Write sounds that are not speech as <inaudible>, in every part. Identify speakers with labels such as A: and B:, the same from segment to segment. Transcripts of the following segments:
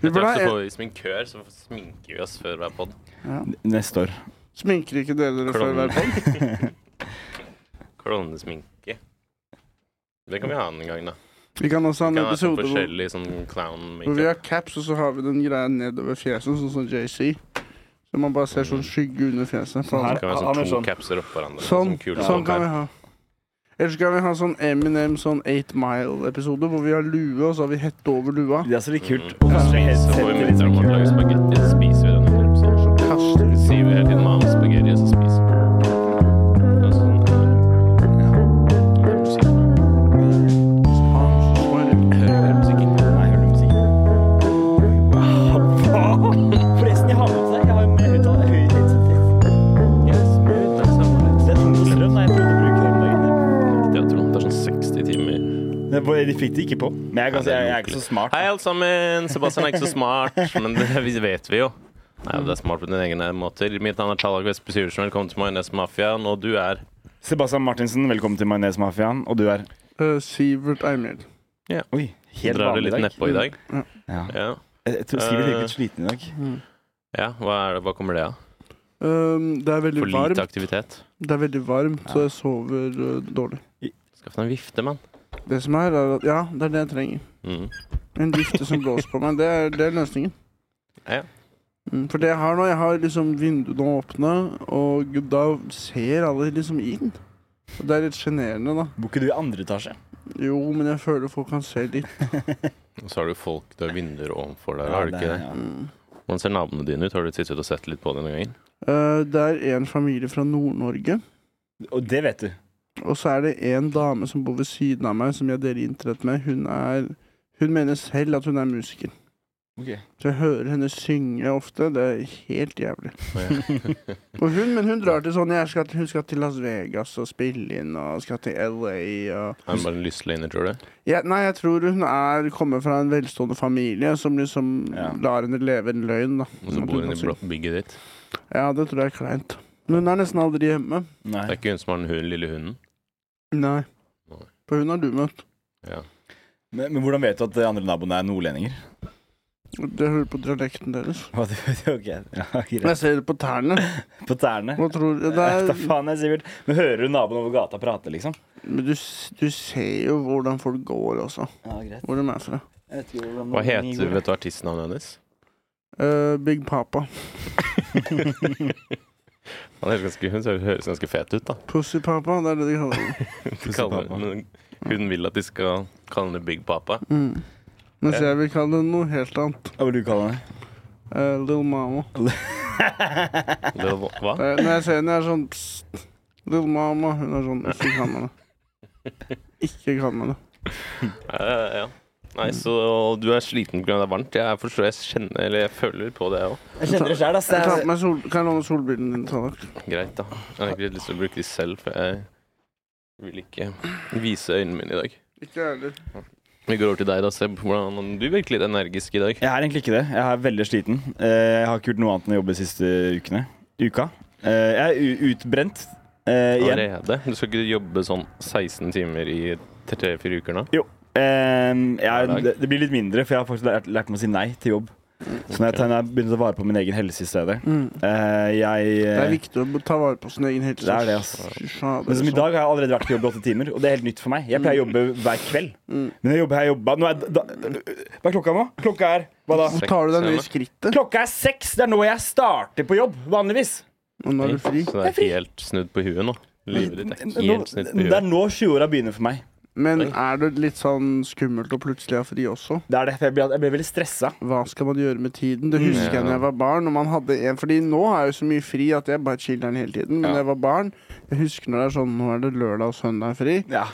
A: Vi burde
B: Etter
A: ha
B: hvert så
A: en,
B: får vi sminkør, så sminker vi oss før hver pod.
C: Neste år.
A: sminker ikke dere dere før hver podd?
B: Klovnesminke. Det kan vi ha en gang, da.
A: Vi kan også ha
B: Vi
A: en
B: kan ha sånn
A: episode hvor,
B: forskjellig sånn clown
A: hvor vi
B: makeup.
A: har caps, og så har vi den greia nedover fjeset, sånn som JC. Så man bare ser sånn skygge under fjeset. på
D: Sånn her.
A: alle.
B: Det kan være
D: Han er
B: sånn to
D: sånn.
B: capser oppå hverandre.
A: Sånn,
B: sånn kule
A: sånn
B: folk
A: kan vi
B: her.
A: ha. Ellers kan vi ha sånn Eminem sånn 8 Mile-episode, hvor vi har lue, og så har vi hette over lua.
C: <laughs> Det er så litt kult.
B: Mm. Så spiser- så får vi mutter'n vår til å lage spagetti, så spiser vi den under episoden.
A: Så kaster vi
B: Så sier vi hele tiden «Mam, spagetti, og så spiser vi den. Det er sånn, eh, det er musikk.
C: Hører du musikken? Nei, hører du musikken?
D: Forresten, jeg har med seg. Jeg har jo med høyttaler. Høy headset.
B: sånn-
D: Det er noe strøm. Nei, jeg prøvde å bruke det om dagen.
B: Det er Trond. Det er sånn 60 timer.
C: Nei, bare- De fikk det ikke på. Men jeg, er ganske- jeg, jeg er ikke så smart.
B: Hei, alle sammen. Sebastian er ikke så smart, men det vi vet vi jo. Nei, Det er smart på dine egne måter. Mitt navn er Tallak Vestby Syversen. Velkommen til Majones Mafiaen. Og du er
C: Sebastian Martinsen, velkommen til Majones-mafiaen. Og du er
A: Eh, Sivert Eimhjell.
C: Oi, helt
B: Drar det
C: vanlig
B: litt Eh.
C: dag. Mm.
B: nedpå i dag.
C: Ja.
B: Ja.
C: Jeg, jeg tror Sivert er litt sliten i dag.
A: Mm.
B: ja. Hva, er det? Hva kommer det av?
A: Um, det er veldig
B: For lite
A: varmt,
B: aktivitet?
A: det er veldig varmt så jeg sover eh, dårlig.
B: Skaff deg en vifte, mann.
A: Det som er, er at Ja, det er det jeg trenger.
B: Mm.
A: En vifte som blåser på meg. Det er, det er løsningen.
B: Ja.
A: Mm, for det jeg har nå, jeg har liksom vinduene åpne, og da ser alle liksom inn. Og det er litt sjenerende, da.
C: Bor ikke du i andre etasje?
A: Jo, men jeg føler folk kan se litt.
B: Og så har du folk du har vinduer ovenfor deg, har du ikke det?
C: Ja.
A: Mm.
B: Hvordan ser naboene dine ut? Har du sittet og sett litt på det noen
C: <laughs>
B: ganger?
A: Eh, det er en familie fra Nord-Norge,
C: Og det vet du.
A: og så er det en dame som bor ved siden av meg, som jeg deler internett med. Hun er Hun mener selv at hun er musiker.
C: Ok.
A: Så jeg hører henne synge ofte. Det er helt jævlig. Og hun, men hun drar til sånn jeg skal, Hun skal til Las Vegas og spille inn, og skal til LA og
B: Er det bare en lystløgner, tror du?
A: ja, Nei, jeg tror hun er kommer fra en velstående familie som liksom
C: Ja.
A: lar henne leve en løgn, da.
B: Og så
A: At
B: bor hun
A: kan
B: i
A: synge.
B: blokk- bygget ditt.
A: Ja, det tror jeg er kleint. Men hun er nesten aldri hjemme.
B: Det
C: Nei.
B: er ikke hun som har den hun, lille hunden?
A: Nei.
B: Nei.
A: For hun har du møtt.
B: Ja.
C: Men, men hvordan vet du at de andre naboene er nordlendinger?
A: Jeg hører på dialekten deres.
C: <laughs> Hva du- ok, ja, greit.
A: Jeg ser det på tærne.
C: På tærne?
A: Hva tror
C: <laughs>
A: du? Det
B: <laughs>
C: Eh, Da
A: er,
C: faen jeg, Sivert. Men hører du naboen over gata prate, liksom?
A: men du, s- du ser jo hvordan folk går også.
C: Ja, greit.
A: Hvor de er fra.
B: Hva heter Vet du artistnavnet hennes?
A: Eh, Big Papa.
B: Han er ganske, hun ser- høres ganske fet ut, da.
A: Pussy Papa, det er det de kaller det.
B: <laughs> De kaller, men hun vil at de skal kalle henne Big Papa.
A: Mm. Mens jeg vil kalle det noe helt annet.
C: Hva vil du kalle <laughs> henne?
A: Eh, Little Mama.
B: Det, hva?
A: Det er- Eh, når jeg ser henne, jeg er sånn pst. Little Mama. Hun er sånn Ikke kall meg det. Ikke kall meg det.
B: Ja, ja, ja. Nei, så du er sliten pga. det er varmt. Jeg forstår, jeg kjenner Eller jeg føler på det òg.
C: Jeg kjenner det sjæl, ass.
A: Jeg tar
C: Jeg-
A: på meg sol, kan jeg låne solbrillene dine, Tallak?
B: Greit, da. Jeg har ikke helt lyst til å bruke de selv, for jeg vil ikke vise øynene mine i dag.
A: Ikke jeg heller.
B: Vi går over til deg, da, Seb. Hvordan, du virker litt energisk i dag.
C: Jeg er egentlig ikke det. Jeg er veldig sliten. Eh, Jeg har ikke gjort noe annet enn å jobbe de siste ukene. Uka. Eh, Jeg er u- utbrent eh, igjen.
B: Allerede. Du skal ikke jobbe sånn 16 timer i tre-fire uker nå?
C: Eh, jeg,
B: Hverdag.
C: det, det blir litt mindre, for jeg har faktisk lært, lært meg å si nei til jobb. Så når jeg, tar, når jeg begynner å ta vare på min egen helse i stedet
A: Mm.
C: eh, Jeg
A: Det er
C: eh,
A: viktig å ta vare på sin egen helse.
C: Det er det, ass.
A: Fy faen, det
C: Men
A: er
C: som i
A: sånn.
C: dag har jeg allerede vært på jobb i åtte timer, og det er helt nytt for meg. Jeg pleier å jobbe hver kveld.
A: Mm.
C: Men jeg jobber, jeg jobber nå er, da, Hva er klokka nå? Klokka er Hva da?
B: Seks,
A: Tar du deg
B: eller?
A: ned i skrittet?
C: Klokka er seks! Det er nå jeg starter på jobb, vanligvis.
A: Og nå er du fri.
B: Så det er helt snudd på huet nå. Livet ditt er
C: Nå,
B: helt snudd på
C: det
B: huet.
C: er nå 20-åra begynner for meg.
A: Men er det litt sånn skummelt å plutselig ha fri også?
C: Det er det, for jeg ble, jeg ble veldig stressa.
A: Hva skal man gjøre med tiden?
C: Mm.
A: Det husker jeg når jeg var barn. Og man hadde en, fordi nå har jeg jo så mye fri at jeg bare chiller den hele tiden. Men
B: Ja.
A: da jeg var barn, jeg husker når det er sånn Nå er det lørdag og søndag er fri.
C: Ja.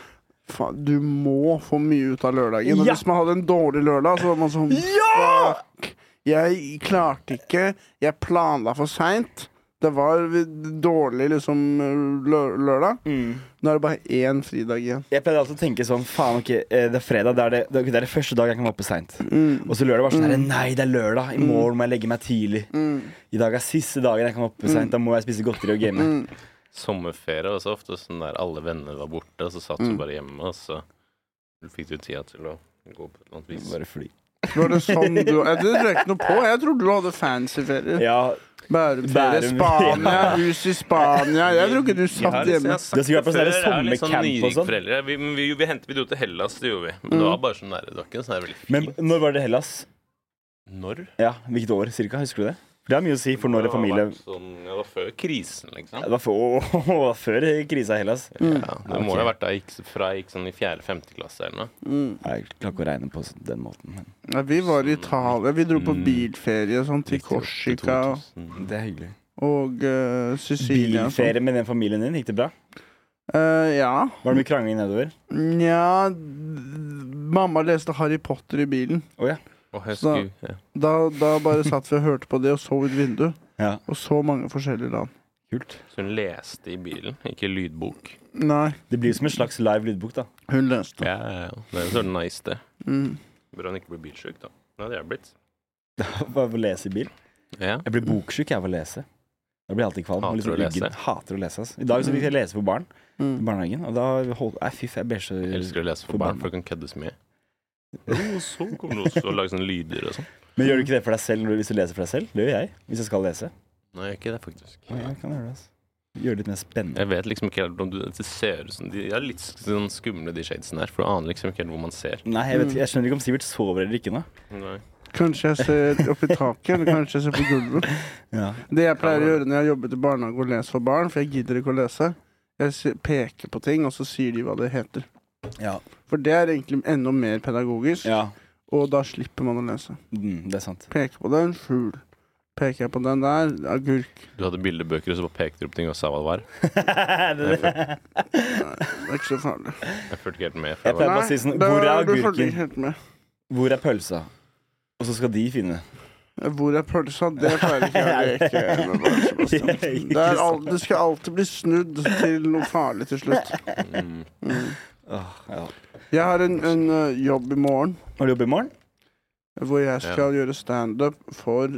A: Faen, du må få mye ut av lørdagen. Og
C: Ja.
A: hvis man hadde en dårlig lørdag, så var man sånn
C: Ja!
A: Fuck! Jeg klarte ikke. Jeg planla for seint. Det var dårlig liksom lø- lørdag. Nå er det bare én fridag igjen.
C: Jeg pleide alltid å tenke sånn Faen, ok, eh, det er fredag. Det er, det, det er- det er det første dag jeg kan være oppe seint. Og så lørdag var sånn her, Nei, det er lørdag. I morgen må jeg legge meg tidlig.
A: Mm.
C: I dag er siste dagen jeg kan være oppe seint. Da må jeg spise godteri og game.
A: Mm.
B: Sommerferie var så ofte sånn der alle venner var borte, og så satt du bare hjemme, og så fikk du tida til å gå på et eller annet vis.
C: Bare fly.
A: Var det sånn du Eh, Det tror jeg ikke noe på. Jeg trodde du hadde fancyferie.
C: Ja,
A: Bærumferie,
C: Bærum,
A: Spania, hus i Spania. Jeg tror ikke du satt hjemme.
C: Det skulle vært på sånne
B: litt sånn
C: sommercamp og
B: nyrike
C: sånn.
B: foreldre. Vi, men vi, vi hentet vi dro til Hellas, det gjorde vi. Men det var bare sånn nære. Det var ikke en sånn der veldig fin
C: Men når var det Hellas?
B: Når?
C: Ja, Hvilket år cirka? Husker du det? Det har mye å si for når
B: Det
C: en
B: har
C: familie
B: vært Sånn, ja, det var før krisen, liksom.
C: Det var før, <laughs> før krisa i Hellas.
B: Ja, det må jo ha vært da jeg gikk, fra jeg gikk sånn i fjerde-femte klasse eller noe.
C: Jeg klarer ikke å regne på den måten. Men
A: Mm. Ja, vi var i Italia. Vi dro
C: Mm.
A: på bilferie sånn, til Korsika
C: det er hyggelig.
A: og eh, Sicilia. og sånn.
C: Bilferie med den familien din, gikk det bra?
A: Eh, ja.
C: Var det mye krangling nedover?
A: Nja d- Mamma leste Harry Potter i bilen.
C: Å ja.
B: Og jeg husker, ja.
A: Da, da bare satt vi og hørte på det og så ut vinduet.
C: Ja.
A: Og så mange forskjellige land.
C: Kult.
B: Så hun leste i bilen, ikke lydbok.
A: Nei,
C: Det blir jo som en slags live lydbok, da. <laughs>
A: hun leste.
B: Ja, ja, ja. Det er jo så nice, det.
A: Mm.
B: Bra hun ikke blir bilsjuk, da. Det hadde jeg blitt.
C: Bare å lese i bil.
B: Ja.
C: Jeg blir boksjuk jeg av å lese. Da blir jeg alltid kvalm.
B: Hater
C: og
B: å lese.
C: uggen. Hater å lese. ass. I dag så fikk jeg lese for barn i
A: Mm.
C: barnehagen, og da holdt Nei, fy faen, jeg ber så
B: Jeg
C: <laughs>
B: elsker å lese for
C: For
B: barn,
C: barn.
B: for du kan kødde så mye. Og så kommer du også og lager sånne lyder og sånn.
C: Men gjør du ikke det for deg selv når du- hvis du leser for deg selv? Det gjør jeg. Hvis jeg skal lese.
B: Nei, ikke det, faktisk.
C: Å, jeg kan gjøre det, altså. Gjør det litt mer spennende.
B: Jeg vet liksom ikke helt om du Det ser ut som De er litt sånn skumle, de shadesene her, for du aner liksom ikke helt hvor man ser.
C: Nei, jeg, vet, jeg skjønner ikke om Sivert sover eller ikke nå.
B: Nei.
A: Kanskje jeg ser opp i taket, eller kanskje jeg ser på gulvet.
C: Ja.
A: Det jeg pleier å gjøre når jeg jobber i barnehage og leser for barn, for jeg gidder ikke å lese, jeg se- peker på ting, og så sier de hva det heter.
C: Ja.
A: For det er egentlig enda mer pedagogisk,
C: ja.
A: og da slipper man å lese.
C: Mm, det er <laughs> sant.
A: Peker på den, fugl. Peker jeg på den der, agurk.
B: Du hadde bildebøker, og så bare pekte du på ting og sa hva det var.
C: jeg pleier
A: Det er ikke så farlig.
B: Jeg fulgte ikke helt med. For jeg var,
C: bare å si sånn Hvor er
A: du følger ikke
C: agurken?
A: helt med.
C: <laughs> Hvor er pølsa? Og så skal de finne det.
A: Hvor er pølsa? Det pleier ikke jeg å leke
C: <laughs>
A: med. barn, Sebastian. Det, er al det skal alltid bli snudd til noe farlig til
C: <laughs>
A: slutt.
B: mm,
C: Åh, ja.
A: Jeg har en, en ø, jobb i morgen
C: Har du jobb i morgen?
A: hvor jeg skal gjøre standup for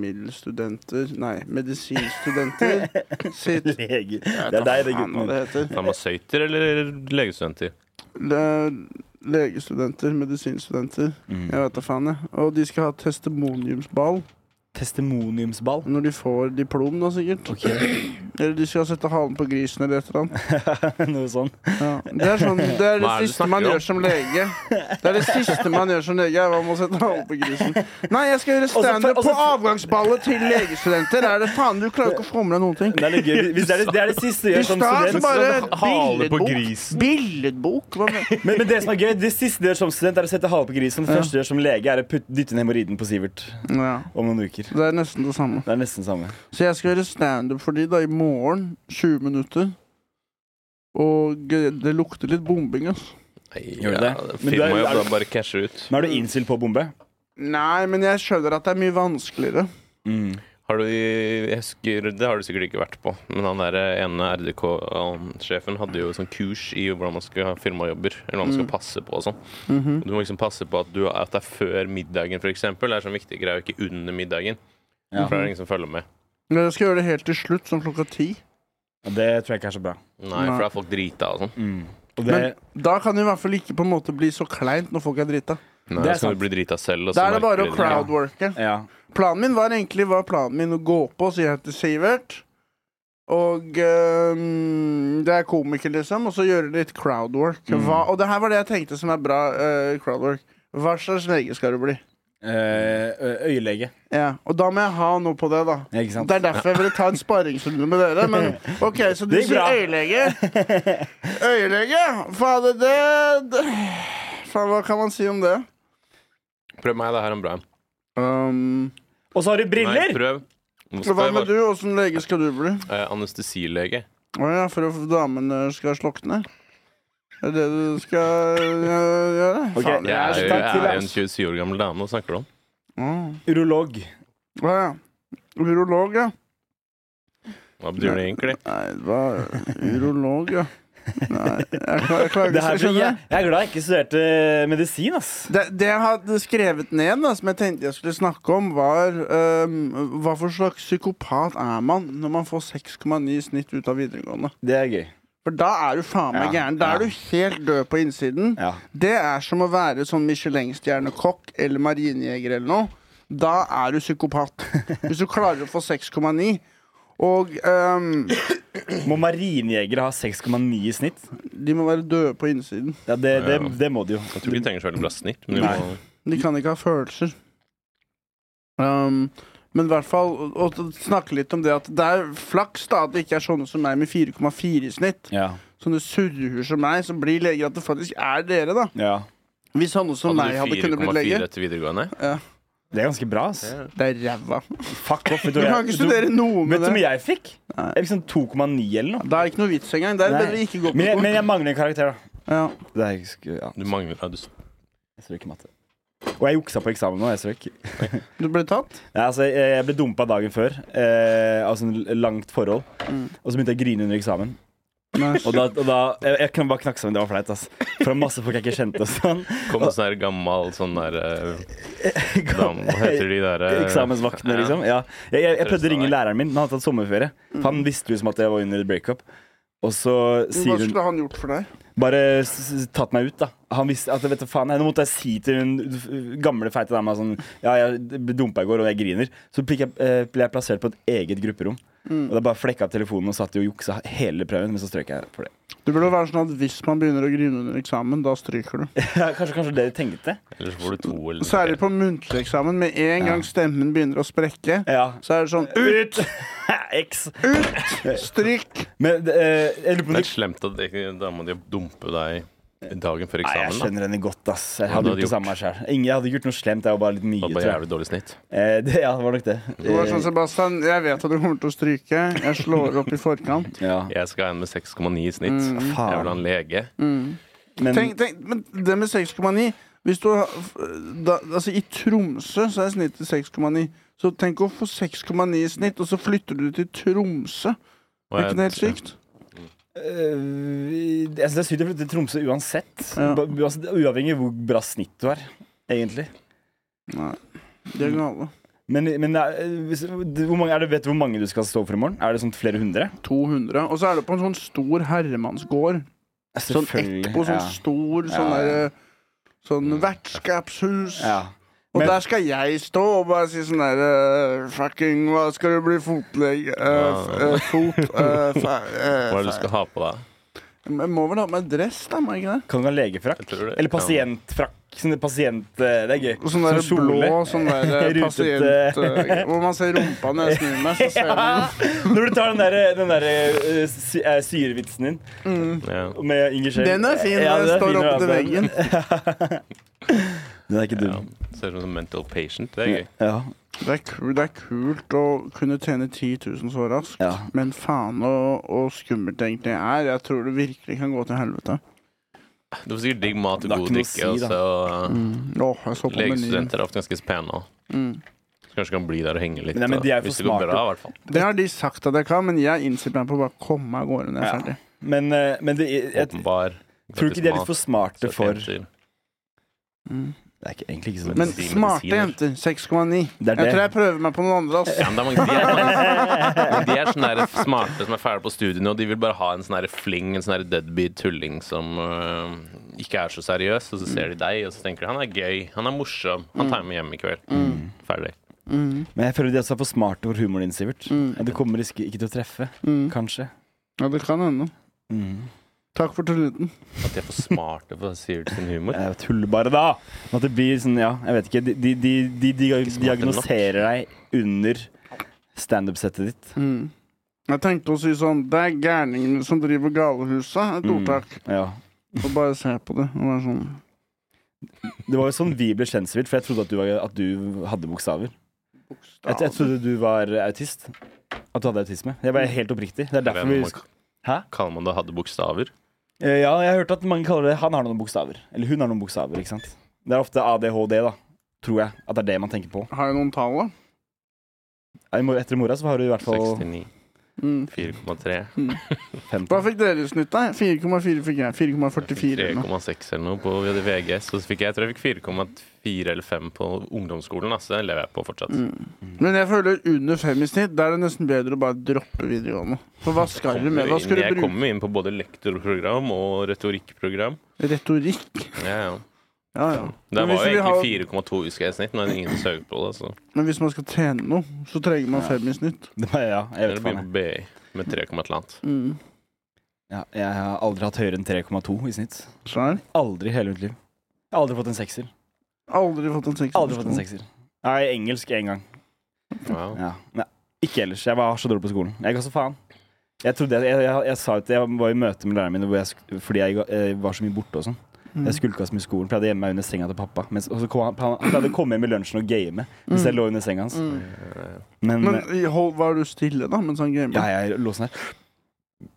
A: legemiddelstudenter Nei,
C: <laughs>
A: medisinstudenter sitt
C: Lege.
A: Jeg
C: Det er
A: vet da
C: deg, det
A: faen
C: gutten
A: hva
C: min.
A: det heter.
B: farmasøyter eller legestudenter?
A: Le legestudenter, medisinstudenter. Jeg
C: Mm.
A: vet da faen, jeg. Og de skal ha testimoniumsball
C: Testimoniumsball.
A: når de får diplom, da sikkert.
C: Ok,
A: Eller de skal sette halen på grisen eller et eller annet.
C: <laughs> Noe sånn.
A: Ja. Det er, sånn, det, er det,
B: Hva er det du
A: siste man
B: snakker om?
A: gjør som lege. Det er det siste man gjør som lege. er hva Man må sette halen på grisen. Nei, jeg skal gjøre
C: så-
A: standup
C: og så-
A: på avgangsballet til legestudenter. Er det faen, Du klarer ikke å få med deg noen ting.
C: Det er litt gøy. Hvis det er det, det, er det siste du
A: I
C: gjør
A: stad
C: som
A: så
C: student Sånn
A: bare
B: hale på
A: billedbok.
B: grisen.
A: Billedbok? Hva
C: <laughs>
A: med?
C: men, men det som er gøy, det siste du gjør som student, er å sette hale på grisen. Det første du gjør som lege, er å putte, dytte ned hemoroiden på Sivert
A: Ja,
C: om noen uker.
A: det er nesten det samme.
C: Det er nesten samme.
A: Så jeg skal gjøre standup for de da i morgen. 20 minutter. Og eh, det lukter litt bombing, altså.
B: Nei,
C: Gjør det
B: ja,
C: det? Men du er-
B: Firmaet må jo
C: er du-
B: da bare cashe ut.
C: Men er
A: Mm.
C: du innstilt på å bombe?
A: Nei, men jeg skjønner at det er mye vanskeligere.
C: Mm.
B: Har du, jeg husker, det har du sikkert ikke vært på, men han der eh, ene RDK-sjefen hadde jo sånn kurs i hvordan man skal ha firmajobber, eller hva man skal passe på og sånn. Og Du må liksom passe på at, du, at det er før middagen, for eksempel. Det er sånn viktig greie, og ikke under middagen.
C: Ja.
B: For det er det ingen som følger med.
A: Men jeg skal gjøre det helt til slutt, sånn klokka ti.
C: Ja, Det tror jeg ikke er så bra.
B: Nei, for da er folk drita og sånn.
C: Mm. Og det,
A: Men da kan det i hvert fall ikke på en måte bli så kleint når folk er drita.
B: Nei,
C: Det er
B: så kan
C: sant.
B: du bli drita selv. og så
A: Da er det
B: merker
A: bare
B: du
A: å
B: ikke.
A: crowdworke.
C: ja.
A: Planen min var egentlig var planen min å gå på og si jeg heter Sivert. Og øhm, det er komiker, liksom. Og så gjøre litt crowdwork.
B: Mm.
A: Hva, og det her var det jeg tenkte som er bra øh, crowdwork. Hva slags lege skal du bli?
C: Eh, ø- øyelege.
A: Ja, Og da må jeg ha noe på det, da.
C: Ja, ikke sant?
A: Det er derfor jeg ville ta en sparringsrunde med dere. Men OK, så du
C: Det gikk
A: sier
C: bra.
A: øyelege. Øyelege? Fader, det, det Faen, hva kan man si om det?
B: Prøv meg, det her er en bra en.
A: Um,
C: Og så har du
B: Nei,
C: briller!
B: prøv. Nå
A: så
B: skal
A: hva
B: jeg
A: med
B: være-
A: du? Åssen lege skal du bli?
B: Eh, Anestesilege.
A: Å ja, for at damene skal slokne? Er det det du skal øh, gjøre?
C: Ok,
A: Faen,
B: Jeg er
C: så
B: jo
C: takk
B: jeg
C: til
B: er
C: deg.
B: jo en 27 år gammel dame, hva snakker du om?
A: Mm.
C: Urolog.
A: Å ja. Urolog, ja.
B: Hva betyr det egentlig?
A: Nei, det var urolog, ja. Nei, jeg, kla- jeg klarer ikke
C: Det her
A: å
C: blir,
A: skjønne det.
C: jeg, jeg er glad jeg ikke studerte eh, medisin, ass.
A: Det, det jeg hadde skrevet ned, da, som jeg tenkte jeg skulle snakke om, var øhm, hva for slags psykopat er man når man får 6,9 i snitt ut av videregående?
C: Det er gøy.
A: For da er du faen meg
C: Ja,
A: gæren. Da er
C: ja.
A: du helt død på innsiden.
C: Ja.
A: Det er som å være sånn Michelin-stjernekokk eller marinejeger eller noe. Da er du
C: <laughs>
A: psykopat. Hvis du klarer å få 6,9. Og ehm,
C: Må marinejegere ha 6,9 i snitt?
A: de må være døde på innsiden.
C: Ja, det, det,
B: Ja.
C: det må de jo.
B: Jeg tror ikke de trenger så veldig bra snitt. Men de
C: Nei.
B: må,
A: De kan ikke ha følelser. Ehm, men i hvert fall å å snakke litt om det at det er flaks da at det ikke er sånne som meg med 4,4 i snitt.
C: Ja.
A: Sånne surrehuer som meg, som blir leger, at det faktisk er dere, da.
C: ja.
A: Hvis sånne som meg
B: hadde
A: hadde
B: du
A: kunnet blitt
B: 4,4
A: lege.
B: etter videregående?
C: Det er ganske bra, ass.
A: Det er ræva.
C: Fuck off. Vet
A: Du
C: hva
A: kan
C: jeg-
A: ikke studere noe
C: Vet
A: med
C: du hvor
A: det.
C: mye jeg fikk? Jeg fikk sånn 2,9 eller noe.
A: Da er det ikke noe vits engang. Det er
C: Nei.
A: bedre ikke gå på
C: Men jeg,
A: skolen.
C: men jeg mangler en karakter, da.
A: Ja.
C: Det er, ikke- ja,
B: Du mangler ja, du,
C: jeg strøk i matte. Og jeg juksa på eksamen nå. Jeg strøk.
A: Du ble tatt?
C: Ja, altså, jeg- jeg ble dumpa dagen før eh, av sånn langt forhold. Og så begynte jeg å grine under eksamen. Og da, og da jeg, jeg kan bare knakke sammen. Det var flaut, ass. Fra masse folk jeg ikke kjente
B: <laughs>
C: og sånn.
B: kom en sånn her gammel sånn der eh, dam- Hva heter de der eh,
C: Eksamensvaktene,
B: ja.
C: liksom. Ja. Jeg, jeg, jeg prøvde å ringe læreren min, men han hadde tatt sommerferie. For han visste liksom at jeg var under breakup. Og så
A: Hva
C: sier hun
A: skulle han gjort for deg?
C: Bare s- s- tatt meg ut, da. Han visste at, vet du, faen, nei, nå måtte jeg si til hun f- gamle, feite dama sånn Ja, jeg ble dumpa i går, og jeg griner. Så ble jeg, eh, ble jeg plassert på et eget grupperom.
A: Mm.
C: Og da bare flekka jeg opp telefonen og satt i og juksa hele prøven, men så strøk jeg
A: <laughs>
C: for det.
A: Det burde være sånn at hvis man begynner å grine under eksamen, da stryker
C: <laughs>
A: du.
C: Ja, kanskje, kanskje det de tenkte?
B: Eller så får du to eller
A: Særlig på muntlig eksamen. Med en gang stemmen begynner å sprekke,
C: Ja.
A: så er det sånn
C: Ut! <laughs> X.
A: Stryk!
C: Men eh, jeg lurer på om
B: Det
C: du
B: er slemt at ikke dama di dumper deg dagen før
C: Nei, jeg
B: eksamen.
C: skjønner henne godt, ass. Jeg
B: Hva
C: hadde
B: hadde
C: gjort det
B: du
C: samme sjøl. Jeg hadde ikke gjort noe slemt, jeg var bare litt
B: da
C: mye.
B: Hadde
C: Tror
B: bare
C: jeg.
B: jævlig dårlig snitt.
C: Eh, det, ja, det var nok det.
A: Det var sånn, Sebastian, jeg vet at du kommer til å stryke. Jeg slår opp i
C: <laughs>
A: forkant.
C: Eh, ja.
B: Jeg skal ha en med 6,9 i snitt.
A: Mm.
B: Jeg vil ha en lege.
C: Men
A: Tenk, tenk, men det med 6,9 Hvis du har- da, Altså, i Tromsø så er snittet 6,9. Så tenk å få 6,9 i snitt, og så flytter du til Tromsø.
B: Og
A: Er ikke det helt
B: jeg-
A: sykt?
C: Øh, jeg synes det er sykt å flytte til Tromsø uansett.
A: Ja.
C: Ba- altså, det er Uavhengig av hvor bra snitt du har, egentlig.
A: Nei. De er gale.
C: Men, men det er- hvis, hvor mange, er det, vet du hvor mange du skal stå for i morgen? Er det sånn flere hundre?
A: 200. Og så er det på en sånn stor herremannsgård. Sånn Ekbo, sånn
C: ja.
A: stor,
C: Ja,
A: sånn
C: ja. Mm.
A: derre Sånn vertskapshus.
C: Ja.
A: Og
C: Men-
A: der skal jeg stå og bare si sånn derre Fucking, hva skal du bli? Fotlege? eh, f- eh, fot...
C: <laughs>
A: eh, fa- eh,
B: Hva er det du
A: fa-
B: skal ha på deg?
A: Men Jeg må vel ha på meg dress, da? må jeg ikke det?
C: Kan du ha legefrakk?
B: Jeg tror det-
C: Eller pasientfrakk? Sånn pasient... eh, Det er gøy.
A: Og sånn der
C: Sånn kjole.
A: blå sånn der eh,
C: Rutete.
A: pasient... eh, Hvor man ser rumpa når jeg snur meg. Så ser jeg den.
C: Ja. <laughs> Når du tar den der, den der eh, sy eh, syrevitsen din
B: Ja.
C: med Inger Scheel
A: Den er fin.
C: Ja,
A: Den
C: den er
A: står
C: fin, ja,
A: opp til
C: den-
A: veggen.
C: Den er ikke
B: Ja.
C: dum.
B: Ser ut som en mental patient. Det er gøy.
C: Ja.
A: Det er, ku- det er kult å kunne tjene 10 000 så raskt,
C: Ja.
A: men faen og, og skummelt det egentlig er. Jeg tror det virkelig kan gå til helvete.
B: Du får sikkert digg mat og
C: Det er
B: god
C: ikke noe å
B: drikke.
C: si, da.
B: og så-
C: Mm.
A: Åh, jeg så på Mm. menyen. Mm.
B: Legestudenter er ofte ganske pene òg. Så Kanskje kan bli der og henge litt.
C: Nei, men
B: da.
C: de er jo
B: Hvis
C: for
B: det går
C: smarte.
B: bra, i hvert fall.
A: Det har de sagt at jeg kan, men jeg innser meg på å bare komme meg av gårde når jeg er
C: Ja.
A: ferdig.
C: Men, eh, men det, jeg, jeg
B: Åpenbar.
C: tror du ikke de er litt for smarte
B: gratis
C: for
B: mat, sortenter.
C: Det er ikke, egentlig ikke så
A: Mm. Men
B: Medisiner,
A: smarte
B: medisiner.
A: jenter. 6,9.
C: Det er
A: Jeg
C: det.
A: tror jeg prøver meg på noen andre. ass.
B: Ja, men det er mange, de, er
C: <laughs>
B: mange, de er sånne der smarte som er ferdige på studiene, og de vil bare ha en sånn der fling, en sånn der deadbeat tulling som øh, ikke er så seriøs, og så ser de deg, og så tenker de han er gøy, han er morsom, han tar med hjem i kveld.
A: Mm.
B: Ferdig.
C: Mm. Men jeg føler de også er for smarte for humoren din, Sivert.
A: Mm.
C: At du kommer ikke, ikke til å treffe, kanskje. Mm.
A: Ja, det kan hende. Takk for tulleten.
B: At de er for smarte for Sivert sin humor.
C: Jeg tuller bare, da! Men At det blir sånn, ja, jeg vet ikke De, de, de, de, de
B: smarte
C: diagnoserer deg under standup-settet ditt.
A: Mm. Jeg tenkte å si sånn Det er gærningene som driver galehuset.
C: Mm.
A: Et ordtak.
C: Ja.
A: Og bare se på det. Og være sånn
C: Det var jo sånn vi ble kjent, Sivert, for jeg trodde at du, var, at du hadde bokstaver. Jeg, jeg trodde du var autist. At du hadde autisme. Jeg var helt oppriktig. Det er
B: Eller
C: derfor vi
B: man-
C: Hæ?
B: Kaller man det hadde bokstaver?
C: Eh, Ja, jeg har hørt at mange kaller det Han har noen bokstaver. Eller hun har noen bokstaver, ikke sant. Det er ofte ADHD, da. Tror jeg. At det er det man tenker på.
A: Har jeg noen tall, da?
C: Ja, i mor- Etter i morgen så har du i hvert fall
B: 69,
A: Mm.
B: 4,3,
A: Hva
C: 50.
A: fikk dere i snitt, da? 4,4 fikk jeg. 4,44 eller noe.
B: 3,6 eller noe på vi hadde
A: Mm.
B: VG, så fikk jeg, jeg tror jeg fikk 4,4 eller 5 på ungdomsskolen, da, så det lever jeg på fortsatt.
C: Mm.
A: Men jeg føler under fem i snitt, da er det nesten bedre å bare droppe videregående. For hva skal du med? Hva
B: Kommer
A: skal
B: inn- jeg
A: du bruke?
B: kommer inn på både lektorprogram og retorikkprogram.
A: Retorikk?
B: Ja, ja.
A: Ja, ja.
B: Det
A: Men hvis
B: var
A: vi
B: jo
A: har-
B: egentlig 4,2 husker jeg i snitt, men ingen søker på det. Så
A: Men hvis man skal trene noe, så trenger man fem i snitt.
C: Det var, ja, jeg
B: eller
C: vet faen.
B: begynner på BI med 3, et eller annet.
A: Mm.
C: jeg. Ja, jeg har aldri hatt høyere enn 3,2 i snitt.
A: Skjær.
C: Aldri i hele mitt liv. Jeg har aldri fått en sekser.
A: Aldri fått en sekser. på
C: Aldri fått en
A: skolen.
C: sekser. Nei, engelsk én gang.
B: Wow.
C: Ja. Nei, ikke ellers. Jeg var så dårlig på skolen. Jeg ga så faen. Jeg, trodde jeg, jeg, jeg, jeg sa jo til- jeg var i møte med læreren min hvor jeg, sk- fordi jeg, ga- eh, var så mye borte og sånn.
A: Mm.
C: Jeg skulka så mye i skolen. Pleide å gjemme meg under senga til pappa. Mens, og så kom han, han pleide å komme hjem i lunsjen og game hvis jeg lå under senga hans.
B: Mm.
C: Men,
A: Mm.
C: eh,
A: Men i hold, var du stille, da, mens han gamet?
C: ja, jeg lå sånn her.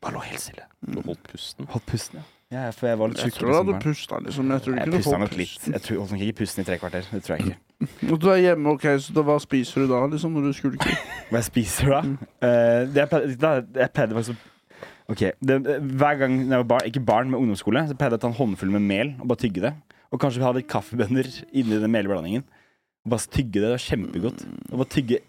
C: Bare lå helt stille.
B: Du holdt pusten.
C: Holdt pusten, ja. ja ja, for jeg var litt
A: Jeg
C: tjukk.
A: tror du hadde pusta, liksom. Jeg tror du
C: Jeg
A: kunne
C: pusta
A: holdt
C: nok litt. Jeg tror, holdt nok ikke pusten i tre kvarter. Det tror jeg ikke.
A: pusten. Og du er hjemme, OK, så da, hva spiser du da, liksom, når du skulker?
C: Hva jeg spiser da?
A: Mm.
C: Eh, det jeg, pleide, da jeg pleide faktisk å Ok, det, Hver gang jeg var barn, ikke barn, men ungdomsskole, så pleide jeg å ta en håndfull med mel og bare tygge det. Og kanskje ha litt kaffebønner inni den melblandingen. Og bare tygge det. Det var kjempegodt.
A: Mm.
C: Og bare tygge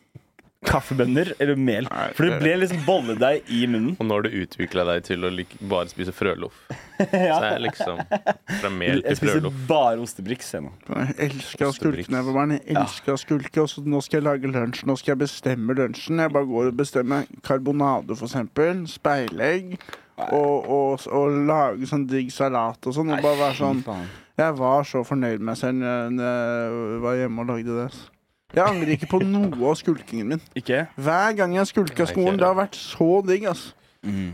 C: kaffebønner eller mel.
A: Nei,
C: For det ble liksom bolledeig i munnen.
A: <laughs>
B: Og nå har du utvikla deg til å lik- bare spise frøloff. Så det
C: ja.
B: er liksom fra mel
C: Jeg
B: til
C: spiser
B: frøloff.
C: bare ostebriks jeg nå.
A: Jeg elsker å skulke
B: Ostebriks.
A: når jeg var barn. Jeg
C: Ja.
A: elsker å skulke. Og så nå skal jeg lage lunsj. Nå skal jeg bestemme lunsjen. Jeg bare går og bestemmer karbonade, for eksempel. Speilegg. Og, og, og lage sånn digg salat og sånn. Og bare være sånn
C: Faen.
A: Jeg var så fornøyd med meg selv når jeg var hjemme og lagde det. ass. Jeg angrer ikke på noe av skulkingen min.
C: Ikke?
A: Hver gang jeg skulka
B: Nei,
A: skolen,
B: kjære.
A: det har vært så digg, ass.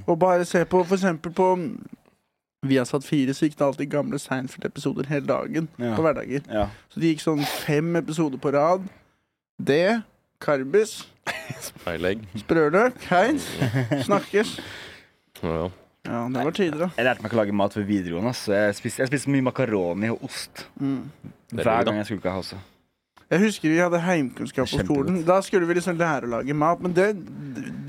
A: Og bare se på for eksempel på Vi har satt fire, så gikk det alltid gamle Seinfeld-episoder hele dagen.
C: Ja.
A: På hverdager.
C: Ja.
A: Så det gikk sånn fem episoder på rad. Det, Karbis,
B: Speilegg.
A: sprøløk, Heinz, snakkes.
B: Ja, ja.
A: Ja, det var tider, da.
C: Jeg lærte meg ikke å lage mat ved videregående. ass. Så jeg spiste, jeg spiste mye makaroni og ost.
A: Mm.
B: Det er
C: Hver
B: digg, da.
C: gang jeg skulka også.
A: Jeg husker vi hadde heimkunnskap på
C: Kjempegodt.
A: skolen. Da skulle vi liksom lære å lage mat, men det,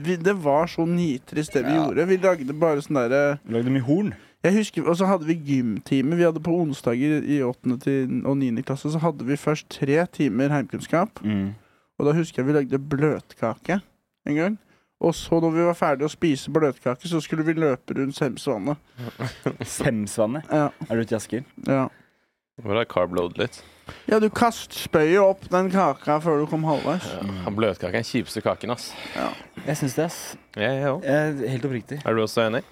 A: vi, det var så nitrist, det vi
C: Ja.
A: gjorde. Vi lagde bare sånn derre
C: Lagde mye horn.
A: Jeg husker, Og så hadde vi gymtime. Vi hadde På onsdager i 8. til, og 9. klasse så hadde vi først tre timer heimkunnskap.
C: Mm.
A: Og da husker jeg vi lagde bløtkake en gang. Og så, når vi var ferdige å spise bløtkake, så skulle vi løpe rundt Semsvannet.
C: Semsvannet.
A: Ja,
C: Er du ute i Asker?
A: ja.
B: Bare carb load litt.
A: ja, du kastspøyer opp den kaka før du kom halvveis.
B: Ja. Bløtkake er den kjipeste kaken, ass.
C: Jeg syns det, ass.
B: Ja, jeg òg.
C: Eh, Helt oppriktig.
B: Er du også enig?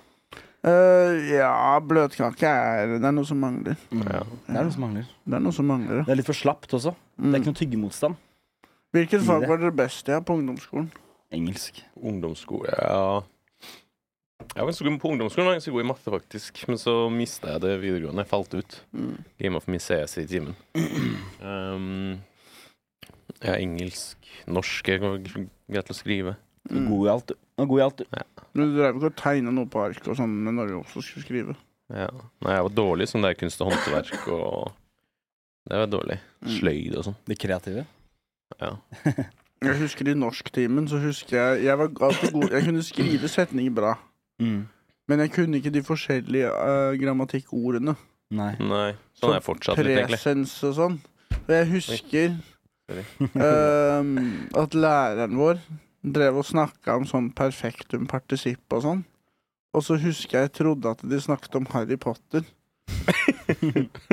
A: Eh, ja, bløtkake er Det er noe som mangler.
C: Mm.
B: Ja.
C: Det er noe som mangler.
A: Det er noe som mangler, ja.
C: Det er litt for slapt også. Det er ikke noe tyggemotstand.
A: Hvilket fag var dere best i ja, på ungdomsskolen?
C: Engelsk.
B: Ungdomsskole Ja. Jeg var ganske god på ungdomsskolen, var ganske god i matte, faktisk. Men så mista jeg det videregående. Jeg falt ut.
A: Mm.
B: Game of Miseas i timen. Um, ja, engelsk, norsk Jeg var g- greit til å skrive.
C: Du er God i alt, du. Du er God i alt, du.
A: Men Mm. Du drev ikke og tegna noe på arket og sånn men når du også skulle skrive?
B: Ja. Nei, jeg var dårlig i sånn der kunst og håndverk og Det var dårlig.
A: Mm.
B: Sløyd og sånn.
C: Det kreative.
B: Ja.
A: Jeg husker i norsktimen, så husker jeg Jeg var alltid god Jeg kunne skrive setninger bra,
C: Mm.
A: men jeg kunne ikke de forskjellige eh, grammatikkordene.
C: Nei.
B: Nei. Sånn er jeg fortsatt litt, egentlig.
A: Presens og sånn. Og jeg husker
B: Sorry.
C: Mm. <laughs>
A: ehm, at læreren vår drev og snakka om sånn perfektum partisipp og sånn. Og så husker jeg jeg trodde at de snakket om Harry Potter.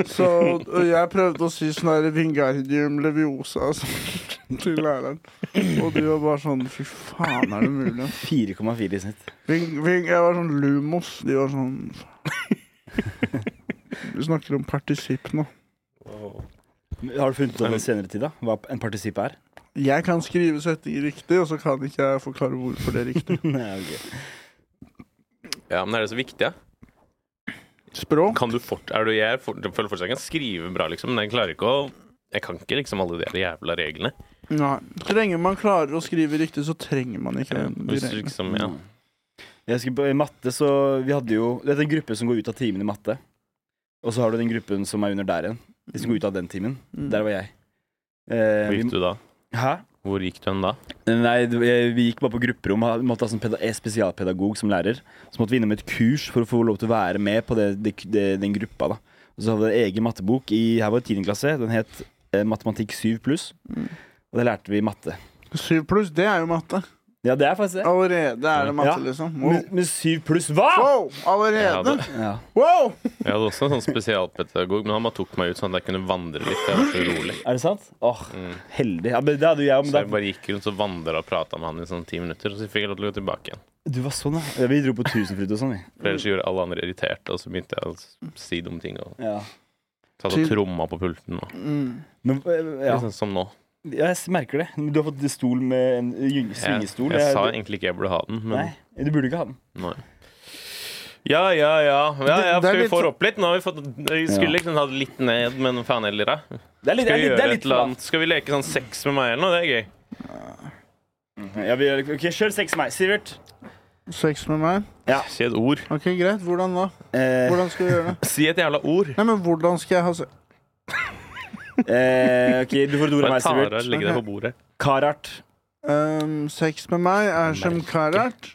A: så og jeg prøvde å si sånn her Vingardium Leviosa og sånn <laughs> til læreren. Og du var bare sånn Fy faen, er det mulig?
C: 4,4 i snitt.
A: Ving, ving, jeg var sånn Lumos. De var sånn Vi snakker om partisipp nå.
C: Har du funnet ut av det senere tid, da? Hva en partisipp er? <laughs>
A: Jeg kan skrive setninger riktig, og så kan ikke jeg forklare hvorfor det er riktig.
C: <laughs> Nei, ok.
B: Ja, men er det så viktig, ja?
A: Språk?
B: Kan du fort, er du, jeg er fort, føler fortsatt jeg kan skrive bra, liksom, men jeg klarer ikke å Jeg kan ikke liksom alle de der jævla reglene.
A: Nei. Så lenge man klarer å skrive riktig, så trenger man ikke de
B: Hvis
A: reglene.
B: du
C: Mm,
B: liksom, ja.
C: Jeg husker på, I matte så Vi hadde jo Det er en gruppe som går ut av timen i matte. Og så har du den gruppen som er under der igjen. De som går ut av den timen.
A: Mm.
C: Der var jeg. Eh,
B: Hvor gikk
C: vi,
B: du da?
C: hæ?
B: Hvor gikk du hen da?
C: Nei, det- eh, vi gikk bare på grupperom. Vi måtte ha sånn peda eh, spesialpedagog som lærer. Så måtte vi innom et kurs for å få lov til å være med på det, det, det, den gruppa. da Og så hadde vi en egen mattebok i her var det 10. klasse. Den het eh, Matematikk 7 pluss. Og det lærte vi i matte.
A: Syv pluss, det er jo matte.
C: Ja, det er faktisk det.
A: Allerede er det matte,
C: Ja.
A: liksom. Wow.
C: Men, men syv pluss hva?!
A: wow
B: Jeg
A: allerede?
B: hadde,
C: Ja.
A: Wow!
B: jeg hadde også en sånn spesialpedagog, men han bare tok meg ut sånn at jeg kunne vandre litt. Jeg var så urolig.
C: Er det sant? Åh, heldig. Ja, men det hadde jo jeg, men
B: Så
C: da,
B: jeg bare gikk rundt og vandra og prata med han i sånn ti minutter, og så fikk jeg lov til å gå tilbake igjen.
C: Du var sånn, ja. Vi dro på Tusenfryd og sånn, vi.
B: For ellers gjorde alle andre irriterte, og så begynte jeg å s- si dumme ting og
C: Ja.
B: tatt og tromma på pulten. Og,
A: Mm.
C: Men, eh, ja.
B: litt sånn som nå.
C: Ja, jeg merker det. Du har fått stol med en gyng-
B: Jeg,
C: svingestol.
B: jeg sa
C: du,
B: egentlig ikke jeg burde ha den, men
C: Nei, du burde ikke ha den.
B: Nei. Ja, ja, ja. ja, ja
A: Det- det er
B: for vi
A: litt
B: får
A: så-
B: opp litt. Nå har vi fått Vi skulle liksom ha det litt ned, men faen heller, da.
C: Det er litt, det
B: Skal
C: er
B: vi
C: litt, det
B: gjøre
C: er
B: et
C: litt
B: eller annet? Skal vi leke sånn sex med meg eller noe? Det er gøy.
C: lavt. Mm, Ja, vi, gjør- ok, Kjør sex med meg, Sivert.
A: Sex med meg?
B: Si et ord.
A: Ok, greit. Hvordan da?
C: Eh,
A: Hvordan skal vi
C: <laughs>
A: gjøre det?
B: Si et jævla ord.
A: Nei, men hvordan skal jeg ha se...
C: eh, ok, Du får et ord av
B: Bare
C: meg,
B: ta av
C: Sivert.
B: legge det på bordet.
C: Karart. <laughs>
A: Ehm, sex med meg er som
B: Merke.
A: karat.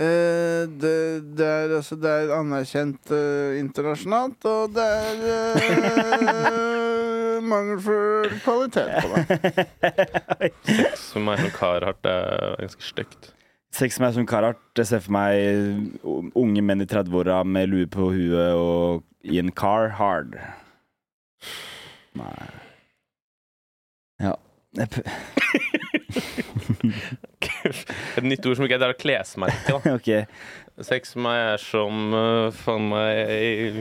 A: Eh, det, det er altså Det er anerkjent eh, internasjonalt, og det er
C: <laughs>
A: eh, mangelfull kvalitet på det.
B: Som er sånn Carhartt. Det er ganske stygt.
C: Sex med meg som Karart. Jeg ser for meg unge menn i 30-åra med lue på huet og i en car hard. Nei Ja. <laughs> Jeg prø-
B: Et nytt ord som ikke er der å klesmerke, <laughs> da.
C: Ok.
B: Sex med meg er som eh, faen meg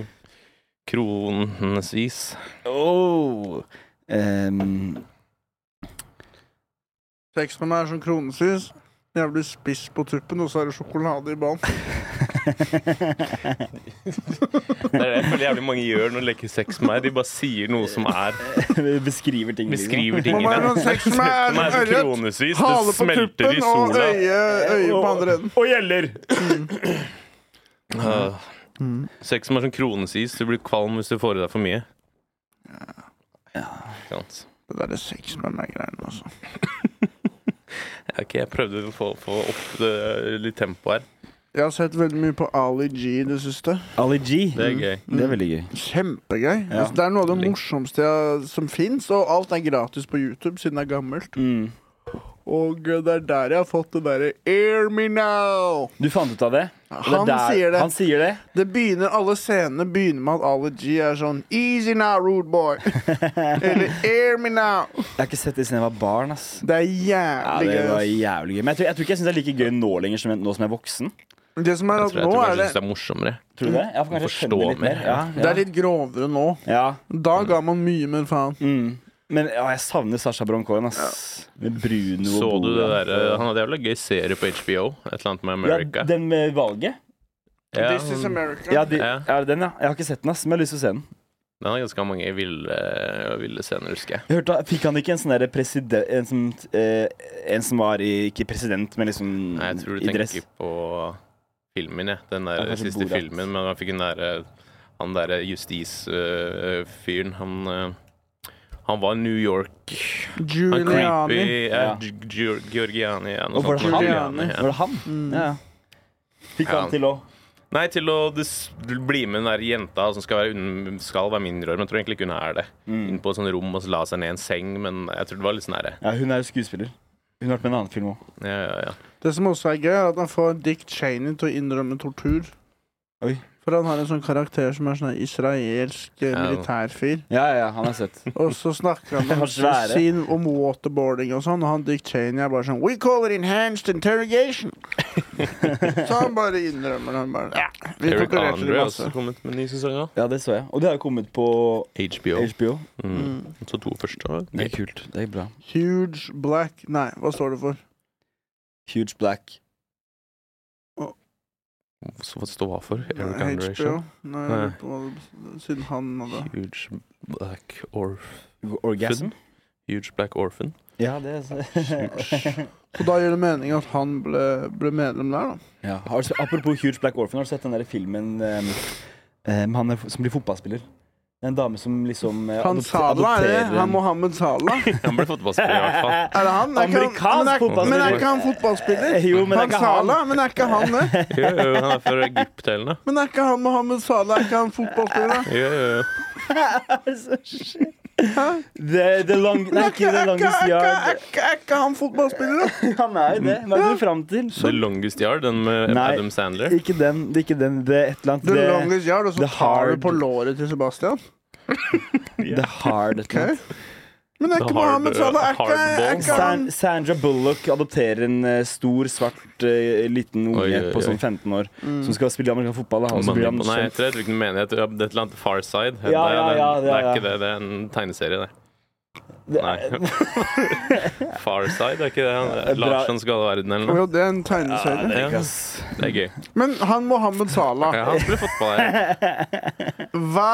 B: Kronesvis.
C: Oh. <laughs> Ehm,
A: Sex med meg er som kronesus. Jævlig spiss på tuppen, og så er det sjokolade i bånn.
B: Det er det jeg føler jævlig mange gjør når de leker sex med meg. De bare sier noe som
C: <laughs>
B: er
C: beskriver ting. liksom.
B: Beskriver
A: Må
B: tingene.
A: være noen sex med
B: Den
A: meg
B: er
A: er
B: så
A: som ørret.
B: kronevis,
A: Hale
B: det
A: på
B: smelter i
A: tuppen og
B: sola.
A: øye, eh, øye på andre enden.
C: Og gjeller!
B: Ah.
A: Mm.
B: Sex som er som kronesis, du blir kvalm hvis du får i deg for mye. Ikke sant?
A: Det der er sex med meg-greiene, altså.
B: Ok, jeg prøvde å få, få opp det, eh, litt tempo her.
A: Jeg har sett veldig mye på Ali G i det siste.
C: Ali G.
B: Det
A: Mm.
B: er gøy.
C: Det er veldig gøy.
A: Kjempegøy.
C: Ja.
A: Altså, det er noe av det morsomste jeg, som fins, og alt er gratis på YouTube siden det er gammelt.
B: Mm.
A: Og eh, det er der jeg har fått det derre 'Air me now'.
C: Du fant ut av det?
A: Han sier det.
C: Han sier det.
A: Det begynner, Alle scenene begynner med at Ali G er sånn 'Easy now, rude
C: <laughs>
A: boy'. Eller 'Air me now'.
C: Jeg har ikke sett det siden jeg var barn. ass
A: Det er
C: ja,
A: jævlig
C: det
A: gøy.
C: var
A: ass.
C: jævlig gøy Men jeg tror, jeg tror ikke jeg syns det er like gøy nå lenger som jeg, nå som jeg er voksen.
A: Det som er
B: Jeg
A: at
B: tror, jeg
A: nå
B: tror
A: er
B: kanskje jeg
A: det
B: synes det er morsommere.
C: Tror du det? Jeg får kanskje
B: Forstå
C: skjønne det litt
B: mer,
C: mer. Ja,
A: Det
C: ja.
A: er litt grovere nå.
C: ja.
A: Da
B: Mm.
A: ga man mye, men faen.
C: Mm. Men ja, jeg savner Sasha Baron Cohen, ass. Med Bruno og
B: Så du det
C: Bojan.
B: der, eh, Han hadde jævla gøy serie på HBO. Et eller annet med
C: Ja,
B: America.
C: den med valget?
B: Ja, mm.
A: This is
B: han-
A: America.
C: Ja, de,
B: Ja.
C: ja, den, ja. Jeg har ikke sett den, ass, men jeg har lyst til å se den.
B: den har ganske mange ville, ville scener, husker jeg.
C: Jeg hørte, Fikk han ikke en sånn derre president... En som, eh, en som var i, ikke president, men liksom
B: Nei, jeg tror du
C: i dress?
B: tenker på filmen, jeg. Den der
C: Ja, kanskje
B: siste
C: Borat.
B: filmen. Men han fikk den derre Han eh, derre justisfyren, eh, han øh, Han var New York Han
A: Giuliani.
B: creepy ja.
C: Ja.
B: Gi- Gi- Georgiani ja, noe
C: Og var
B: sånt.
C: det han?
B: Giuliani,
C: Var det han?
A: Mm.
C: Ja. Fikk
B: Ja.
C: han til òg.
B: Nei, til å dis- bli med den der jenta som skal være, un- skal være mindreårig, men jeg tror egentlig ikke hun er det.
C: Mm.
B: Inn på et sånt rom og så la seg ned i en seng, men jeg tror det var litt sånn nære.
C: Ja, hun er jo skuespiller. Hun har vært med i en annen film òg.
B: Ja, ja, ja.
A: Det som også er gøy, er at han får Dick Cheney til å innrømme tortur.
C: Oi.
A: For han har en sånn karakter som er sånn israelsk eh,
B: Ja.
A: militærfyr.
C: Ja, ja, han har sett.
A: Og så snakker
C: <laughs>
A: han om,
C: Han svære.
A: sin, om waterboarding og sånn, og han Dick Cheney er bare sånn We call it enhanced interrogation. <laughs> så han bare innrømmer det. Han bare, ja, vi
B: Eric
A: torturerte
B: Andre
A: de
B: har
A: masse.
B: også kommet med en ny sesong av
C: Ja, det så jeg. Og det har jo kommet på
B: HBO.
C: HBO.
B: Mm. Så to første. var
C: Det er
B: gøy.
C: kult. Det er bra.
A: Huge black Nei, hva står det for?
C: Huge Black.
B: Så hva står hva for? Eric
A: Nei,
B: Andre
A: HBO? Nei, jeg
B: Nei.
A: lurer på hva det- siden han hadde
B: Huge black orf...
C: Orgasm?
B: Huge black orphan.
C: Ja, det er
B: Huge.
A: Og da gir det mening at han ble, ble medlem der, da.
C: <laughs> ja. har du, se- Apropos Huge Black Orphan, har du sett den der filmen um, um, Han er, f- som blir fotballspiller? Det er En dame som liksom eh,
A: Han
C: adopte-
A: Salah, er det?
C: adopterer
A: Han
C: en-
A: Mohammed Salah?
B: Han ble fotballspiller, i hvert
C: <laughs>
B: fall.
A: Er det han? Er ikke han-
C: Amerikansk
A: men er-
C: fotballspiller.
A: Men er ikke han fotballspiller?
C: Eh, jo, men det er
A: han
C: ikke han.
A: Salah, men er ikke han det?
B: Jo, jo, han er fra Egypt eller noe.
C: <laughs>
A: Men er ikke han Mohammed Salah? Er ikke han fotballspiller? da?
B: Jo, jo, jo.
C: Det er så sjukt. The, the long, nei, ikke The Longest
A: Er
C: Yard.
A: ikke- er ikke han <laughs> fotballspiller, da?
C: Han er jo det. Hva er det du fram til?
B: The Longest Yard, den med
C: Nei.
B: Adam Sandler.
C: Ikke den. Det er ikke den. Det er et eller
A: The
C: annet.
A: Longest Yard, og så
C: The
A: tar du
C: Hard.
A: på låret til Sebastian.
C: The, the Hard. et eller annet.
A: Men det er
B: The
A: ikke
B: hard,
A: Mohammed Salah. Er
B: uh,
A: ikke, er
B: hardball.
A: ikke han
C: San, Sandra Bullock adopterer en eh, stor, svart eh, liten unge
B: Oi, oi, oi.
C: på sånn 15 år
A: Mm.
C: som skal spille amerikansk fotball. Da, og så
B: Money
C: blir
B: på-
C: han
B: Nei, jeg
C: kjent.
B: tror jeg tror ikke du mener jeg tror det er et eller annet Far Side. Det er-
C: Ja, ja, ja,
B: det, er, det
C: ja,
B: er
C: ja.
B: ikke det. Det er en tegneserie, det.
C: Det
B: Nei. <laughs> Far Side er ikke det. Han,
C: er bra.
B: Lars som skader verden,
C: <laughs>
B: eller noe.
A: Jo, det er en tegneserie.
B: det er ikke,
C: ass.
B: Det er gøy.
A: Men han Mohammed Salah,
B: Ja, han spiller fotball
C: <laughs>
B: her.
A: hva,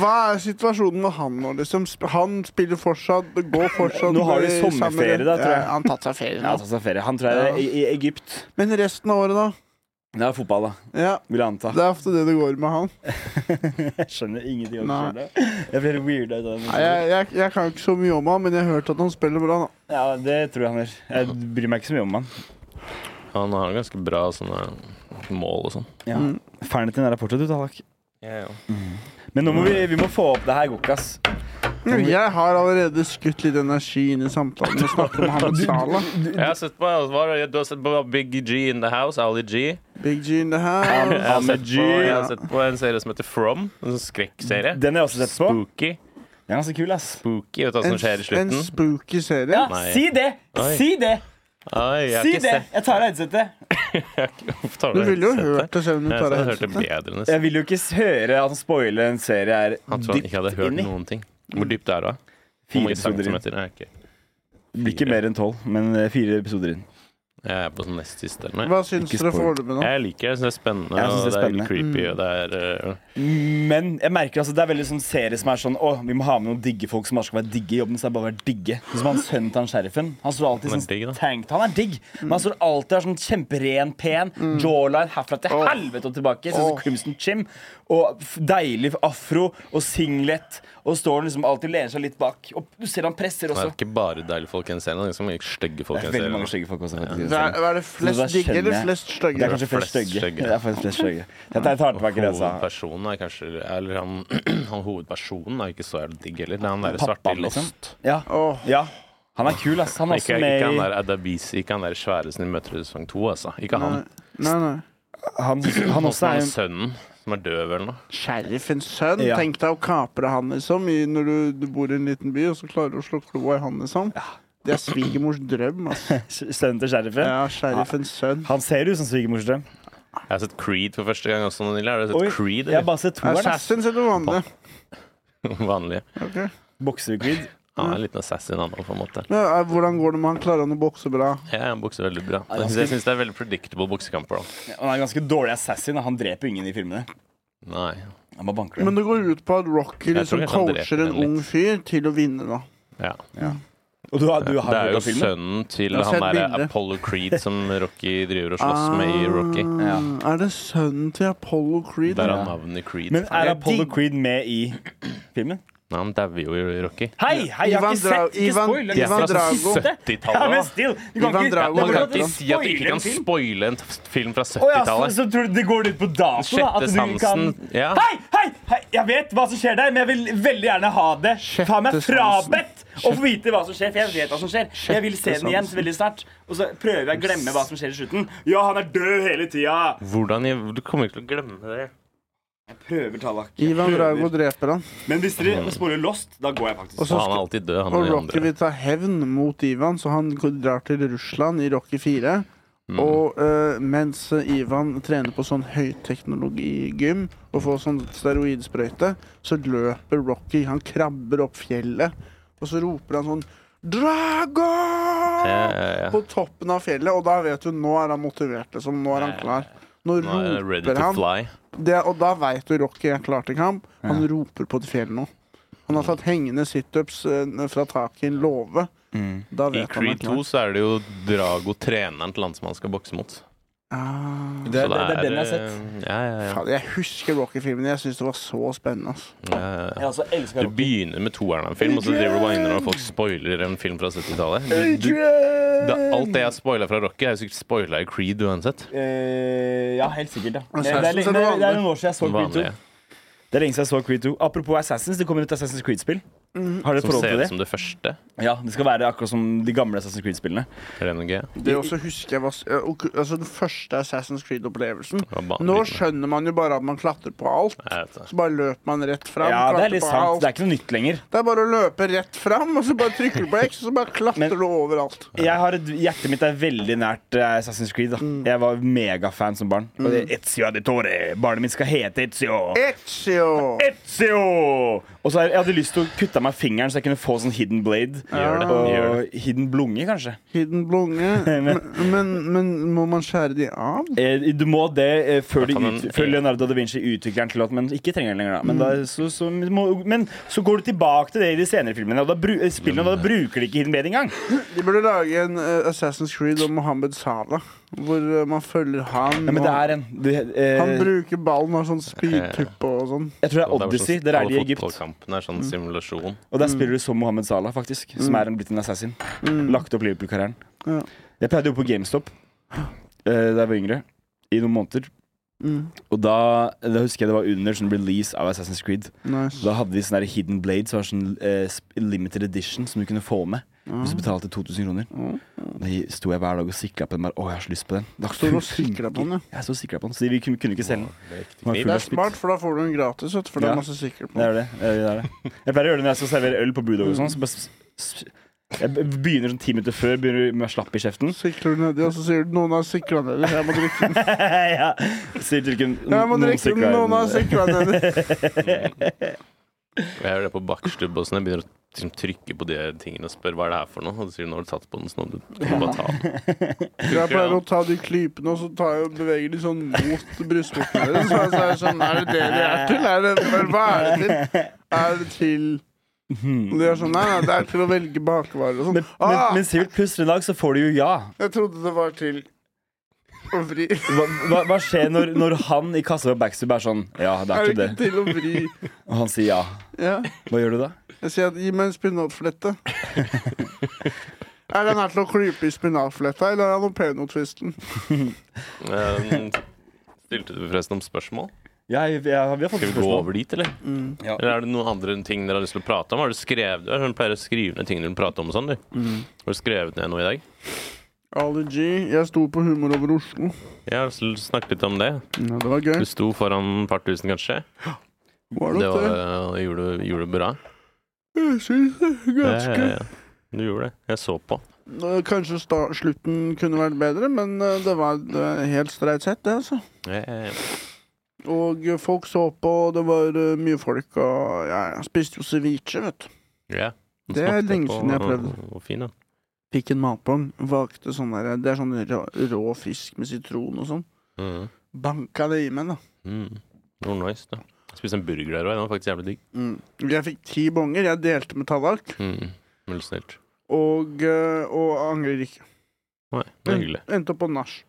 A: hva er situasjonen med han nå? Liksom, Sp- han spiller fortsatt, går fortsatt
C: Nå har de
A: i samme-
C: sommerferie, da, tror jeg.
A: Ja, han har tatt seg ferie
C: Ja,
A: nå.
C: altså, så ferie. Han tror jeg er i, i Egypt.
A: Men resten av året, da?
C: Det er fotball, da.
A: Ja,
C: Vil jeg anta. <laughs>
A: Det er ofte det det går med han.
C: Jeg skjønner ingenting om
A: Nei.
C: det. Jeg blir weird av det.
A: Nei, Jeg, jeg, jeg kan ikke så mye om han, men jeg har hørt at han spiller bra. da
C: Ja, det tror jeg han gjør. Jeg bryr meg ikke så mye om han.
B: Han har ganske bra sånne mål og sånn.
C: Ja.
A: Mm.
C: Fernet din er rapportet, du, Tallak. Men nå må vi, vi må få opp det her, Gokas.
A: Jeg har allerede skutt litt energi inn i samtalen med å
C: <laughs>
A: snakke om Mohammed Salah.
B: Jeg har sett på, hva er det- du har sett på Big G in the House, Ali G.
A: Big G in the house.
B: Jeg har, sett på, jeg
A: ja.
B: har sett på en serie som heter From. En sånn skrekkserie.
C: Den har jeg også sett på.
B: Spooky.
C: Den er ganske kul, ass.
B: Spooky, vet du hva
A: En,
B: som skjer i
A: en
B: slutten?
A: spooky serie.
C: Ja,
B: Nei.
C: si det!
B: Oi.
C: Si det!
B: Oi, jeg har
C: Si
B: ikke
C: det!
B: sett
C: Jeg tar av headsetet.
B: tar
A: Du ville jo
B: headsetet.
A: hørt det selv om du
B: Jeg
A: tar
B: hadde
A: av
B: hørt det
A: headsetet.
B: bedre enn det.
C: Jeg vil jo ikke s- høre at han spoiler en serie jeg
B: Han
C: er
B: tror han ikke hadde
C: dypt
B: hørt
C: inn i.
B: noen ting. Hvor dypt er det? da? Hvor
C: Fire
B: mange
C: episoder inn.
B: centimeter? Nei, ok.
C: Blir ikke mer enn tolv, men eh, fire episoder inn.
B: Jeg er på sånn nest siste. eller noe.
A: Hva syns
C: Ikke
A: dere
C: spoil.
A: foreløpig nå?
B: Jeg liker det. Jeg syns det er spennende,
C: Jeg synes
B: og
C: det
B: det
C: er Mm.
B: er litt creepy, og det er øh,
C: Men jeg merker altså, det er veldig sånn serie som er sånn Å, vi må ha med noen digge folk som bare skal være digge i jobben. Så er det bare å være digge Sånn Som han sønnen til han sheriffen. Han står alltid
B: Han er
C: sånn
B: digg, da.
C: tankt. Han er digg, men han står alltid og er sånn kjemperen, pen.
A: Mm.
C: Jawline herfra til helvete og tilbake. Sånn som Crimson Chim. Og f- deilig afro og singlet. Og står han liksom alltid og lener seg litt bak. Og du ser han presser
B: Det
C: også.
B: er ikke bare deilige folk i en serie, det er ganske mange stygge folk
C: Det
B: i
C: er
B: en
C: veldig
B: serie.
C: mange stygge folk også. faktisk, i
A: Det er,
C: serien.
A: er det flest
C: da
A: digge
C: skjønner
A: eller
C: jeg.
A: flest
C: Det
A: stygge?
C: er kanskje flest
B: Flest
C: stygge.
B: stygge.
C: Det er faktisk flest stygge. Jeg tar tar tilbake det altså. jeg sa.
B: Hovedpersonen er kanskje Eller han, <clears throat> han hovedpersonen er ikke så jævlig digg heller. Det er han derre svarte i
C: Pappaen, liksom.
B: Lost.
C: Ja.
A: Åh.
C: ja. Han er kul, ass. Han er
B: Ikke,
C: også
B: ikke han
C: med i
B: der Adabisi, ikke han der svære som de møter i sesong to, altså. Ikke han.
A: Nei, nei. nei.
C: Han, han
B: Han
C: også
B: som
C: er
B: er sønnen, som er døv eller noe.
A: Sheriffens sønn.
C: Ja.
A: Tenk deg å kapre han liksom i, når du, du bor i en liten by, og så klarer du å slå kloa i han liksom. Det er svigermors drøm,
C: <laughs>
A: altså.
C: sønnen til sheriffen.
A: Ja, sheriffens sønn.
C: Han ser ut som svigermors drøm.
B: Jeg har sett Creed for første gang også, Nille. Har du sett
C: Oi,
B: Creed? <laughs>
C: Jeg har
B: Eller?
C: bare sett toeren. ass.
A: Assassin sitter ved vannet.
B: Vanlige.
C: Bokser-Creed.
B: Han er en liten assassin, han òg, på en måte.
A: Ja, eh, hvordan går det med han? Klarer han å bokse bra?
B: Ja, han bokser veldig bra.
C: Ja, han
B: Jeg syns det er veldig predictable boksekamper. da.
C: Han er en ganske dårlig assassin. da. Han dreper ingen i filmene.
B: Nei.
C: Han bare banker
A: Men
C: dem.
A: det går ut på at Rocky
B: Jeg tror
A: liksom
B: jeg kan drepe
A: coacher en
B: den litt.
A: ung fyr til å vinne, da.
B: Ja.
C: Og du har, du
B: Det
C: har
B: er
C: jo
B: jo
C: filmen.
B: sønnen til
A: Jeg har
B: han
A: sett
B: derre
A: bildet.
B: Apollo Creed som Rocky driver og slåss med
C: Ah,
B: i Rocky.
C: Ja.
A: Ah, Er det sønnen til Apollo Creed?
B: Der
A: da?
B: har navnet Creed.
C: Men er
A: Jeg
C: Apollo
A: digg-
C: Creed med i filmen?
B: Nei, han dauer jo i Rocky.
C: Hei, hei, jeg har
A: Ivan
C: ikke
A: Dra-
C: sett! Ikke
A: Ivan-
C: spoil! jeg
A: Ivan
C: har ikke sett
A: Drago.
C: siste. Ja, men
B: 70-tallet. da.
C: still! Du kan
A: Ivan
C: ikke,
A: Drago.
B: Man kan
C: du kan
B: ikke
C: ikke
B: si at du ikke
C: spoile
B: kan
C: en film!
B: spoile en f- film fra
C: Å ja, så,
B: 70-tallet.
C: så tror du det går litt på dato? da, At
B: Sjette
C: du ikke kan
B: sansen. Ja.
C: Hei, hei, hei! Jeg vet hva som skjer der, men jeg vil veldig gjerne ha det. Ta meg
A: Sjette
C: frabedt å få vite hva som skjer, for jeg vet hva som skjer. Jeg vil se den igjen
A: sansen.
C: veldig snart. Og så prøver jeg å glemme hva som skjer i slutten. Ja, han er død hele tida!
B: Hvordan jeg, Du kommer ikke til å glemme det.
C: Prøver, Tallak. Jeg
A: Ivan Drago
C: prøver.
A: dreper han.
C: Men hvis dere sporer Lost, da går jeg faktisk.
A: Og så
B: Han er
A: skal,
B: alltid død, han
A: og
B: og de
A: Rocky
B: andre.
A: vil ta hevn mot Ivan, så han drar til Russland i Rocky 4.
B: Mm.
A: Og eh, mens Ivan trener på sånn høyteknologigym og får sånn steroidsprøyte, så løper Rocky. Han krabber opp fjellet, og så roper han sånn Drago!
B: Ja, ja,
A: På
B: ja.
A: toppen av fjellet, og da vet du nå er han motivert. Liksom. Nå er han klar. Nå
B: Nå er jeg ready
A: roper
B: to
A: han,
B: fly.
A: det, og da veit du Rocky er klar til kamp. Han roper på et fjell nå. Han har tatt hengende situps eh, fra taket i en låve.
C: Mm.
A: Da
B: I
A: vet han
B: Creed
A: er klar.
B: 2 så er det jo Drago, treneren til han som han skal bokse mot.
A: Ah,
C: Det,
B: Så
C: det, det er den jeg har sett.
B: eh, Ja, ja, ja.
A: faen, jeg husker Rocky-filmen. Jeg syns det var så spennende. ass.
B: ja, ja, ja.
C: Jeg også elsker
B: Du begynner med toeren av en film, og så driver du bare innom og folk spoiler en film fra 70-tallet. Du- du- det- Alt det jeg spoila fra Rocky, er jo sikkert spoila i Creed uansett.
C: Eh, ja, helt sikkert. ja.
A: Men
C: Det, det, er,
A: Assassin's er
C: det,
A: det
C: er, det er
A: vanlige.
C: noen år siden jeg så Creed 2.
B: Vanlige.
C: Det er lenge siden jeg så Creed 2. Apropos Assassins, det kommer et Assassin's Creed-spill. Har dere et
B: Som
C: forhold
B: ser
C: til
B: ut
C: det?
B: som det første.
C: Ja, det skal være akkurat som de gamle Assassin's Creed-spillene.
B: RNG.
A: Det også husker jeg var s- eh, ok- Altså Den første Assassin's Creed-opplevelsen.
B: Ja, ba-
A: Nå
B: liten.
A: skjønner man jo bare at man klatrer på alt.
B: Jeg vet det.
A: Så bare løper man rett fram.
C: Ja, det
A: klatrer
C: er litt
A: på
C: sant.
A: alt.
C: Det er ikke noe nytt lenger.
A: Det er bare å løpe rett fram, og så bare trykker du på X, og så bare klatrer
C: Men-
A: du overalt.
C: Jeg har et, hjertet mitt er veldig nært eh, Assassin's Creed. Da.
B: Mm.
C: Jeg var megafan som barn. Og det er Ezio Aditore. Barnet mitt skal hete Ezio.
A: Ezio!
C: Ezio! Og så har- jeg hadde lyst til å kutte av meg fingeren, så jeg kunne få sånn hidden blade.
B: Gjør det.
C: Og
B: Gjør det.
C: hidden blunge, kanskje.
A: Hidden blunge.
C: <laughs>
A: Men, men, men må man skjære de av?
C: Eh, du må det eh, før, de
B: kan
C: ut,
B: en-
C: før Leonardo da Vinci utvikler den til at Men ikke trenger den lenger, da. Men,
B: Mm.
C: da så, så, må, men så går du tilbake til det i de senere filmene, og da, bru, eh, spillene, og da bruker de ikke hidden blade engang.
A: De burde lage en eh, Assassin's Creed om Mohammed Salah, hvor eh, man følger han.
C: Ja, men det
A: og-
C: er en det, eh,
A: han bruker ballen og har sånn spydtuppe og sånn.
C: Jeg tror det er
B: Og
C: Odyssey.
B: vel sånn-
C: Der er de i
B: alle
C: Egypt. Mm.
B: Fotballkampen er sånn simulasjon.
C: Og der
A: Mm.
C: spiller du som Mohammed Salah, faktisk. Som er en blitt en assassin. Lagt opp Liverpool-karrieren.
A: Ja.
C: Jeg pleide å jobbe på GameStop eh, da jeg var yngre, i noen måneder.
A: Mm.
C: Og da, da husker jeg det var under sånn release av Assassin's Creed.
A: Nice.
C: Da hadde de sånn der Hidden Blade, som var sånn eh, sp- limited edition, som du kunne få med.
A: Mm.
C: Hvis du betalte 2000 kroner. Da sto jeg hver dag og sikla på den. Bare, Å, jeg har så lyst på den. Det var
A: Står og
C: fullt-
A: sikler på den, ja.
C: Jeg sto og sikla på den, så vi kunne, kunne ikke selge den. Den var
B: Det
C: full
A: Det
C: av
A: er
C: spytt.
A: smart, for da får du den gratis, vet du, for det
C: Ja.
A: er masse sikler på den.
C: Det er det. det, er det. Jeg pleier å gjøre det når jeg skal servere øl på Bulldog og sånn. Så bare s- s- jeg begynner sånn ti minutter før, begynner med å slappe i kjeften.
A: Sikler du nedi, og så sier du 'noen har sikla nedi'. Jeg må drikke den.
C: <laughs> ja. Sier til ikke
A: <laughs> Jeg må drikke den, noen har sikla nedi.
B: Jeg gjør det på bakkstubb og sånn. Jeg begynner å liksom, trykke på de tingene og spør hva er det her for noe. Og så sier du nå har du tatt på den, så nå kan du bare ta den.
A: Jeg pleier å ta de klypene, og så tar jeg og beveger de sånn mot brystvortene deres. Så så er jeg sånn Er det det de er til? Er det, hva- hva er det til? Er det til Og de er sånn Nei, nei, det er til å velge bakvarer og
C: Hmm. Men,
A: sånn.
C: men,
A: Ah,
C: men Sivert, plutselig i dag så får du jo ja.
A: jeg trodde det var til å vri.
C: Hva, hva, hå skjer når, når han i kassa på Backstub er sånn Ja, det
A: Er
C: er
A: det
C: ikke
A: ikke
C: det.
A: til å vri?
C: Og han sier ja.
A: Ja.
C: Hva gjør du da?
A: Jeg sier at gi meg en spinatflette. er den her til å klype i spinatfletta, eller er den penotvisten?
B: Eh, Stilte du forresten om spørsmål?
C: Ja, jeg, jeg, vi har fått
B: Skal
C: et
B: vi gå
C: spørsmål.
B: over dit, eller?
C: Ja.
B: Eller er det noen andre ting dere har lyst til å prate om? Har du skrevet du er sånn, pleier å skrive ned ting dere prater om og sånn, du.
C: Mm.
B: Har du skrevet ned noe i dag?
A: Ali G, jeg sto på Humor over Oslo.
B: Jeg har s- snakket litt om det.
A: Ja, det
C: Mm.
A: var gøy.
B: Du sto foran et par tusen, kanskje.
A: Var
B: Det
A: det
B: var,
A: det?
B: eh, gjorde, du- gjorde du bra.
A: Jeg synes det. er
B: Ja,
A: Ganske.
B: ja, ja. Du gjorde det. Jeg så på.
A: Eh, Kanskje sta slutten kunne vært bedre, men eh, det var eh, helt streit sett, det, altså.
B: Ja, ja, ja.
A: Og eh, folk så på, og det var eh, mye folk, og ja, jeg spiste jo ceviche, vet du.
B: Ja. Den
A: Det er
B: smakte
A: lenge
B: på- Mm,
A: siden jeg har prøvd.
B: og- og Fin, da.
A: Fikk en matbong, valgte sånn der Det er sånn rå, rå fisk med sitron og sånn.
B: Mhm.
A: Banka det i meg, da.
B: Mm. Det var nice, da. Jeg spiste en burger der òg. Den var faktisk jævlig digg.
A: Mm. Jeg fikk ti bonger. Jeg delte med Tallak,
B: Mm. Veldig snilt.
A: og, eh, og angrer ikke.
B: Nei, det er hyggelig.
A: Endte opp på nach.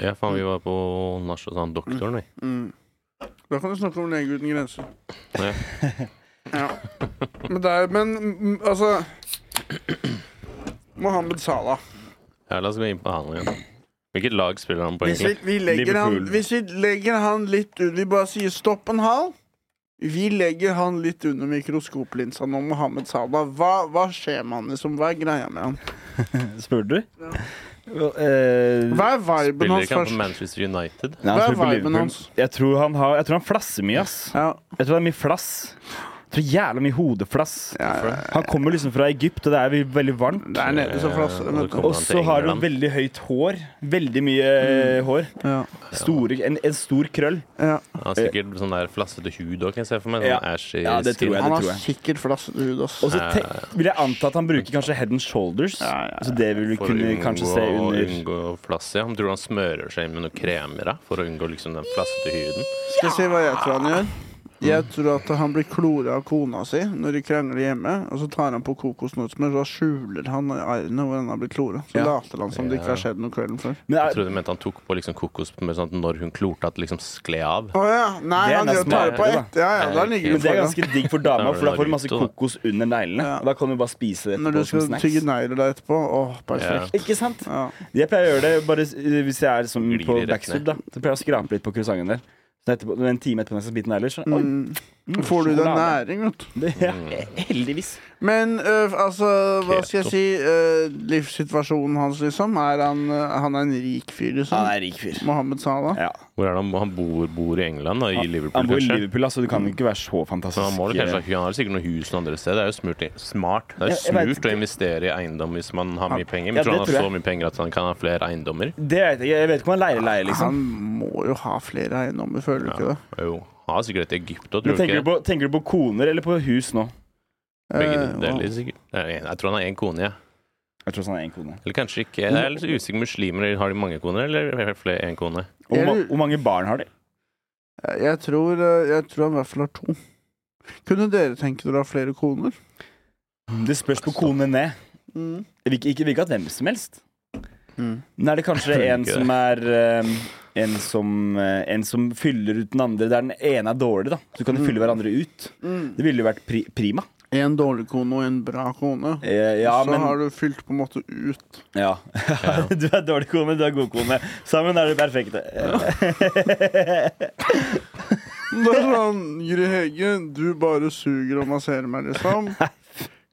B: Ja, faen, vi var på nach hos han doktoren, vi.
A: Mm. Da kan du snakke om Lege uten grenser.
B: Ja.
A: <laughs> Ja. Men det er Men mm, altså Mohammed Salah.
B: Ja, la oss gå inn på han igjen. Hvilket lag spiller han på,
A: Hvis
B: egentlig?
A: vi, vi legger han,
C: Liverpool.
A: hvis vi legger han litt ut Vi bare sier stopp en hal. Vi legger han litt under mikroskoplinsa nå, Mohammed Salah. Hva, hva skjer med han, liksom? Hva er greia med han?
C: Spør du?
A: Ja.
C: Well, eh,
A: Hva er viben
B: Spiller
A: hans
B: ikke han på
A: først?
B: Manchester United?
C: nei, han
A: hva er
C: spiller på
A: viben
C: Liverpool.
A: hans?
C: Jeg tror han, har, jeg tror han flasser mye, ass.
A: Ja,
C: Jeg tror det er mye flass. Jeg tror jævla mye hodeflass. Han kommer liksom fra Egypt, og det er veldig varmt.
A: det er nede som flasser.
B: Eh, og
A: vet
B: så
A: du.
B: kommer
C: Og
B: han
C: så
B: til
C: har hun
B: England.
C: veldig høyt hår. Veldig mye eh, hår.
A: Ja,
C: Store, en, en stor krøll.
A: ja.
B: Han har sikkert sånn der flassete hud òg, kan jeg se for meg.
C: Ja.
B: Sånn ashy
C: Ja, det tror jeg.
A: Han
C: tror
A: har sikkert flassete hud, ass.
C: Og så te- vil jeg anta at han bruker kanskje head and shoulders.
A: Ja, ja, ja.
C: Så det vil vi
B: For å
C: kunne
B: unngå,
C: kanskje se under
B: unngå flass, ja. Han tror han smører seg inn med noen kremer da, for å unngå liksom den flassete huden.
A: Skal jeg si hva jeg tror han gjør? Jeg tror at han blir klora av kona si når de krangler hjemme. Og så tar han på kokosnøttsmør, så da skjuler han arrene hvor han har blitt klora. Så
C: Ja.
A: later han som det ikke har skjedd noe kvelden før.
C: Men
B: Jeg
C: er,
B: trodde du mente han tok på liksom kokosmør sånn at når hun klorte, at det liksom skled av.
A: Å ja. Nei,
C: Det er
A: han gjør
C: nesten
A: tar det på
C: smartere,
A: ett. Ja, ja, da ligger
C: men
A: du
C: det er
A: foran.
C: ganske digg for dama,
B: Da er
C: for da
B: det
C: får du masse
B: litt, da.
C: kokos under neglene.
A: Ja.
C: Og da kan du bare spise det
A: Når du
C: etterpå som
A: skal tygge
C: snacks.
A: negler deg etterpå. Åh, perfekt.
C: Ikke sant?
A: Ja.
C: Jeg pleier å gjøre det bare s- hvis jeg er som
B: Glir
C: på
B: rett
C: backstub.
B: ned.
C: da Så pleier jeg å skrape litt på croissanten der. Så etterpå, en time etterpå når jeg skal bite negler, så oi,
A: Får du deg
C: sjokolade.
A: næring, vet du.
C: Det, ja.
B: Mm.
C: Heldigvis.
A: Men øh, altså, hva skal jeg
B: Keto.
A: si? Øh, livssituasjonen hans, liksom? Er han, øh, han er en rik fyr, liksom?
C: Han er en rik fyr.
A: Mohammed Salah?
C: Ja.
B: Hvor er det han, han bor, bor i England, da, i Liverpool,
C: Han bor i
B: kanskje?
C: Liverpool, altså. Du kan jo ikke være så
B: Men
C: fantastisk.
B: han, må det kanskje, han har sikkert noen hus noen andre steder. Det er jo smurt, i- smart. Det er jo
C: Jeg- jeg vet
B: smurt å investere i eiendom hvis man har mye penger. Men
C: Ja,
B: tror han
C: det
B: har
C: tror
B: så
C: jeg.
B: mye penger at han kan ha flere eiendommer?
C: Det vet jeg, ikke. jeg vet ikke om han leier leier, liksom.
A: Han må jo ha flere eiendommer, føler du ikke det?
B: Jo. Han har sikkert et Egypt òg,
C: Men
B: tror du
C: tenker, du
B: ikke?
C: på, tenker du på koner eller på hus nå?
B: Begge
A: Eh,
B: deler, sikkert. Nei, Jeg tror han har én kone, jeg.
C: Jeg tror han har én kone.
B: Eller kanskje ikke. Jeg er litt
C: Mm.
B: usikker. Muslimer, har de mange koner, eller er det flere én
C: <laughs>
B: kone?
C: Og Hvor,
A: Er
C: ma
A: du-
C: hvor mange barn har de?
A: og- jeg, tror, øh, jeg tror han i hvert fall har to. Kunne dere tenke dere å ha flere koner?
C: Det spørs på konene ned.
A: Mm.
C: Ikke, ikke, ikke at hvem som helst.
A: Mm.
C: Nei, det er kanskje
B: Jeg tror
C: en
B: ikke
C: som er eh, en som, eh, en som fyller ut den andre. Der den ene er dårlig, da. Så
A: Mm.
C: kan de fylle hverandre ut. Det ville jo vært pri prima.
A: En dårlig kone og en bra kone.
C: Eh, ja,
A: så
C: men
A: har du fylt på en måte ut. <laughs>
C: ja. <laughs> Du er dårlig kone, du er god kone. Sammen er du perfekte. Eh,
A: Det er sånn, Gry Hege, du bare suger og masserer meg, <laughs> liksom.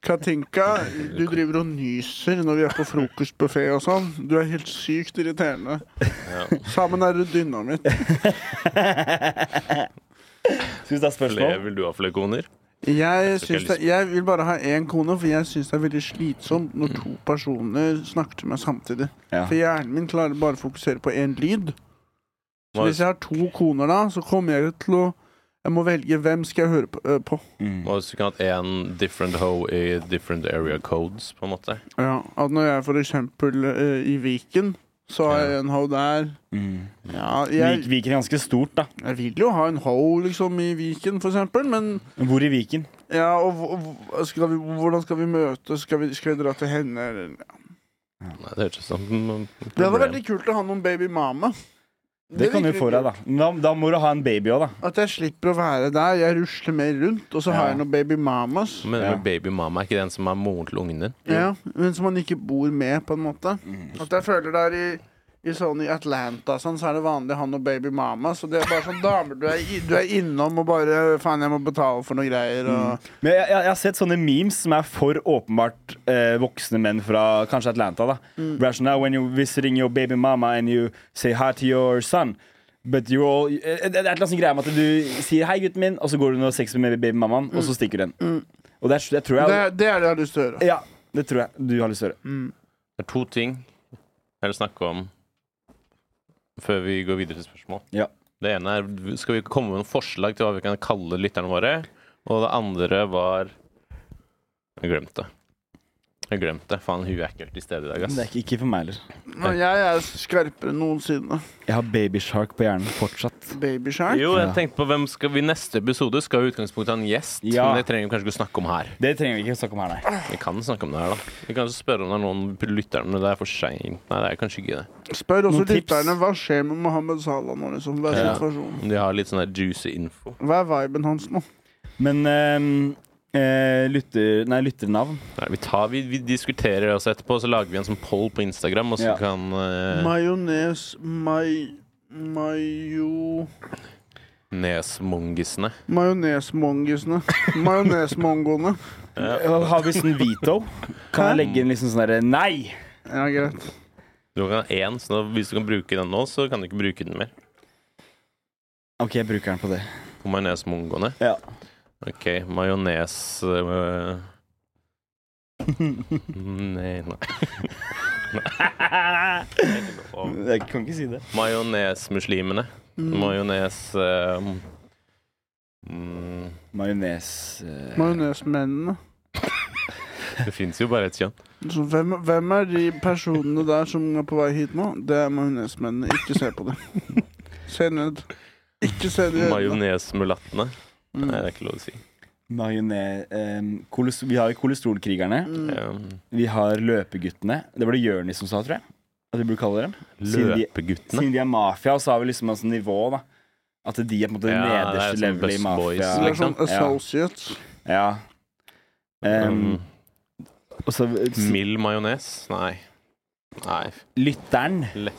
A: Katinka, du driver og nyser når vi er på frokostbuffé og sånn. Du er helt sykt <laughs> irriterende. Sammen er du dynamitt.
C: Skal vi ta
B: Flere,
C: spørsmål?
B: vil du ha flere koner?
A: Jeg,
B: Skal ikke
A: syns det, jeg vil bare ha én kone, for jeg syns det er veldig slitsomt når to personer snakker til meg samtidig.
C: Ja.
A: For hjernen min klarer bare å fokusere på én lyd. Så
B: Må,
A: hvis jeg har to koner, da, så kommer jeg til å Jeg må velge hvem skal jeg høre på. øh, på.
C: Mm.
B: må også kunne hatt én different hoe i different area codes, på en måte.
A: Ja, at når jeg for eksempel eh, i Viken, så har jeg en ho der.
C: Mm.
A: Ja,
C: Vik,
A: jeg,
C: Viken er ganske stort, da.
A: jeg vil jo ha en ho liksom i Viken, for eksempel, men
C: Men Hvor i Viken?
A: ja, og, hvor- hvor- skal vi, hvordan skal vi møtes? Skal vi, skal vi dra til henne? Eller?
B: Nei, det høres ut som et
A: Det hadde vært
B: problem.
A: litt kult å ha noen baby mama.
C: Det kan du
A: virker
C: få
A: litt
C: deg, da. da. Da må du ha en baby òg, da.
A: kult. At jeg slipper å være der. Jeg rusler mer rundt, og så har
C: Ja.
A: jeg noen baby mamas.
B: Men
C: Ja.
B: baby mama er ikke den som er moren til ungen din?
A: Ja, men som man ikke bor med, på en måte.
C: Mm.
A: At jeg føler der i i sånn i Atlanta sånn, så er det vanlig han og baby mama. Så det er bare sånn damer du er, i- du er innom og bare Faen, jeg må betale for noe greier og
C: Men jeg, jeg, jeg har sett sånne memes som er for åpenbart eh, voksne menn fra kanskje Atlanta. da Hvor det er sånn, "Now When you're visiting your baby mama and you say hi to your son But you're all eh, eh, Det er et eller annet sånn greie med at du sier 'hei, gutten min', og så går du og har sex med babymammaen, og så stikker du den. Og det, er, Mm. det tror jeg
A: det, er- det er det jeg har lyst til å gjøre.
C: Ja, det tror jeg du har lyst til å gjøre.
B: Det er to ting jeg vil snakke om før vi går videre til spørsmål.
C: Ja.
B: Det ene er skal vi komme med noen forslag til hva vi kan kalle lytterne våre. Og det andre var Jeg glemte det. Jeg glemte det. Faen, hun er ikke helt til stede i dag,
C: Men det er
B: ass.
C: ikke, ikke for meg liksom. heller.
A: Men jeg er skarpere enn noensinne.
C: Jeg har babyshark på hjernen fortsatt.
A: Baby shark.
B: Jo, jeg tenkte på hvem skal vi neste episode skal i utgangspunktet ha en gjest,
C: Ja.
B: men det trenger vi kanskje ikke å snakke om her.
C: Det trenger vi ikke snakke om her, nei.
B: Vi kan snakke om det her, da. Vi kan spørre om det er noen lyttere, men det er for seint. Nei, det er kanskje ikke det.
A: Spør også
C: Noen tips?
A: lytterne hva skjer med Mohammed Salah nå, liksom. Hva er
B: Ja.
A: situasjonen?
B: De har litt sånn der juicy info.
A: Hva er viben hans nå?
C: Men eh, eh, lytter, nei, lytternavn.
B: Nei, vi, tar, vi, vi diskuterer det også etterpå, så lager vi en sånn poll på Instagram, og så
C: Ja.
B: kan eh,
A: Majones, mai... Majo...
B: nesmongisene
A: Majonesmongisene. Majonesmongoene.
C: Har vi sånn veto? Kan jeg legge inn liksom sånn derre Nei!
A: <laughs> Ja, greit.
B: Du kan ha én, så da- hvis du kan bruke den nå, så kan du ikke bruke den mer.
C: OK, jeg bruker den
B: <laughs>
C: på det.
B: På majonesmongoene.
C: Ja.
B: OK, majones... eh, <laughs> nei, nei.
C: Jeg kan ikke si det.
B: Majonesmuslimene.
A: Mm.
B: Majones... eh, mm,
C: Majones eh,
A: Majonesmennene.
B: det fins jo bare ett kjønn.
A: Så hvem, hvem er de personene der som er på vei hit nå? Det er majonesmennene. Ikke se på det. <laughs> Se ned. Ikke se det i øynene.
B: Majonesmulattene. Nei, det
A: Mm.
B: er ikke lov å si.
C: Majone... Eh, koles- vi har jo kolesterolkrigerne.
A: Mm.
B: Eh,
C: Vi har løpeguttene. Det var det Jonis som sa, tror jeg. At vi burde kalle dem. Siden de-
B: Løpeguttene.
C: Siden de er mafia, så har vi liksom et sånt nivå, da. At de er på en måte
B: Ja, det er
C: nederste
B: sånn
C: level i
B: Best Boys,
C: mafia.
A: Det er sånn
B: liksom.
A: associates.
C: Ja.
B: Um,
C: Um, og så
B: Mild majones? Nei. Nei.
C: lytteren.
B: Le-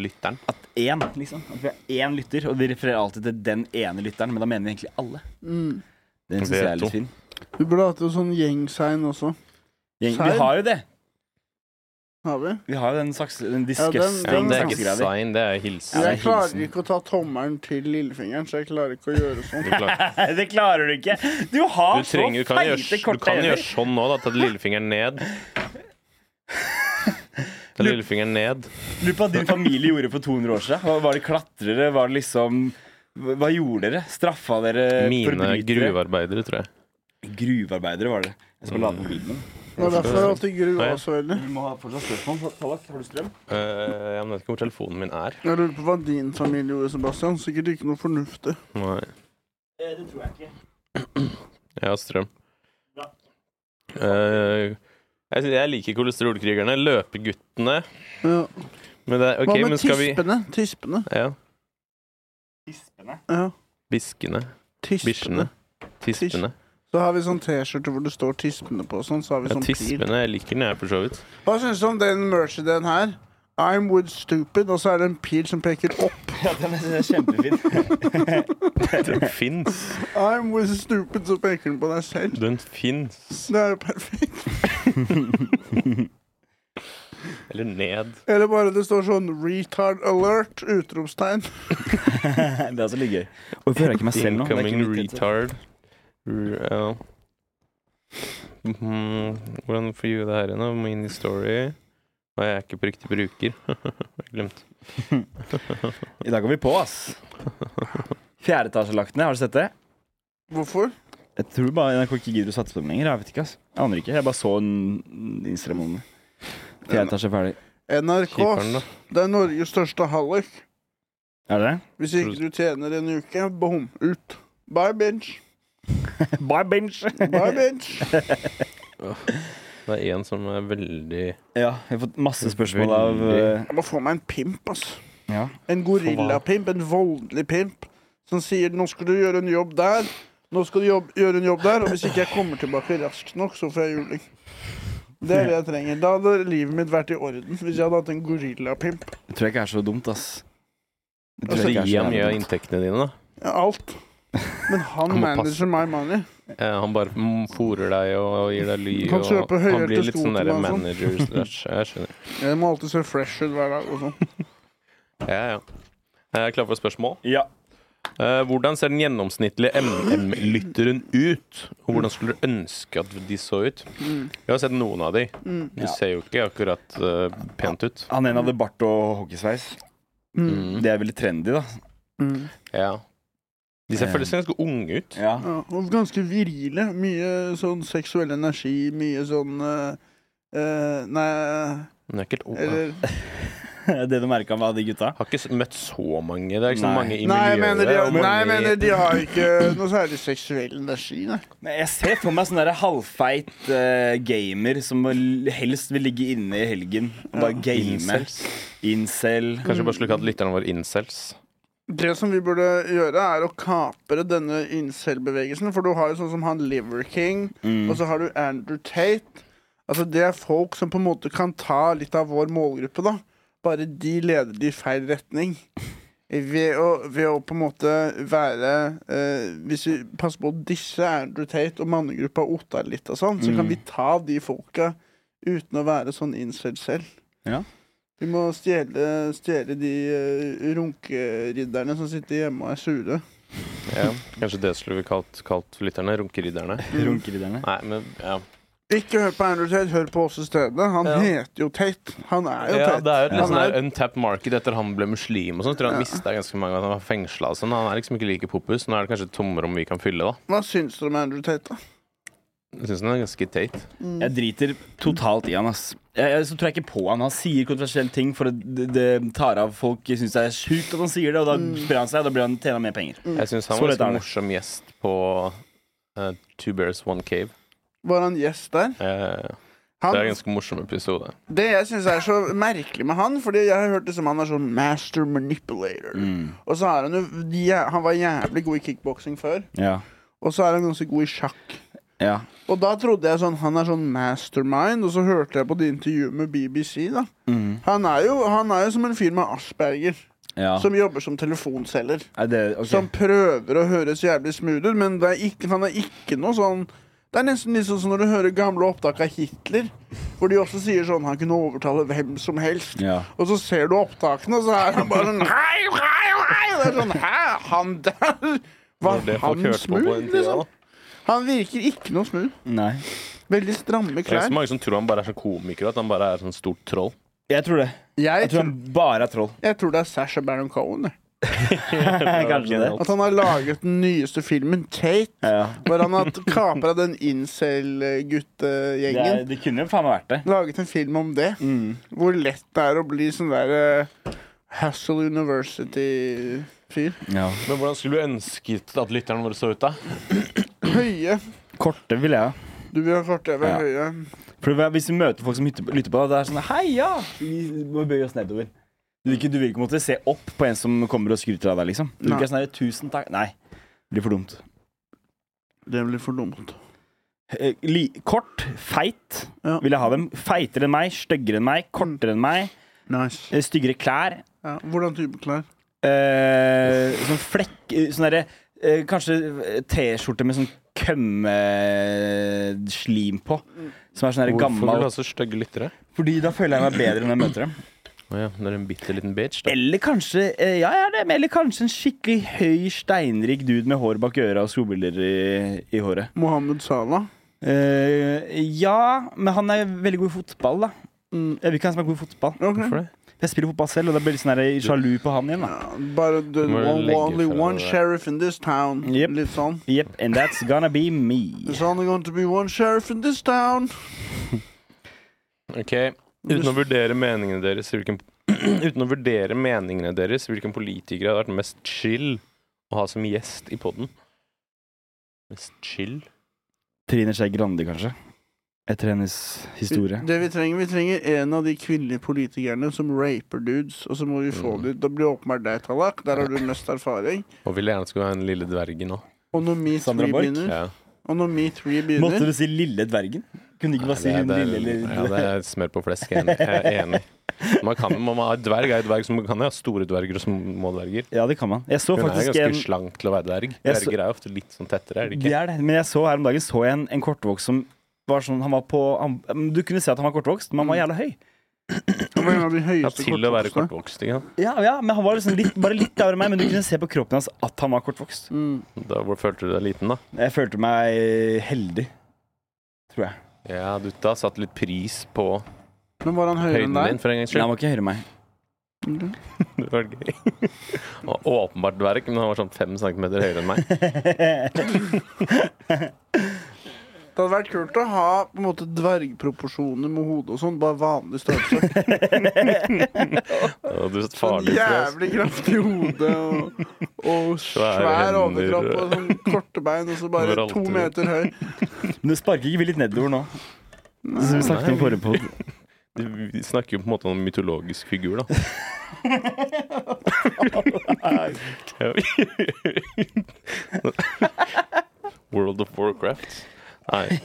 B: Lytteren.
C: At én, liksom. At vi har én lytter, og vi refererer alltid til den ene lytteren, men da mener vi egentlig alle. Den syns jeg er
B: Veto.
C: litt fin.
A: Mm. Vi burde hatt en sånn gjengsign også.
C: Gjeng,
A: Sign?
C: vi har jo det.
A: Har vi?
C: Vi har jo den sakse... Den
B: Ja, men
C: disgusting
B: det er ikke
C: saksegreia di.
B: sign, det er hilsen.
C: Ja, det er
A: Jeg klarer
C: hilsen.
A: ikke å ta tommelen til lillefingeren, så jeg klarer ikke å gjøre sånn.
B: Du, klarer-
C: <laughs> Det klarer du ikke! Du har
B: du, trenger, du,
C: så
B: kan
C: feite
B: gjøre, du
C: korte
B: kan
C: hender.
B: gjøre sånn nå, da. Ta lillefingeren ned. Ta lillefingeren ned.
C: Lurer på hva din familie gjorde for 200 år siden. Var, var det klatrere? Var det liksom hva hva gjorde dere? Straffa dere
B: Mine
C: forbrytere?
B: gruvearbeidere, tror jeg.
C: Gruvearbeidere var det. Jeg skal
B: Mm.
C: lade mobilen min.
A: Det var derfor jeg alltid grua så veldig.
C: Vi må ha fortsatt spørsmål. Tallak, har du strøm?
B: Eh, jeg vet ikke hvor telefonen min er.
A: Jeg lurer på hva din familie gjorde, Sebastian. Sikkert ikke noe fornuftig.
B: Nei.
C: Eh,
D: Det tror jeg ikke.
B: Jeg har strøm.
D: Bra.
B: Eh, jeg, jeg liker kolesterolkrigerne. Løpeguttene.
A: Ja.
B: Men det, er- ok,
A: hva
B: men
A: med
B: skal vi
A: tispene? Tispene.
B: ja,
D: Bispene.
A: Ja.
B: Biskene.
A: Tispene.
B: Bikkjene. Tispene.
A: Så har vi sånn T-skjorte hvor det står 'Tispene' på. og Sånn, så har vi
B: Ja,
A: sånn pil.
B: tispene. Jeg liker den, jeg, for så vidt.
A: Hva syns du om den merch-ideen her? I'm with stupid, og så er det en pil som peker opp.
C: <laughs> Ja, den er den er kjempefin. <laughs>
B: Den fins.
A: I'm with stupid, så peker den på deg selv.
B: Den fins.
A: Det er jo perfekt.
B: Eller ned.
A: Eller bare det står sånn 'retard alert', utropstegn.
C: <laughs> Det er altså litt gøy. Hvorfor hører jeg ikke meg selv nå? Det er ikke
B: Incoming
C: mitt headset.
B: retard. R- Ja. Mhm, Hvordan får jeg det her igjen? da? Mini-story. Nei, jeg er ikke på riktig bruker. <laughs> Jeg glemte.
C: I dag går vi på, ass. Fjerde etasje lagt ned. Har du sett det?
A: Hvorfor?
C: Jeg tror bare NRK ikke gidder å satse på dem lenger. Jeg vet ikke, ass. Jeg aner ikke. Jeg bare så en Instagram om det. Fjerde etasje er ferdig.
A: NRK.
B: Keeperen, da.
A: Det er Norges største hallik.
C: Er det
A: Hvis ikke du tjener en uke, bom, ut. Bye, bench.
C: det? Bye, bench!
A: Bye, bench.
B: Det er en som er veldig
C: Ja, jeg har fått masse spørsmål av
B: Veldig.
C: eh,
A: Jeg må få meg en pimp, ass.
C: Ja.
A: En gorillapimp, en voldelig pimp, som sier 'nå skal du gjøre en jobb der', 'nå skal du jobb, gjøre en jobb der', og hvis ikke jeg kommer tilbake raskt nok, så får jeg juling. Det er det jeg trenger. Da hadde livet mitt vært i orden hvis jeg hadde hatt en gorillapimp.
C: Jeg tror jeg ikke er så dumt, ass. Jeg tror
A: Altså,
C: jeg
B: Gi
C: ikke er så
B: ham mye av
C: dumt.
B: inntektene dine, da.
A: Ja, Alt. Men han
B: Han må
A: manager my money.
B: Eh, han bare mm, fôrer deg og, og gir deg ly.
A: Kan
B: og,
A: kjøpe høyhælte
B: han blir litt
A: sko
B: sånn
A: til meg
B: derre
A: og sånn.
B: manager.
A: <laughs>
B: slash- Jeg skjønner.
A: Jeg må alltid se fresh ut hver dag. og sånn.
B: Ja, ja. Jeg er klar for spørsmål.
C: Ja.
B: Eh, hvordan ser den gjennomsnittlige MM-lytteren ut? Og hvordan skulle du ønske at de så ut?
A: Mm.
B: Jeg har sett noen av de. De ser jo ikke akkurat eh, pent ut.
C: Han ene hadde bart og hockeysveis.
B: Mm.
C: Det er veldig trendy, da.
A: Mm.
B: Ja. De ser
C: Eh.
B: føles ganske unge ut.
C: Ja.
A: Ja, og ganske virile. Mye sånn seksuell energi, mye sånn eh, eh, Nei,
B: Men jeg er ikke helt ung, da.
A: eller
C: <laughs> det du merka med de gutta?
B: har ikke s- møtt så mange. Det er ikke så
C: Nei.
B: mange i miljøet.
A: Nei, jeg mener de, har,
B: og
A: nei,
B: mange
A: jeg mener de har ikke noe særlig seksuell energi, nei.
C: Nei, Jeg ser for meg sånn derre halvfeit eh, gamer som l- helst vil ligge inne i helgen og bare game.
B: incels.
C: Incel.
B: Kanskje vi bare skulle kalt lytterne våre incels.
A: Det som vi burde gjøre, er å kapre denne incel-bevegelsen. For du har jo sånn som han Liver King,
C: Mm.
A: og så har du Andrew Tate. Altså Det er folk som på en måte kan ta litt av vår målgruppe, da. Bare de leder de i feil retning. Ved å, ved å på en måte være eh, Hvis vi passer på å disse Andrew Tate og mannegruppa Ottar litt og sånn, så kan vi ta de folka uten å være sånn incel selv.
C: Ja.
A: Vi må stjele, stjele de eh, runkeridderne som sitter hjemme og er sure.
B: Ja. Kanskje det skulle vi kalt, kalt lytterne. Runkeridderne.
C: Runkeridderne.
B: Nei, men ja.
A: Ikke hør på Andrew Tate, hør på oss i stedet. Han
B: Ja.
A: heter jo Tate. Han er jo
B: ja
A: Tate.
B: det er jo et litt
A: Han
B: sånn der
A: er-
B: untapped market etter han ble muslim og sånn. Tror jeg han mistet ganske mange han var fengsla og sånn. Han er liksom ikke like popus. Nå er det kanskje et tomrom vi kan fylle, da.
A: Hva syns dere om Andrew Tate, da?
B: Jeg syns han er ganske teit.
C: Jeg driter totalt i han, ass. Jeg, jeg, så tror jeg ikke på han. Han sier kontroversielle ting, for det, det tar av folk syns det er sjukt at han sier det, og da sprer han seg, og da blir han tjener han mer penger.
B: Jeg syns han
C: Så
B: var
C: lett er
B: en
C: det.
B: morsom gjest på eh, Two Bears One Cave.
A: Var han gjest der?
B: Eh,
A: Han,
B: det er en ganske morsom episode.
A: Det jeg syns er så merkelig med han, Fordi jeg har hørt det som han er sånn master manipulator.
C: Mm.
A: Og så er han jo jæ- Han var jævlig god i kickboksing før,
C: Ja.
A: og så er han ganske god i sjakk.
C: Ja.
A: Og da trodde jeg sånn Han er sånn mastermind, og så hørte jeg på det intervjuet med BBC, da.
C: Mm.
A: Han er jo, han er jo som en fyr med Asperger,
C: ja.
A: som jobber som telefonselger.
C: Er det ok.
A: Som prøver å høres jævlig smooth ut, men det er ikke, han er ikke noe sånn Det er nesten litt sånn som når du hører gamle opptak av Hitler, hvor de også sier sånn Han kunne overtale hvem som helst.
C: Ja.
A: Og så ser du opptakene, og så er han bare sånn Hei, hei, hei! Det er sånn Hæ, han der? Var
B: Det folk
A: han
B: hørte på på
A: smooth,
B: den tida, da.
A: liksom? Han virker ikke noe smooth.
C: Nei.
A: Veldig stramme
B: Det er så
A: klær.
B: mange som tror han bare er sånn komiker, at han bare er sånn stort troll.
C: Jeg tror det.
A: Jeg
C: Jeg tror han
A: tror,
C: bare <laughs> er troll.
A: jeg tror det er Sasha Baron Cohen. jeg.
C: Kanskje det.
A: At han har laget den nyeste filmen, Tate.
C: Ja.
A: Hvor han har kapra den
C: Det, er,
A: incel-guttegjengen.
C: det kunne jo faen meg vært det.
A: Laget en film om det. Hvor lett det er å bli sånn der eh, Hassle University-fyr.
C: Ja.
B: Men hvordan skulle du ønsket at lytterne våre så ut, da?
A: Høye.
C: Korte vil jeg ha.
A: Du vil ha kort over
C: Ja.
A: høye.
C: For hva- Hvis vi møter folk som hytter- lytter på, det er sånn Hei, ja! Vi må bøye oss nedover. Du vil, ikke, du vil ikke måtte se opp på en som kommer og skryter av deg, liksom. Du vil
A: Nei.
C: ikke sånn her, tusen takk Nei. Det blir for dumt.
A: Det blir for dumt.
C: Eh, Li kort, feit
A: Ja.
C: vil jeg ha dem. Feitere enn meg, styggere enn meg, kortere enn meg.
A: Nice.
C: eh, Styggere klær.
A: Ja. Hvordan type klær?
C: Eh, sånn flekk eh, Sånn derre eh, Kanskje eh, T-skjorte med sånn kømmeslim på. Som er sånn derre
B: Hvorfor vil du
C: gammel.
B: ha så stygge lyttere?
C: Fordi da føler jeg meg bedre når jeg møter dem.
B: Å ja, det er en bitte liten bitch, da.
C: Eller kanskje eh, Ja, jeg er det, men eller kanskje en skikkelig høy, steinrik dude med hår bak øra og solbriller i, i håret.
A: Mohammed Salah.
C: Eh, ja, men han er veldig god i fotball, da. Mm, Jeg vil ikke ha en som er god i fotball.
A: Ok.
B: Hvorfor det?
C: Jeg spiller fotball selv, og da blir jeg litt sånn der sjalu på han igjen. da
A: Ja, bare the
B: Må
A: one,
B: legge
A: only
B: fra
A: one
B: deg.
A: sheriff in this town.
C: Jep.
A: Litt sånn.
C: <laughs> Yep, and that's gonna be me.
A: There's only going to be one sheriff in this town.
B: Ok, Uten å vurdere meningene deres, hvilken <clears throat> Uten å vurdere meningene deres, hvilken politiker hadde vært mest chill å ha som gjest i poden? Mest chill?
C: Trine Skei Grande, kanskje. Etter hennes historie.
A: Det vi trenger, vi trenger en av de kvinnelige politikerne som raper dudes, og så må vi få
B: Mm.
A: det ut. Da blir det åpenbart deg, Tallak. Der har du mest erfaring.
B: Og ville gjerne skulle ha en lille dvergen òg.
A: Og når Me
C: Sandra
A: Three
C: Borch?
A: begynner,
B: Ja.
A: og når Me Three
C: Måtte
A: begynner
C: du si Lille dvergen? Kunne du ikke bare si hun lille
B: ja, det
C: eller
B: er smør på flesk. Jeg er enig. Jeg er enig.
C: <laughs>
B: Man kan, man må ha dverg er jo dverg, så man kan jo ha store dverger og små dverger.
C: Ja, det kan man. Jeg så
B: Hun er
C: faktisk
B: ganske
C: en
B: slank til å være dverg.
C: Jeg så-
B: Dverger er jo ofte litt sånn tettere, er de
C: Det
B: ikke?
C: er det. Men jeg så her om dagen så jeg en, en kortvokst som var sånn Han var på han, Du kunne se at han var kortvokst,
B: Mm.
C: men han var jævla høy.
A: Han var en av de
B: Ja,
A: høyeste
B: til å være
A: kortvokste.
B: kortvokst. Ikke? sant?
C: Ja, ja, men han var liksom litt, bare litt over meg, men du kunne se på kroppen hans at han var kortvokst.
A: Mm.
B: Da hvor følte du deg liten, da?
C: Jeg følte meg heldig. Tror jeg.
B: Ja, du da satt litt pris på
A: Men var han høyere enn
B: høyden din,
A: deg? Mm.
B: for en gangs
C: Nei,
B: skyld.
C: han var ikke høyere enn meg.
A: Ok.
B: Det var gøy. <laughs> Og Åpenbart dverg, men han var sånn fem centimeter høyere enn meg.
A: Det hadde vært kult å ha på en måte dvergproporsjoner med hodet og sånn, bare vanlig størrelse.
B: <laughs> Og du
A: Sånn
B: satt farlig ut.
A: jævlig kraftig hode og, og svær
B: hender.
A: overkropp og sånn korte bein, og så bare
B: Overalt.
A: to meter høy.
C: Men du sparker ikke vi litt nedover nå? Som vi snakket om forrige pod.
B: Vi snakker jo på en måte om en mytologisk
A: <laughs>
B: figur, da. World of Warcraft. Nei.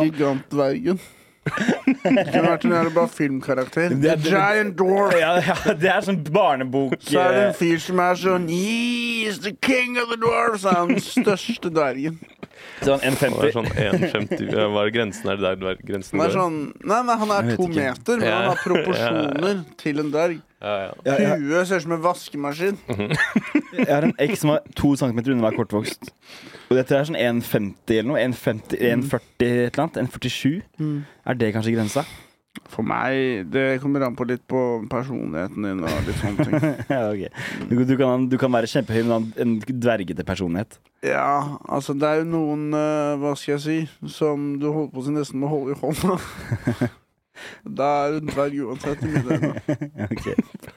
A: Gigantdvergen. Det kunne vært en jævlig bra filmkarakter.
C: Det
A: The
C: er-
A: Giant Dwarf.
C: Ja, ja, det er sånn barnebok
A: Så er det en
C: eh,
A: fyr som er sånn He's the king of the dwarves! Er han den største dvergen.
C: sånn
B: Han er
C: 1,50.
B: sånn 1,50 ja, Hva er grensen her? Der, der grensen
A: Han er
B: går.
A: sånn Nei, nei, han er
C: Jeg vet
A: to
C: ikke.
A: meter, men
C: <laughs>
A: han har proporsjoner til en dverg.
B: Ja, ja.
C: Ja, jeg,
A: Huet ser ut som en vaskemaskin.
C: jeg har en eks som er to centimeter unna hver kortvokst. Og dette er sånn 1,50 eller noe. 1,50, 1,40 et eller annet. 1,47. Er det kanskje grensa? <laughs>
A: For meg Det kommer an på litt på personligheten din og litt sånne
C: <laughs>
A: ting.
C: ja, ok. du, du, kan, du kan være kjempehøy, men ha en- en dvergete personlighet. <laughs>
A: Ja, altså det er jo noen eh, Hva skal jeg si Som du holder på å si nesten må holde i hånda. da er du dverg uansett. i mine øyne.
C: Ok.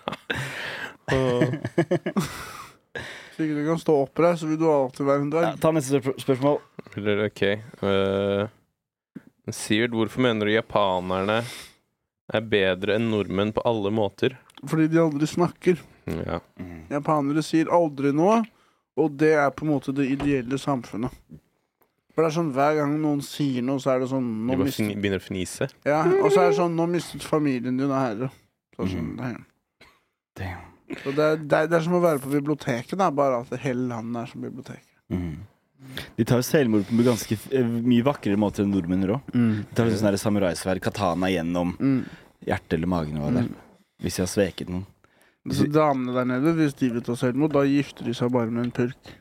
B: Åh.
A: Så ikke du kan stå oppreist, så vil du alltid være en
C: Ja,
A: dverg.
C: ta neste spør- spørsmål.
B: Eller, OK. eh, Sivert, hvorfor mener du japanerne er bedre enn nordmenn på alle måter?
A: Fordi de aldri snakker.
B: Ja.
A: Japanere sier aldri noe, og det er på en måte det ideelle samfunnet. For det er sånn hver gang noen sier noe, så er det sånn
B: De
A: nå
B: bare
A: mistet,
B: fni, begynner å fnise.
A: ja, Og så er det sånn Nå mistet familien din av herre. Så er det
B: Mm.
A: sånn, damn.
C: Damn.
A: Så det, er, det, er, det er som å være på biblioteket, da, bare at hele landet er som bibliotek.
C: Mm. De tar jo selvmord på ganske f- eh, mye vakrere måter enn nordmenn gjør også.
B: Mm.
C: De tar jo sånn der samuraisverd, katana gjennom
A: Mm.
C: hjertet eller magen. eller Hva det. er. Hvis jeg har sveket noen.
A: Så damene der nede, hvis de vil ta selvmord, da gifter de seg bare med en purk.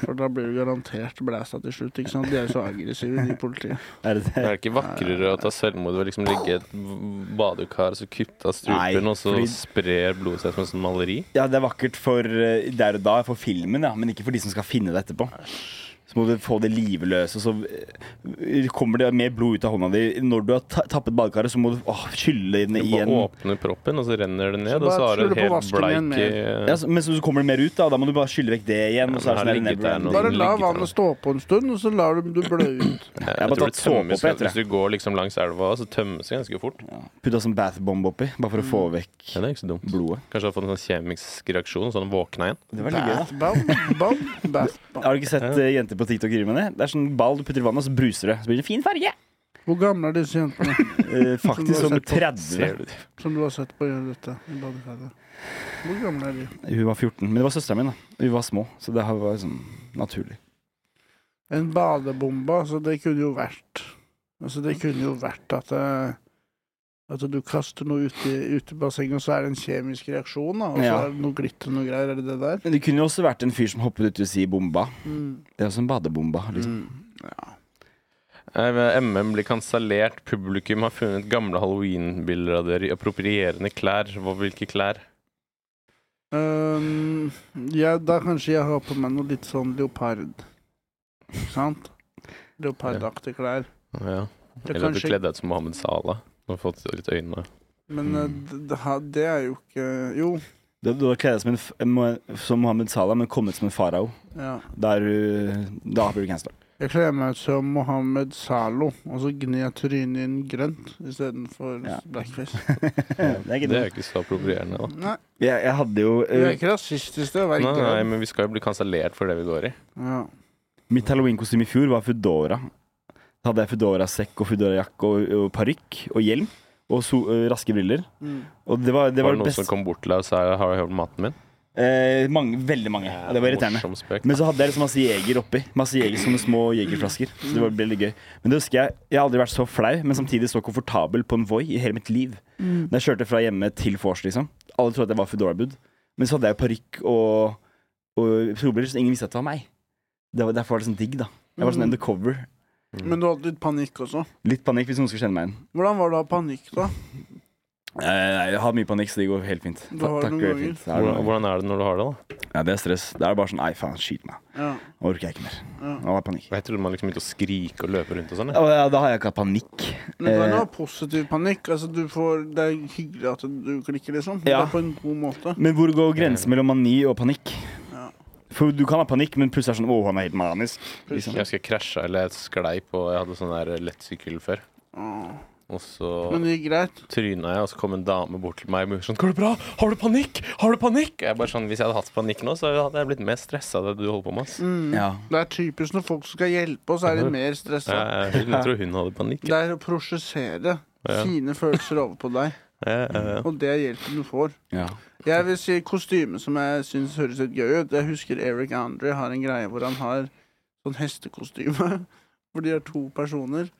A: For da blir du garantert blæsta til slutt. ikke sant? De er jo så aggressive, de i politiet.
C: Er det
B: Det
C: det?
B: er ikke vakrere å ta selvmord ved å liksom ligge i et v- badekar, så kutte av strupen,
C: Nei,
B: og så
C: fordi-
B: sprer blodet seg som et sånt maleri?
C: Ja, det er vakkert for eh, der og da, for filmen, ja, men ikke for de som skal finne det etterpå. Så må du få det livløse, og så eh, kommer det mer blod ut av hånda di. Når du har ta- tappet badekaret, så må du åh, skylle inn
B: Du
C: i
B: bare
C: en
B: åpner proppen, og så renner det ned,
A: Så
B: og så
A: bare
B: har du
A: skyller på
B: helt
A: vasken igjen
B: bleik
A: med-
B: eh,
C: ja, så, Men så kommer det mer ut, da. Da må du bare skylle vekk det igjen. og så
B: men her
C: er det sånn der
B: ligger det
C: never-ending.
B: noe.
A: Bare la
B: ligger der.
A: vannet stå på en stund, og så lar du det blø
C: <clears throat>
A: ut.
B: Jeg,
C: har
B: tror
C: bare
B: det
C: tatt såpe
B: tømmes
C: opp etter
B: Hvis du går liksom langs elva, så tømmes det ganske fort. Ja,
C: Ja. Putta sånn bathbomb oppi, bare for å få vekk
B: det er ikke så dumt.
C: blodet.
B: Kanskje har fått en sånn kjemisk reaksjon, sånn våkna igjen.
C: Det var litt gøy, da.
A: Bathbomb, bomb, bathbomb.
C: Har du ikke sett eh, jenter på TikTok drive med det? Det er sånn ball du putter i vannet, og så bruser det. Så blir det
B: <laughs>
C: en fin farge.
A: Hvor gamle er disse jentene
C: Eh, faktisk
A: Som
C: som
A: du har sett på.
C: 30.
B: Ser du det?
A: som du har sett på å gjøre dette i badekaret? Hvor gamle er de?
C: Hun var 14. Men det var søstera mi, da. Vi var små, så det her var sånn naturlig.
A: En badebombe, altså, det kunne jo vært Altså, det kunne jo vært at eh, at du kaster noe ut i utebassenget, og så er det en kjemisk reaksjon, da. Og så
C: Ja.
A: er det noe glitter og noe greier. Er det det der?
C: Men det kunne jo også vært en fyr som hoppet uti og si bomba.
A: Mm.
C: Det er også en badebomba. Liksom.
B: Eh, MM blir kansellert. Publikum har funnet gamle halloween-bilder av dere i approprierende klær. Hva, hvilke klær?
A: Um, ja, da kanskje jeg har på meg noe litt sånn leopard. Ikke sant? Leopardaktige klær.
B: Ja.
A: Det
B: Eller at du
A: kanskje-
B: kledde deg ut som Mohammed Salah. Du har fått litt øyne
A: Men eh,
C: Mm.
A: d- det, ha- det er jo ikke Jo.
C: Du, du har kledd deg som, en f- mo- som Mohammed Salah, men kommet som en farao.
A: Ja.
C: Da er du Da blir du gangster.
A: Jeg kler meg ut som Mohammed Zalo, og så gnir jeg trynet inn grønt istedenfor
C: Ja. <laughs>
A: blackface.
C: Det er ikke
B: Det er
C: det.
B: jo ikke så approprierende, da.
A: Nei,
C: Jeg, jeg hadde jo
A: vi er
C: eh,
A: ikke rasistiske, det er
B: Nei,
A: verken.
B: nei, men vi skal jo bli kansellert for det vi går i.
A: Ja.
C: Mitt halloweenkostyme i fjor var Foodora. Da hadde jeg Foodora-sekk og Foodora-jakke og, og parykk og hjelm og so, eh, raske briller.
A: Mm.
C: Og det var, det
B: det
C: var,
B: noen
C: best
B: som kom bort til deg og sa 'har du hørt om maten min'?
C: eh, mange, Veldig mange. og det var irriterende.
B: Morsom spøk.
C: Men så hadde jeg liksom masse jeger oppi. Masse jeger Sånne små jegerflasker. Så det var veldig gøy. Men det husker jeg Jeg har aldri vært så flau, men samtidig så komfortabel på en Voi i hele mitt liv. Da jeg kjørte fra hjemme til vors, liksom. Alle trodde at jeg var Foodora-bud. Men så hadde jeg jo parykk og, og solbriller, så ingen visste at det var meg. Det var, derfor var det sånn digg, da. Jeg var sånn
A: Mm.
C: undercover. Mm.
A: Men du hadde litt panikk også.
C: Litt panikk hvis noen skulle kjenne meg igjen.
A: Hvordan var det å ha panikk, da?
C: Eh, nei, Jeg har mye panikk, så det går helt fint.
A: Du har det noen
C: det går
A: ganger.
C: fint. Det er,
B: Hvordan, hvordan er det når du har det, da?
C: ja, det er stress. Det er bare sånn Nei, faen, skyt meg.
A: Ja.
C: Nå orker jeg ikke mer.
A: Ja.
C: Nå har jeg panikk.
B: Jeg trodde man liksom begynte å skrike og løpe rundt og sånn. jeg.
C: Å, ja, da har jeg ikke hatt panikk.
A: Men du kan
C: Eh,
A: jo ha positiv panikk. Altså, du får, det er hyggelig at du klikker, liksom.
C: Ja.
A: Det er på en god måte.
C: Men hvor går grensen mellom mani og panikk?
A: Ja.
C: For du kan ha panikk, men plutselig er det sånn Å, han er helt manisk. Liksom.
B: Jeg husker jeg krasja eller jeg sklei på Jeg hadde sånn der lettsykkel før.
A: Åh.
B: Og så
A: Men det gikk greit.
B: tryna jeg, og så kom en dame bort til meg og sånn 'Går det bra? Har du panikk? Har du panikk?' Og jeg bare sånn, Hvis jeg hadde hatt panikk nå, så hadde jeg blitt mer stressa av det du holder på med. ass.
C: Ja.
A: Det er typisk når folk skal hjelpe oss, er de mer stressa.
B: Jeg, jeg, jeg tror hun hadde panikk.
A: Det er å prosjessere
B: Ja.
A: sine følelser over på deg,
B: Jeg, jeg,
A: og det er hjelpen du får.
C: ja.
A: Jeg vil si kostyme som jeg syns høres litt gøy ut. Jeg husker Eric Andre har en greie hvor han har sånn hestekostyme, <laughs> hvor de er to personer.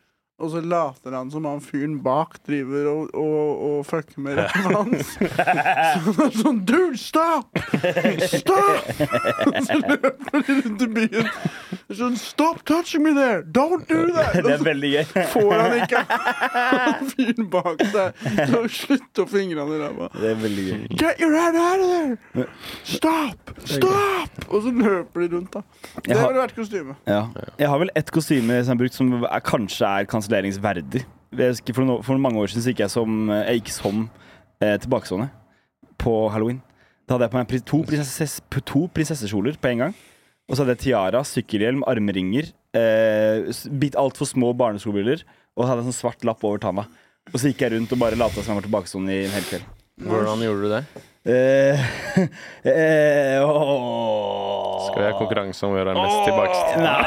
A: Og så later han som han fyren bak driver og, og, og fucker
C: <laughs>
A: med ræva hans. Så han er sånn Dude, stopp! Stopp! Og <laughs> så løper de rundt i byen. Sånn Stop touching me there! Don't do that!
C: <laughs> Det
A: Og
C: er veldig gøy.
A: så får han
C: <laughs>
A: ikke han fyren bak seg til å slutte å fingre han i ræva.
C: Det er veldig gøy.
A: Get your head out of there! Stop! Stop! Og så løper de rundt, da. Det
C: Jeg har-
A: ville vært kostyme.
C: Ja. Jeg har vel ett kostyme som jeg har brukt som er, kanskje er kanselleringsverdig. Jeg husker For, no, for mange år siden så gikk jeg som, jeg gikk som eh, tilbakestående på halloween. Da hadde jeg på meg pri- to, prinsesses, to prinsessekjoler på en gang. Og så hadde jeg tiara, sykkelhjelm, armringer, eh, s- bitt altfor små barneskobriller og hadde en sånn svart lapp over tanna. Og så gikk jeg rundt og bare lata som jeg var tilbakestående i en hel kveld.
B: hvordan gjorde du det?
C: Eh, <laughs> eh, åh.
B: Skal vi ha konkurranse om å gjøre mest tilbake?
C: Nei!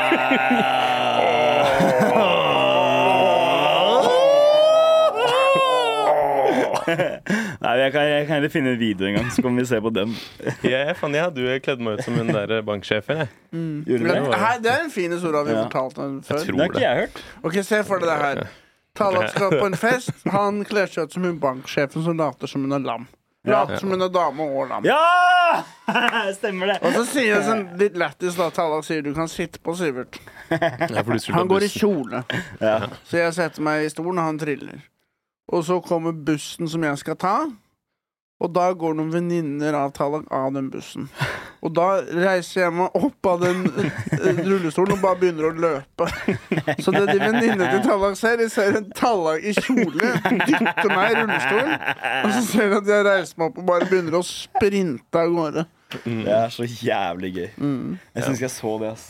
C: Nei, jeg kan, jeg kan heller finne en video en gang, så kan vi se på den.
B: Jeg, faen, jeg hadde jo kledd meg ut som hun der eh, banksjefen, jeg.
C: Gjorde du
A: Men,
C: det?
A: her, det er en fin historie vi
C: Ja.
A: fortalte den
B: Jeg
A: før.
C: Det har
B: tror
C: ikke
B: det.
C: jeg hørt.
A: Ok, Se for deg det her. Talat skal på en fest. Han kler seg ut som hun banksjefen som later som hun er lam. Later som hun er dame og lam.
C: Ja! <laughs> Stemmer det.
A: Og så sier jeg sånn litt lættis da Talat sier du kan sitte på Sivert.
B: Ja, for du skulle
A: Han
B: på
A: går i
B: bussen. <laughs>
A: kjole.
C: Ja.
A: Så jeg setter meg i stolen, og han triller. Og så kommer bussen som jeg skal ta, og da går noen venninner av Tallak av den bussen. Og da reiser jeg meg opp av den eh, rullestolen og bare begynner å løpe. Så det de venninnene til Tallak ser, de ser en Tallak i kjole dytte meg i rullestolen. Og så ser de at jeg reiser meg opp og bare begynner å sprinte av gårde.
C: Det er så jævlig gøy. Jeg syns ikke jeg så det, ass.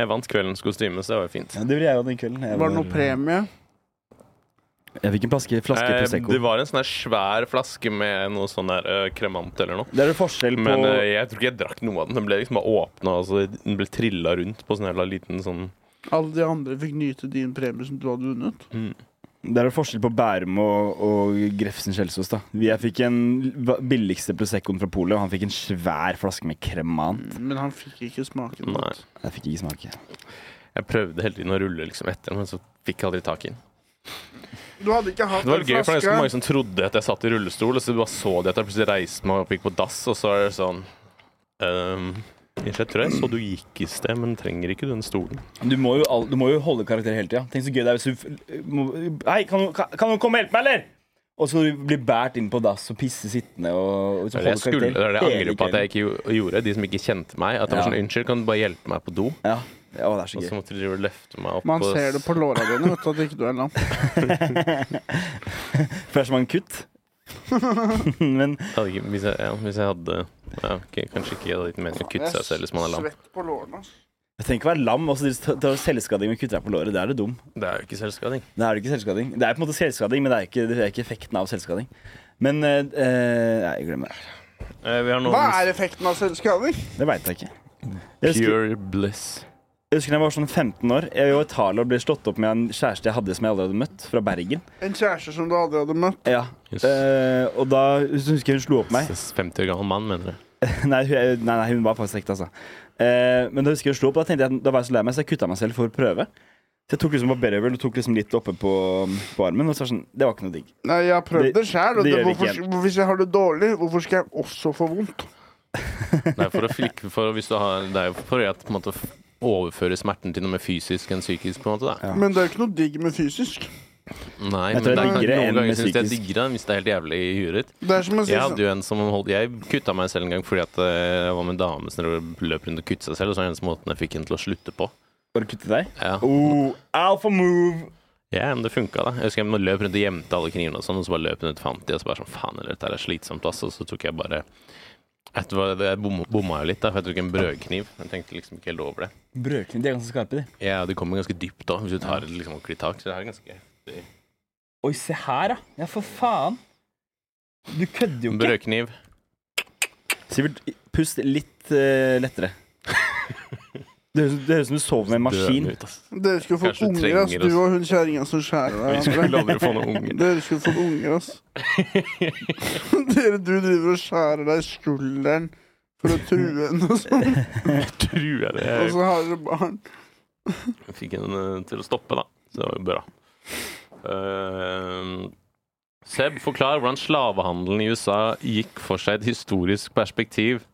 B: Jeg vant kveldens kostyme, så det var jo fint.
C: Ja, det ville jeg jo den kvelden. Jeg,
A: Var det noe premie?
C: jeg fikk en flaske, flaske
B: Eh,
C: Prosecco.
B: Det var en sånn her svær flaske med noe sånn der eh, kremant eller noe.
C: Det er jo forskjell på
B: Men eh, jeg tror ikke jeg drakk noe av den. Den ble liksom bare åpna, og så den ble trilla rundt på sånn jævla liten sånn
A: Alle de andre fikk nyte din premie som du hadde vunnet?
C: Det er jo forskjell på Bærum og, og Grefsen Kjelsås. da Vi- Jeg fikk en va- billigste Proseccoen fra polet, og han fikk en svær flaske med kremant.
A: Men han fikk ikke smake
B: Nei.
A: noe.
C: Jeg fikk ikke smake.
B: Jeg prøvde hele tiden å rulle liksom etter den, men så fikk jeg aldri tak i den.
A: Du hadde ikke hatt
B: Det var
A: den
B: litt gøy, for det er ganske
A: flaska.
B: mange som trodde at jeg satt i rullestol, og så bare så de at jeg plutselig reiste meg opp og gikk på dass, og så er det sånn ehm, Jeg tror jeg så du gikk i sted, men trenger ikke du den stolen.
C: Du må jo, al- du må jo holde karakter hele tida. Tenk så gøy det er hvis du f- må- Hei, kan, noen- kan kan noen komme og hjelpe meg, eller? Og så blir båret inn på dass og pisse sittende og, og så
B: Det er det jeg, skulle, det, er det jeg
C: hele
B: angrer på at jeg ikke gjo- gjorde, de som ikke kjente meg. At jeg var
C: Ja.
B: sånn Unnskyld, kan du bare hjelpe meg på do?
C: kvelden. Ja. ja, det er så
B: Og så
C: gøy.
B: måtte de jo løfte meg opp
A: Man
B: og
A: ser det på låra dine vet du, at ikke du er lam.
C: <laughs> For det er som en kutt. <laughs> Men
B: Hadde ikke, hvis, jeg, ja, hvis jeg hadde ja, ok, Kanskje ikke jeg hadde gitt mening å kutte seg selv hvis man er lam.
A: Svett på lårene. ass.
C: jeg trenger ikke være lam. Også, ta, ta selvskading og kutte deg på låret. Det er det dum.
B: Det er jo ikke selvskading.
C: Det er det ikke selvskading. Det er på en måte selvskading, men det er ikke, det er ikke effekten av selvskading. Men eh, eh, Nei, jeg glemmer det.
B: Eh, Vi har noen
A: Hva er effekten av selvskading?
C: Det veit jeg ikke. Jeg husker,
B: Pure bliss.
C: jeg husker da jeg var sånn 15 år. Jeg var i Italia og ble slått opp med en kjæreste jeg hadde som jeg aldri hadde møtt, fra Bergen.
A: En kjæreste som du aldri hadde møtt.
C: Ja,
B: Yes.
C: eh, Og da så husker jeg hun slo opp meg.
B: 50 år gammel mann, mener du?
C: <laughs> Nei, hun, nei, nei, hun var faktisk ekte, altså. Eh, men da husker jeg å slå opp, da tenkte jeg at da var jeg så lei meg, så jeg kutta meg selv for å prøve. Så jeg tok liksom barberhøvel og tok liksom litt oppe på, på armen, og så var det sånn Det var ikke noe digg.
A: Nei, jeg har prøvd
C: Det-
A: det sjæl.
C: det gjør vi
A: Hvorfor,
C: ikke.
A: hvis jeg har det dårlig, hvorfor skal jeg også få vondt?
B: Nei, for å flikke for, hvis du har, Det er jo for å på en måte f- overføre smerten til noe mer fysisk enn psykisk, på en måte. Da.
C: Ja.
A: Men det er jo ikke noe digg med fysisk.
B: Nei,
C: Jeg
B: men
C: tror
B: det
C: det
B: er,
C: er diggere enn
B: noen
C: med
B: ganger syns jeg
C: psykisk.
B: digger det hvis det er helt jævlig i huet ditt.
A: Det er som å si
B: Jeg hadde
A: sånn
B: jo en som holdt Jeg kutta meg selv en gang fordi at eh, jeg var med en dame som drev og løp rundt og kuttet seg selv, og så var det eneste måten jeg fikk henne til å slutte på.
C: Bare kutte deg?
B: Ja.
C: Oh, alpha move!
B: Ja, men det funka, da. Jeg husker jeg løp rundt og gjemte alle knivene, og sånn, og så bare løp hun ut fant de, og så bare sånn Faen, eller, dette her er slitsomt, ass. Og så tok jeg bare Etter hva det jeg bom, bomma jo litt, da, for jeg tok en brødkniv. Jeg tenkte liksom ikke helt over det.
C: Brødkniv, de er ganske skarpe, de.
B: Ja, det kommer ganske dypt òg, hvis du tar et liksom ordentlig tak. Så det er ganske heftig.
C: Oi, se her, da. Ja, for faen. Du kødder jo ikke.
B: Brødkniv.
C: Sivert, pust litt eh,
B: <laughs>
C: lettere. Det høres det høres ut som du sover med en maskin.
B: Døende ut, ass.
A: sånn, Dere skulle fått
B: Kanskje du
A: unger, ass.
B: trenger
A: Du
B: oss.
A: og hun kjerringa som skjærer
B: Vi
A: deg.
B: skulle aldri få noen unger.
A: Dere skulle fått unger,
B: <laughs>
A: ass. Dere, du driver og skjærer deg i skulderen for å true henne, og sånn.
B: Tror jeg det.
A: Og så har dere barn.
B: Jeg fikk henne til å stoppe, da. Så det var jo bra. Eh, Seb, forklar hvordan slavehandelen i USA gikk for seg i et historisk perspektiv.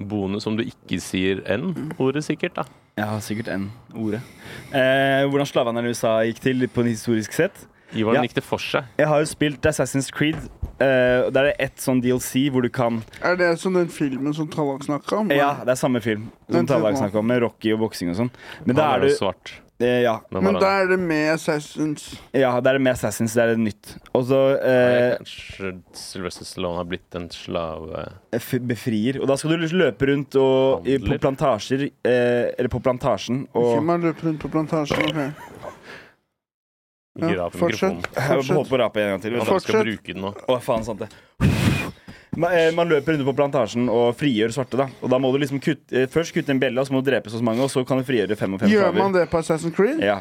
B: Bonus om du ikke sier N-ordet, sikkert. da
C: Ja, sikkert en ordet. Eh, hvordan slavehandelen i USA gikk til på en historisk sett?
B: Ivar
C: Ja.
B: gikk det for seg.
C: Jeg har jo spilt Assassin's Creed. eh, og der er det ett sånn DLC hvor du kan
A: Er det som den filmen som Tallak snakka om?
C: Ja, det er samme film som
A: Den tror jeg
C: Tallag
A: på.
C: snakka om, med Rocky og boksing og sånn. Men da
B: Han
C: er
B: er jo
C: du
B: svart.
C: eh, ja,
B: Men
A: Men
B: var
A: da
B: han-
A: er det med Assassins.
C: ja, det er det med Assassins, det er det nytt. Og så
B: Nei,
C: eh,
B: kanskje Sylvester Stallone har blitt en slave
C: f- befrier. Og da skal du liksom løpe rundt og, i, på
B: Handler.
C: plantasjer eh, Eller på plantasjen
A: Ikke
C: <laughs> og
A: man løper rundt på plantasjen. ok. Ja,
B: Ikke rap
A: fortsett.
B: mikrofonen.
C: Jeg
A: Fortsett.
C: holdt på å rape en gang til.
B: Han
C: vet du.
B: bare skal
A: Fortsett.
B: bruke den nå.
C: Å, faen sant det. Man, eh, man løper rundt på plantasjen og frigjør svarte. da Og da må du liksom kutte, eh, Først kutte en bjelle, og så må du drepe så mange, og så kan du frigjøre fem og fem
A: Gjør
C: slaver.
A: man det på Assassin's Creed?
C: Ja.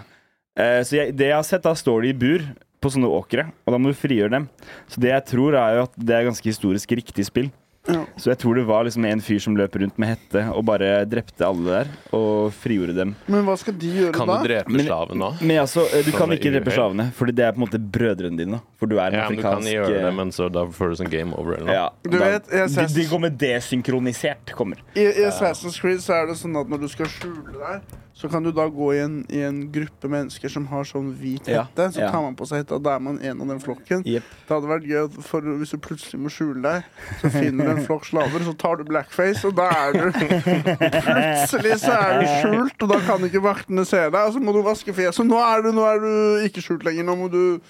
C: Eh, så jeg, det jeg har sett, da står de i bur på sånne åkre, og da må du frigjøre dem. Så det jeg tror, er jo at det er ganske historisk riktig spill.
A: Ja.
C: Så jeg tror det var liksom en fyr som løp rundt med hette og bare drepte alle der, og frigjorde dem.
A: Men hva skal de gjøre
B: Kan
A: da?
B: du drepe
C: Men-
B: slaven da?
C: Men altså, eh, du
B: Sånn
C: kan
B: med
C: ikke drepe
B: uhell.
C: slavene, Fordi det er på en måte brødrene dine. da. For du er en
B: Ja, men du kan
C: afrikansk
B: gjøre det,
C: eh,
B: men så da får du sånn game over eller noe.
C: ja,
A: Du
C: da-
A: vet, jeg
C: de,
A: ses-
C: de kommer desynkronisert. Kommer.
A: I, I Assassin's Creed så er det sånn at når du skal skjule deg, så kan du da gå i en, i en gruppe mennesker som har sånn hvit
C: Ja,
A: hette. Så
C: ja.
A: tar man på seg hetta, og da er man en av den flokken.
C: Jepp.
A: Det hadde vært gøy at for hvis du plutselig må skjule deg, så finner du en flokk slaver, så tar du blackface, og da er du Plutselig så er du skjult, og da kan ikke vaktene se deg, og så må du vaske fjeset. Nå er du, nå er du ikke skjult lenger, nå må du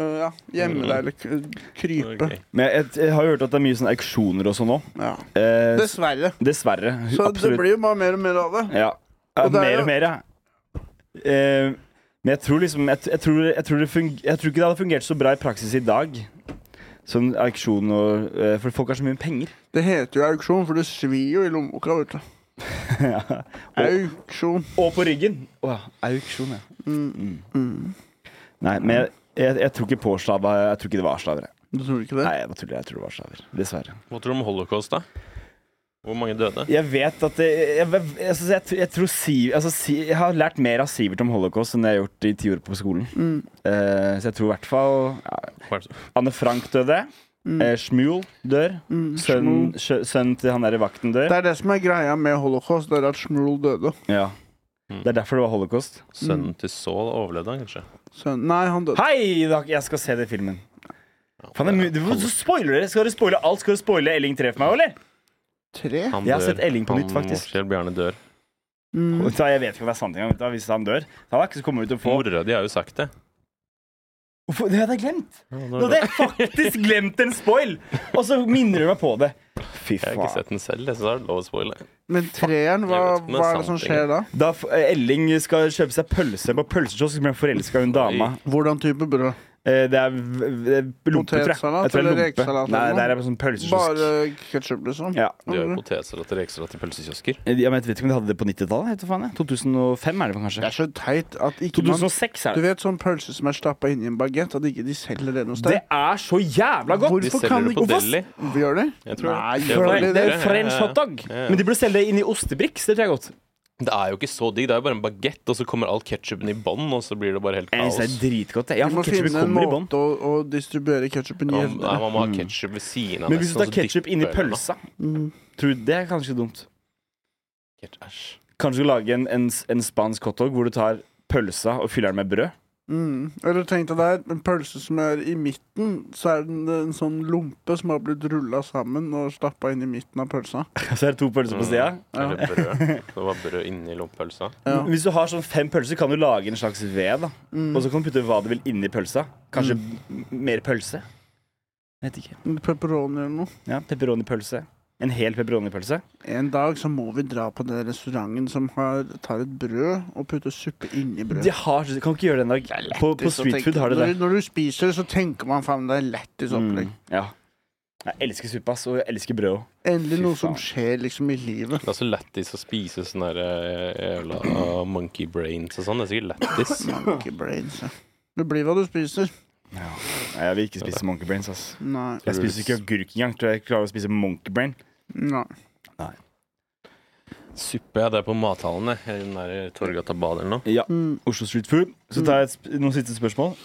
A: øh, ja, gjemme deg eller k- krype.
B: Ok.
C: Men jeg, jeg har jo hørt at det er mye sånne auksjoner og sånn òg.
A: Ja.
C: Eh,
A: Dessverre.
C: dessverre.
A: Så
C: absolutt.
A: det blir jo bare mer og mer av det.
C: Ja.
A: Og det er
C: mer
A: jo-
C: og mer, ja. Eh, men jeg tror liksom jeg, jeg, tror, jeg, tror det fung- jeg tror ikke det hadde fungert så bra i praksis i dag. Sånn auksjon og eh, For folk har så mye penger.
A: Det heter jo auksjon, for det svir jo i lommeboka. vet du.
C: Ja.
A: Auksjon.
C: Og på ryggen. Å, ja. auksjon, ja.
A: Mm. Mm.
C: Nei, men jeg, jeg, jeg tror ikke påslava Jeg tror ikke det var slaver. jeg.
A: Du tror ikke det?
C: Nei, jeg bare tuller. Jeg tror det var slaver. Dessverre.
B: Hva tror du om holocaust, da? Hvor mange døde?
C: Jeg vet at det, jeg, jeg, altså, jeg, tr- jeg tror Siv, altså, Si- Jeg har lært mer av Sivert om holocaust enn jeg har gjort i ti år på skolen.
A: Mm.
C: Eh, så jeg tror i hvert fall ja,
B: Hva er det-
C: Anne Frank døde.
A: Mm.
C: Eh, Shmuel dør.
A: Mm.
C: Sønnen
A: Shmuel.
C: sjø- sønnen til han der i vakten dør.
A: Det er det som er greia med holocaust, det er at Shmuel døde.
C: Ja.
B: Mm.
C: Det er derfor det var holocaust.
B: Sønnen til Saul overlevde han, kanskje?
A: Sønnen. Nei, han døde.
C: Hei! da- Jeg skal se den filmen. Faen, det er mu- du, du spoiler det. Skal du spoile alt? Skal du spoile Elling 3 for meg, eller?
A: Tre?
B: Han
C: Jeg har
B: dør.
C: sett Elling på
B: Han-
C: nytt, faktisk.
B: Kjell Bjarne dør.
A: Mm.
C: Vet du hva, Jeg vet ikke om det er sant engang. vet du hva, Hvis han dør Han er ikke så kommet ut og få
B: Mora di har jo sagt det.
C: Hvorfor? Det hadde jeg glemt!
B: Ja,
C: Nå hadde jeg faktisk glemt en spoil! Og så minner du meg på det. Fy
B: Jeg har ikke
C: faen.
B: sett den selv, så da er det lov å spoile.
A: Men treeren, hva,
B: Jeg vet ikke om det er
A: hva er det som
B: sant,
A: skjer da?
C: Da f- eh, Elling skal kjøpe seg pølse på pølsekiosk, blir han forelska i hun dama.
A: Hvordan type brød?
C: Eh, Det er v- v- lompe, tror jeg. jeg.
A: Potetsalat
C: tror det er
A: eller
C: lompe.
A: rekesalat
C: Nei,
A: eller
C: det
A: noe?
C: er bare sånn pølsekiosk.
A: Bare ketsjup, liksom?
C: Ja.
B: De har jo potetsalat og rekesalat i pølsekiosker.
C: Eh, ja, men Jeg vet ikke om de hadde det på 90-tallet. vet du faen jeg. 2005 er det
A: Det
C: vel kanskje?
A: er så teit at ikke man
C: 2006
A: Du
C: er det.
A: vet sånn pølse som er stappa inni en bagett, at ikke de selger det noe
C: Det
A: sted?
C: er så jævla godt!
A: Hvorfor
B: De selger
A: kan
B: det
A: ikke
B: på
A: Hvorfor-
B: deli.
A: Gjør de?
B: Jeg tror
A: Nei,
B: det.
A: gjør de
B: Jeg får-
C: Det er
B: Ja, ja,
C: jo french
B: ja.
C: hotdog.
B: Ja, ja.
C: Men de burde selge det inn i ostebriks. Det tror jeg er godt.
B: Det er jo ikke så digg. Det er jo bare en bagett, og så kommer all ketsjupen i bånn, og så blir det bare helt
C: Jeg
B: kaos.
C: synes det er dritgodt. jeg. Ja,
A: Vi må
C: for ketchup
A: finne en
C: kommer i bånn.
A: måte å, å distribuere ketsjupen
B: Ja,
A: i.
B: man- Nei, man må ha ketsjup ved siden av
C: Mm. Men
B: nesten,
C: hvis du tar
B: og så
C: ketsjup
B: dypper
C: inni
B: eller noe.
C: pølsa,
A: Mm.
C: tror du det er kanskje dumt?
B: Ketchup, Æsj.
C: Kanskje du lager en, en, en spansk hotdog hvor du tar pølsa og fyller den med brød? <laughs>
A: Mm. Eller tenk deg der, en pølse som er i midten, så er den en sånn lompe som har blitt rulla sammen og stappa inn i midten av pølsa.
C: Så er det to pølser
B: Mm.
C: på sida?
B: Eller brød. Det var brød inni lommepølsa.
C: <laughs>
A: Ja. Mm.
C: Hvis du har sånn fem pølser, kan du lage en slags ved. da Og så kan du putte hva du vil inni pølsa. Kanskje m- mer pølse. Jeg vet ikke.
A: Pepperoni eller noe.
C: Ja, Pepperoni-pølse. En hel pepperoni-pølse.
A: En dag så må vi dra på den restauranten som har, tar et brød og putter suppe inni
C: De
A: brød.
C: har så- Kan ikke gjøre det en dag. På, på
A: Så tenker-
C: street food har de det.
A: Når, når du spiser det, så tenker man faen det er lættis opplegg.
C: Mm, ja. Jeg elsker suppe, ass. Og jeg elsker brød òg.
A: Endelig
C: Fy
A: noe som
C: faen.
A: skjer liksom i
C: <laughs>
A: livet.
B: Det er så lættis å spise sånne der, eh, jævla ah, monkey brains og sånn. Det er sikkert lættis.
A: Monkey brains, ja. Det blir hva du spiser.
C: Nei, Jeg vil ikke spise monkey brains, ass.
A: Nei.
C: Jeg spiser ikke agurk engang. Tror jeg klarer å spise monkey brain.
A: Nei.
B: Suppe, ja. Det er på mathallen, det. I Den der Torgata bad eller noe.
C: Ja.
A: Mm.
C: Oslo Street Food. Så tar jeg et, sp- noen siste spørsmål.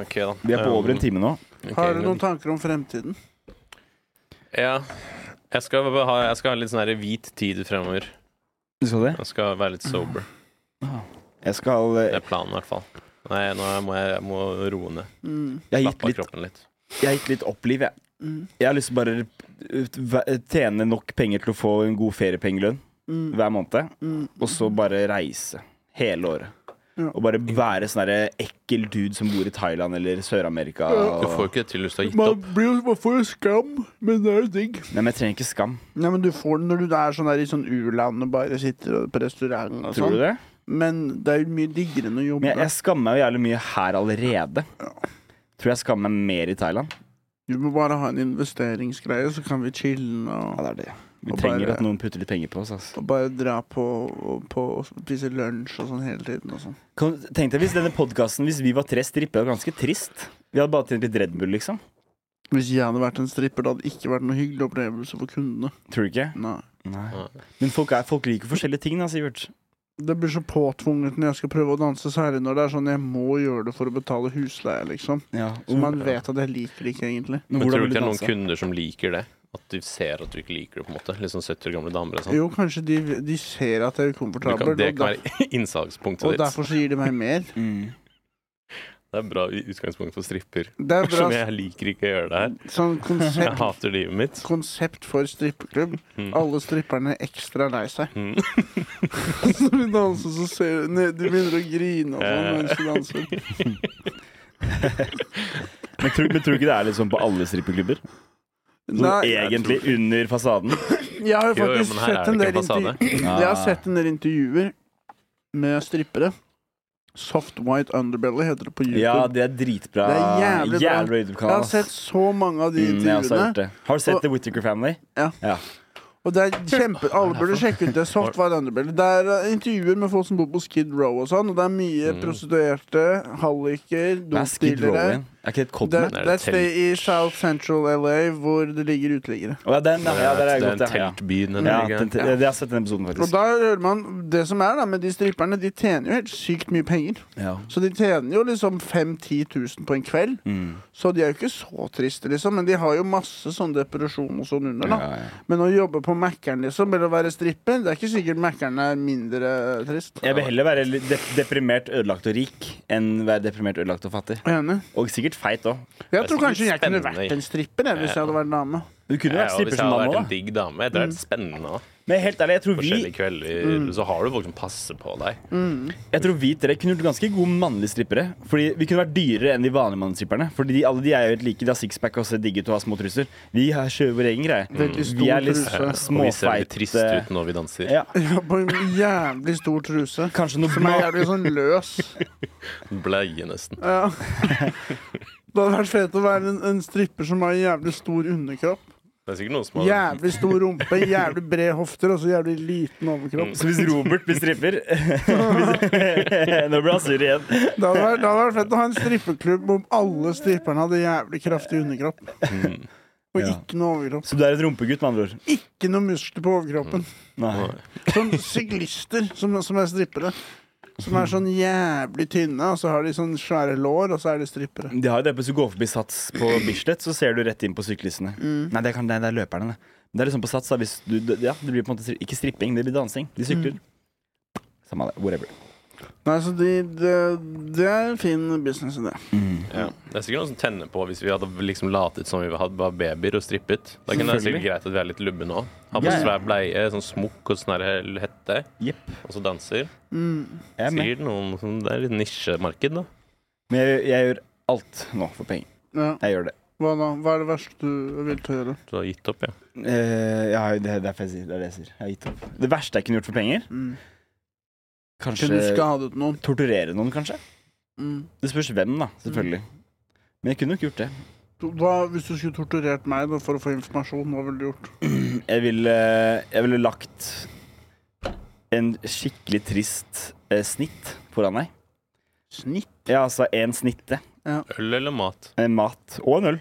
B: Ok, da.
C: Vi er på over en time nå.
B: Ok,
A: Har du
B: men-
A: noen tanker om fremtiden?
B: Ja. Jeg skal ha, jeg skal ha litt sånn her hvit tid fremover.
C: Du skal det?
B: Jeg skal være litt sober.
C: Jeg skal eh,
B: Det er planen, i hvert fall. Nei, nå må jeg, jeg må roe ned.
A: Mm.
C: Jeg har gitt
B: Slappe av
C: litt,
B: kroppen litt.
C: jeg har gitt litt opp liv, jeg.
A: Mm.
C: Jeg har lyst til å bare ut- væ- tjene nok penger til å få en god feriepengelønn
A: Mm.
C: hver måned,
A: Mm.
C: og så bare reise hele året.
A: Ja.
C: Og bare være sånn derre ekkel dude som bor i Thailand eller Sør-Amerika.
B: Du får jo
C: Og...
B: ikke til hvis du har gitt
A: Man,
B: opp.
A: blir, jo- man får jo skam, men det er jo digg.
C: Nei, men jeg trenger ikke skam.
A: Nei, men Du får den når du er sånn der i sånn u-land og bare sitter og- på restaurant og
C: Tror du
A: sånn.
C: det?
A: Men det er jo mye diggere enn å jobbe.
C: Men jeg, jeg skammer meg jo jævlig mye her allerede. Tror jeg skammer meg mer i Thailand.
A: Du må bare ha en investeringsgreie, så kan vi chille og
C: Ja, det er det. Vi
A: Og
C: trenger
A: bare-
C: at noen putter litt penger på oss. ass.
A: Og bare dra på, på og spise lunsj og sånn hele tiden. Og sånn.
C: Kan- Tenk deg hvis denne podkasten, hvis vi var tre strippere, var ganske trist. Vi hadde bare tjent litt Red Bull, liksom.
A: Hvis jeg hadde vært en stripper, det hadde ikke vært noe hyggelig opplevelse for kundene.
C: Tror du ikke?
A: Nei.
C: Nei. Men folk, er, folk liker forskjellige ting, da, Sivert.
A: Det blir så påtvunget når jeg skal prøve å danse, særlig når det er sånn jeg må gjøre det for å betale husleie, liksom.
C: Ja,
A: Så
B: Oh,
A: man vet at jeg liker det ikke, egentlig.
C: Men
B: Men
C: hvordan
B: tror du ikke
C: vil du
B: det er noen
C: danse?
B: kunder som liker det? At de ser at du ikke liker det, på en måte? Litt sånn 70 år gamle damer og sånn.
A: Jo, kanskje de, de ser at jeg er
B: Du
A: ukomfortabel,
B: kan, det
A: og, der,
B: kan være <laughs> innsalgspunktet
A: og
B: ditt.
A: derfor så gir de meg mer.
C: Mm.
B: Det er bra i- utgangspunkt for stripper.
A: Det er bra
B: Som jeg liker ikke å gjøre
C: <laughs>
B: det her. <laughs>
A: sånn
B: Jeg
A: konsept,
B: hater livet mitt.
A: konsept for strippeklubb.
B: Mm.
A: Alle stripperne er ekstra lei seg.
B: Mm.
A: <laughs> Så de danser, så ser de ned, De begynner å grine og sånn mens de danser.
C: <laughs> Men, tror, men tror du ikke det er litt sånn på alle strippeklubber? Sånn
A: Nei,
C: egentlig under
B: <laughs>
C: fasaden?
A: jeg har jo
B: Jo, jo,
A: faktisk
B: men her er
A: sett
B: det
A: en
B: ikke
A: del
B: en fasade.
A: intervju- Jeg har sett en del intervjuer med strippere. Soft White Underbelly heter det på YouTube.
C: Ja, det er dritbra.
A: Det er jævlig bra.
C: Jævlig
A: jeg har
C: YouTube-kanal.
A: sett så mange av de
C: Mm, jeg har også
A: intervjuene.
C: hørt det. Har du sett
A: Og-
C: The Whittaker Family?
A: Og det er kjempe Alle burde sjekke ut det. Soft White Underbelly. Det er eh, intervjuer med folk som bor på Skid Row og sånn, og det er mye
B: Mm.
A: prostituerte, halliker,
C: Hva er Skid Row
A: dopdealere.
C: igjen? Er ikke det et
A: Det,
C: Codman?
B: Det er
A: det er
B: et
A: et sted i South Central LA hvor det ligger uteliggere.
C: Å, ja, den, ja, ja, der
B: det er
C: er
B: en
C: godt, ja.
B: teltby den
C: Ja,
B: der, ikke?
C: den, te- jeg har sett den episoden,
A: Og
C: faktisk.
A: da hører man Det som er da med de stripperne, de tjener jo helt sykt mye penger.
C: Ja.
A: Så de tjener jo liksom 5000-10 000 på en kveld.
C: Mm.
A: Så de er jo ikke så triste, liksom. Men de har jo masse sånn depresjon og sånn under, da.
C: Ja, ja.
A: Men å jobbe på Mækkern, liksom, eller å være stripper, det er ikke sikkert Mækkern er mindre trist.
C: Jeg vil heller være litt dep deprimert, ødelagt og rik enn være deprimert, ødelagt og fattig.
A: Enig.
C: Og sikkert feit òg.
A: Jeg tror
B: sikkert
A: kanskje jeg kunne
B: spennende.
A: vært en stripper jeg, hvis jeg hadde vært dame.
C: Du kunne
B: Ja,
C: vært
B: og hvis
C: stripper
B: jeg
C: som
B: hadde vært en
C: mann òg, da. Mm.
B: digg dame, det er litt spennende. da.
C: Men helt ærlig, jeg tror vi,
B: Forskjellige kvelder,
C: Mm.
B: så har du folk som passer på deg.
C: jeg tror vi tre kunne vært ganske gode mannlige strippere. Fordi vi kunne vært dyrere enn de vanlige mannestripperne. Fordi de, alle de er jo helt like. De har sixpack og ser digge ut og har små truser. Vi har kjører vår egen greie.
A: Veldig stor
C: Vi er litt
A: truse.
B: Og vi ser litt triste
C: småfeite.
B: ut når vi danser.
C: eh, Ja.
A: Ja, på en jævlig stor truse.
C: Kanskje noe
A: Som er
C: mat.
A: jævlig sånn løs.
B: Bleie, nesten.
A: Ja. <laughs> Det hadde vært fett å være en, en stripper som har en jævlig stor underkropp.
B: Det er sikkert noen som har
A: Jævlig stor rumpe, jævlig bred hofter og så jævlig liten overkropp.
C: Så hvis Robert blir stripper <laughs> hvis- Nå blir han sur igjen.
A: Det hadde vært, det hadde vært fett å ha en strippeklubb hvor alle stripperne hadde jævlig kraftig underkropp. Og
C: Ja.
A: ikke noe overkropp.
C: Så du er et rumpegutt, med andre ord?
A: Ikke noe muskler på overkroppen.
C: Nei.
A: Sånn syklister som, som er strippere. Som er sånn jævlig tynne, og så har de sånn svære lår, og så er de strippere.
C: De har jo det, Hvis du går forbi Sats på Bislett, så ser du rett inn på syklistene.
A: Mm.
C: Nei, det, kan, nei, det er løperne. det. Men det er liksom på Sats, da. Hvis du, det- ja, det blir på en måte stri- ikke stripping, det blir dansing. De sykler.
A: Mm.
C: Samme det. Whatever.
A: Nei, så de, det, det er en fin businessidé.
B: Ja. Det er sikkert noen som tenner på hvis vi hadde liksom latet som vi hadde var babyer og strippet. Da kan det være sikkert greit at vi er litt lubbe nå. Ha på
C: Ja, ja.
B: svær bleie, sånn smokk og sånn her hette,
C: Jepp.
B: og så danser.
A: Mm.
C: Jeg er med.
B: Sikkert noen som Det er litt nisjemarked, da.
C: Men jeg, jeg gjør alt nå for penger.
A: Ja.
C: Jeg gjør det.
A: Hva da? Hva er det verste du vil til å gjøre?
B: Du har gitt opp, ja.
C: Eh, jeg har jo- det, er derfor jeg sier, det er det jeg sier. Jeg har gitt opp. Det verste jeg kunne gjort for penger?
A: Mm. Kunne du
C: Kanskje
A: skadet noen?
C: torturere noen, kanskje?
A: Mm.
C: Det spørs hvem, da. Selvfølgelig. Men jeg kunne nok gjort det.
A: Hva, hvis du skulle torturert meg da, for å få informasjon, hva ville du gjort?
C: Jeg ville, jeg ville lagt en skikkelig trist eh, snitt foran deg.
A: Snitt?
C: Ja, altså en snitte.
B: Øl eller mat?
C: En mat. Og en øl.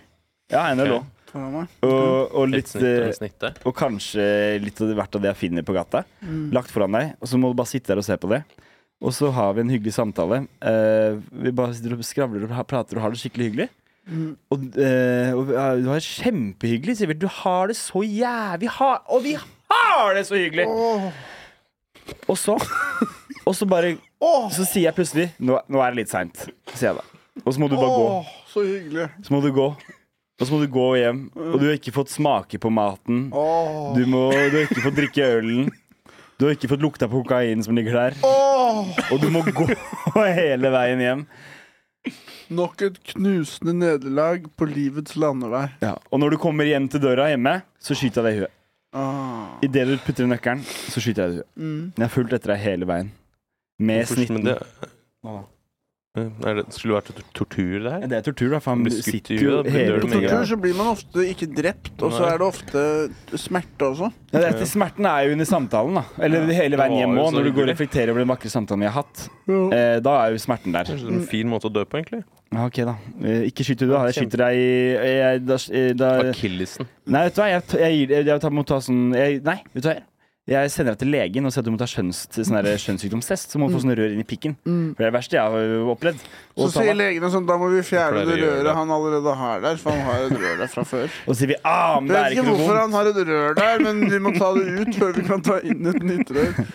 C: Ja, en øl
B: Ok. Mm.
C: òg.
A: Foran meg?
C: Og, og,
B: Litt
C: litt,
B: snitt
C: eh,
B: eller snitte?
C: og kanskje litt av det- hvert av det jeg finner på gata.
A: Mm.
C: Lagt foran deg. Og så må du bare sitte der og se på det. Og så har vi en hyggelig samtale. Eh, vi bare sitter og skravler og ha- prater og har det skikkelig hyggelig.
A: Mm.
C: Og, eh, og vi har- du har det kjempehyggelig, Sivert. Du har det så jævlig har, Og vi har det så hyggelig!
A: Åh.
C: Og så Og så bare Så sier jeg plutselig Nå, nå er det litt seint, sier jeg da. Og så må du bare gå.
A: Åh, så hyggelig.
C: Så må du gå. Og så må du gå hjem. Og du har ikke fått smake på maten.
A: Åh.
C: Du, må, du har ikke fått drikke ølen. Du har ikke fått lukta på kokainen som ligger der.
A: Åh.
C: Og du må gå <laughs> hele veien hjem.
A: Nok et knusende nederlag på livets landevei.
C: Og når du kommer hjem til døra hjemme, så skyter jeg deg i huet.
A: Ah.
C: Idet du putter i nøkkelen, så skyter jeg deg i huet.
A: Mm.
C: Jeg har fulgt etter deg hele veien. Med
B: Først, men
C: snitten.
B: det, Er det, skulle det vært tor- tortur, det her?
A: Mm.
C: Det er tortur, da. For han
B: Blir skutt i
C: sitter jo
B: huet, da,
C: hele
A: På
B: dør med en gang.
C: tiden.
A: tortur så blir man ofte ikke drept, og så
B: Nei.
A: er det ofte smerte også.
C: Ja, det, er- smerten er jo under samtalen, da. Eller hele veien
B: Det var
C: hjem
B: jo
C: òg,
B: så
C: når du går og
B: hyggelig.
C: reflekterer over den vakre samtalen vi har hatt. Eh, da er jo smerten der.
B: Kanskje det er en sånn fin måte å dø på, egentlig.
C: Ja, OK, da. Eh, ikke skyter du, da. Jeg skyter deg i jeg, da, eh, da,
B: Akillesen.
C: Nei, vet du hva. Jeg, jeg, gir- jeg, jeg tar- må ta sånn jeg, Nei, vet du hva. Jeg sender deg til legen og sier at du må ta kjønns, sånn der kjønnssykdomstest. Så må du få sånne rør inn i pikken. For det er det verste jeg har eh, opplevd.
A: Mm. Så
C: Og så,
A: sier legene sånn, da må vi fjerne
B: Jeg pleier å
A: det
B: gjøre det.
A: røret han allerede har der, for han har et rør der fra før.
C: og så sier vi ah,
A: Jeg
C: men det er
A: vet
C: ikke
A: ikke
C: noe
A: hvorfor
C: vondt.
A: han har et rør der, men vi må ta det ut før vi kan ta inn et nytt
B: <laughs>
A: rør.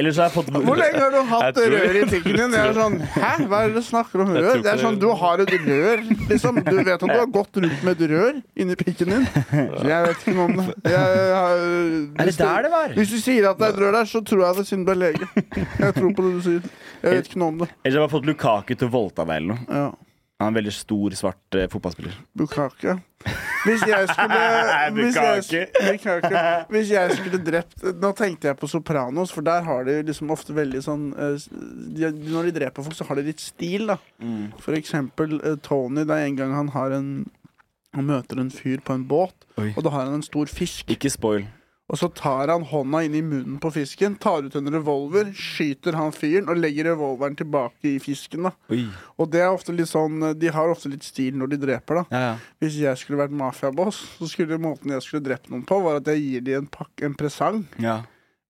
C: Eller så har jeg fått
A: Hvor lenge har du hatt
B: Jeg tror-
A: rør i tikken din? Jeg er sånn, hæ, hva er det du snakker om rør?
B: tror ikke
A: Det er sånn,
B: det-
A: du har et rør, liksom. Du vet at du har gått rundt med et rør inni pikken din. Så jeg vet ikke noe om det. Jeg, har...
C: Er det der det var?
A: Hvis du sier at det er et rør der, så tror jeg det siden du er lege. Jeg tror på det du sier. Jeg vet ikke noe om det.
C: Eller så har jeg fått Lukaku til å voldta deg eller noe.
A: Ja.
C: Han er en veldig stor, svart eh, fotballspiller.
A: Bukake. Hvis jeg skulle hvis jeg, Bukake. hvis jeg skulle drept Nå tenkte jeg på Sopranos, for der har de liksom ofte veldig sånn eh, s- de, Når de dreper folk, så har de litt stil, da. For eksempel eh, Tony. Det er en gang han har en Han møter en fyr på en båt,
C: Oi.
A: og da har han en stor fisk.
C: Ikke spoil.
A: Og så tar han hånda inn i munnen på fisken, tar ut en revolver, skyter han fyren og legger revolveren tilbake i fisken. da
C: Oi.
A: Og det er ofte litt sånn eh, de har ofte litt stil når de dreper, da.
C: Ja, ja.
A: Hvis jeg skulle vært mafiaboss, så skulle måten jeg skulle drept noen på, var at jeg gir dem en, pakk- en presang
C: ja.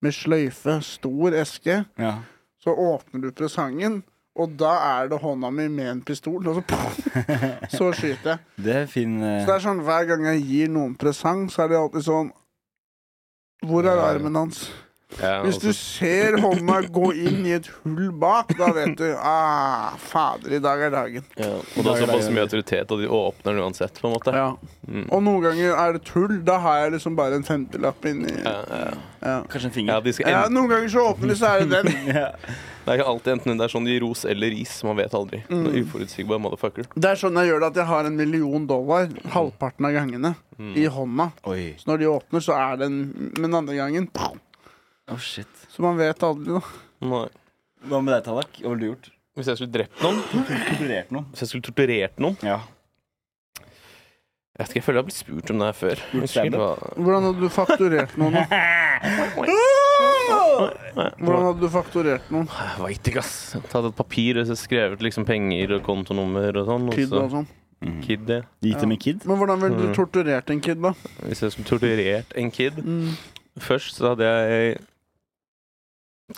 A: med sløyfe, stor eske.
C: ja.
A: Så åpner du presangen, og da er det hånda mi med en pistol, og så <laughs> Så skyter jeg.
C: Det er fin eh,
A: Så det er sånn hver gang jeg gir noen presang, så er det alltid sånn Hvor er armen hans?
B: Ja,
A: Hvis du
B: altså,
A: ser hånda gå inn i et hull bak, da vet du Ah, fader, i dag er dagen.
B: ja. Og det er såpass mye autoritet, og de åpner den uansett, på en måte.
A: Ja.
B: Mm.
A: Og noen ganger er det tull. Da har jeg liksom bare en femtilapp inni
B: Ja, ja.
A: ja.
C: Kanskje en
B: ja,
C: finger.
B: de skal
A: Ja,
B: en...
A: noen ganger så åpner de, så er det den.
C: Ja.
B: Det er ikke alltid enten det er sånn de gir ros eller ris. Man vet aldri. Noen
A: Mm.
B: Uforutsigbar motherfucker.
A: Det er sånn jeg gjør det at jeg har en million dollar halvparten av gangene i hånda.
C: Oi.
A: Så når de åpner, så er det en Men andre gangen pow!
C: Oh, shit.
A: Så man vet aldri, da.
B: Nei.
C: Hva med deg, Tallak? Hva ville du gjort?
B: Hvis jeg skulle drept noen,
C: Torturert noen?
B: hvis jeg skulle torturert noen
C: Sånn. Ja.
B: Jeg vet ikke, jeg føler jeg har blitt spurt om det her før. Jeg husker ikke hva-
A: Hvordan hadde du fakturert noen, da? Hvordan hadde du fakturert noen?
B: Jeg veit ikke, ass. Tatt et papir og så skrevet liksom penger og kontonummer og sånn. og
A: Kid
B: så-
A: og sånn.
B: Kid, ja.
C: Gitt dem en Mm. kid?
A: Men hvordan ville du torturert en kid, da?
B: Hvis jeg skulle torturert en kid Først så hadde jeg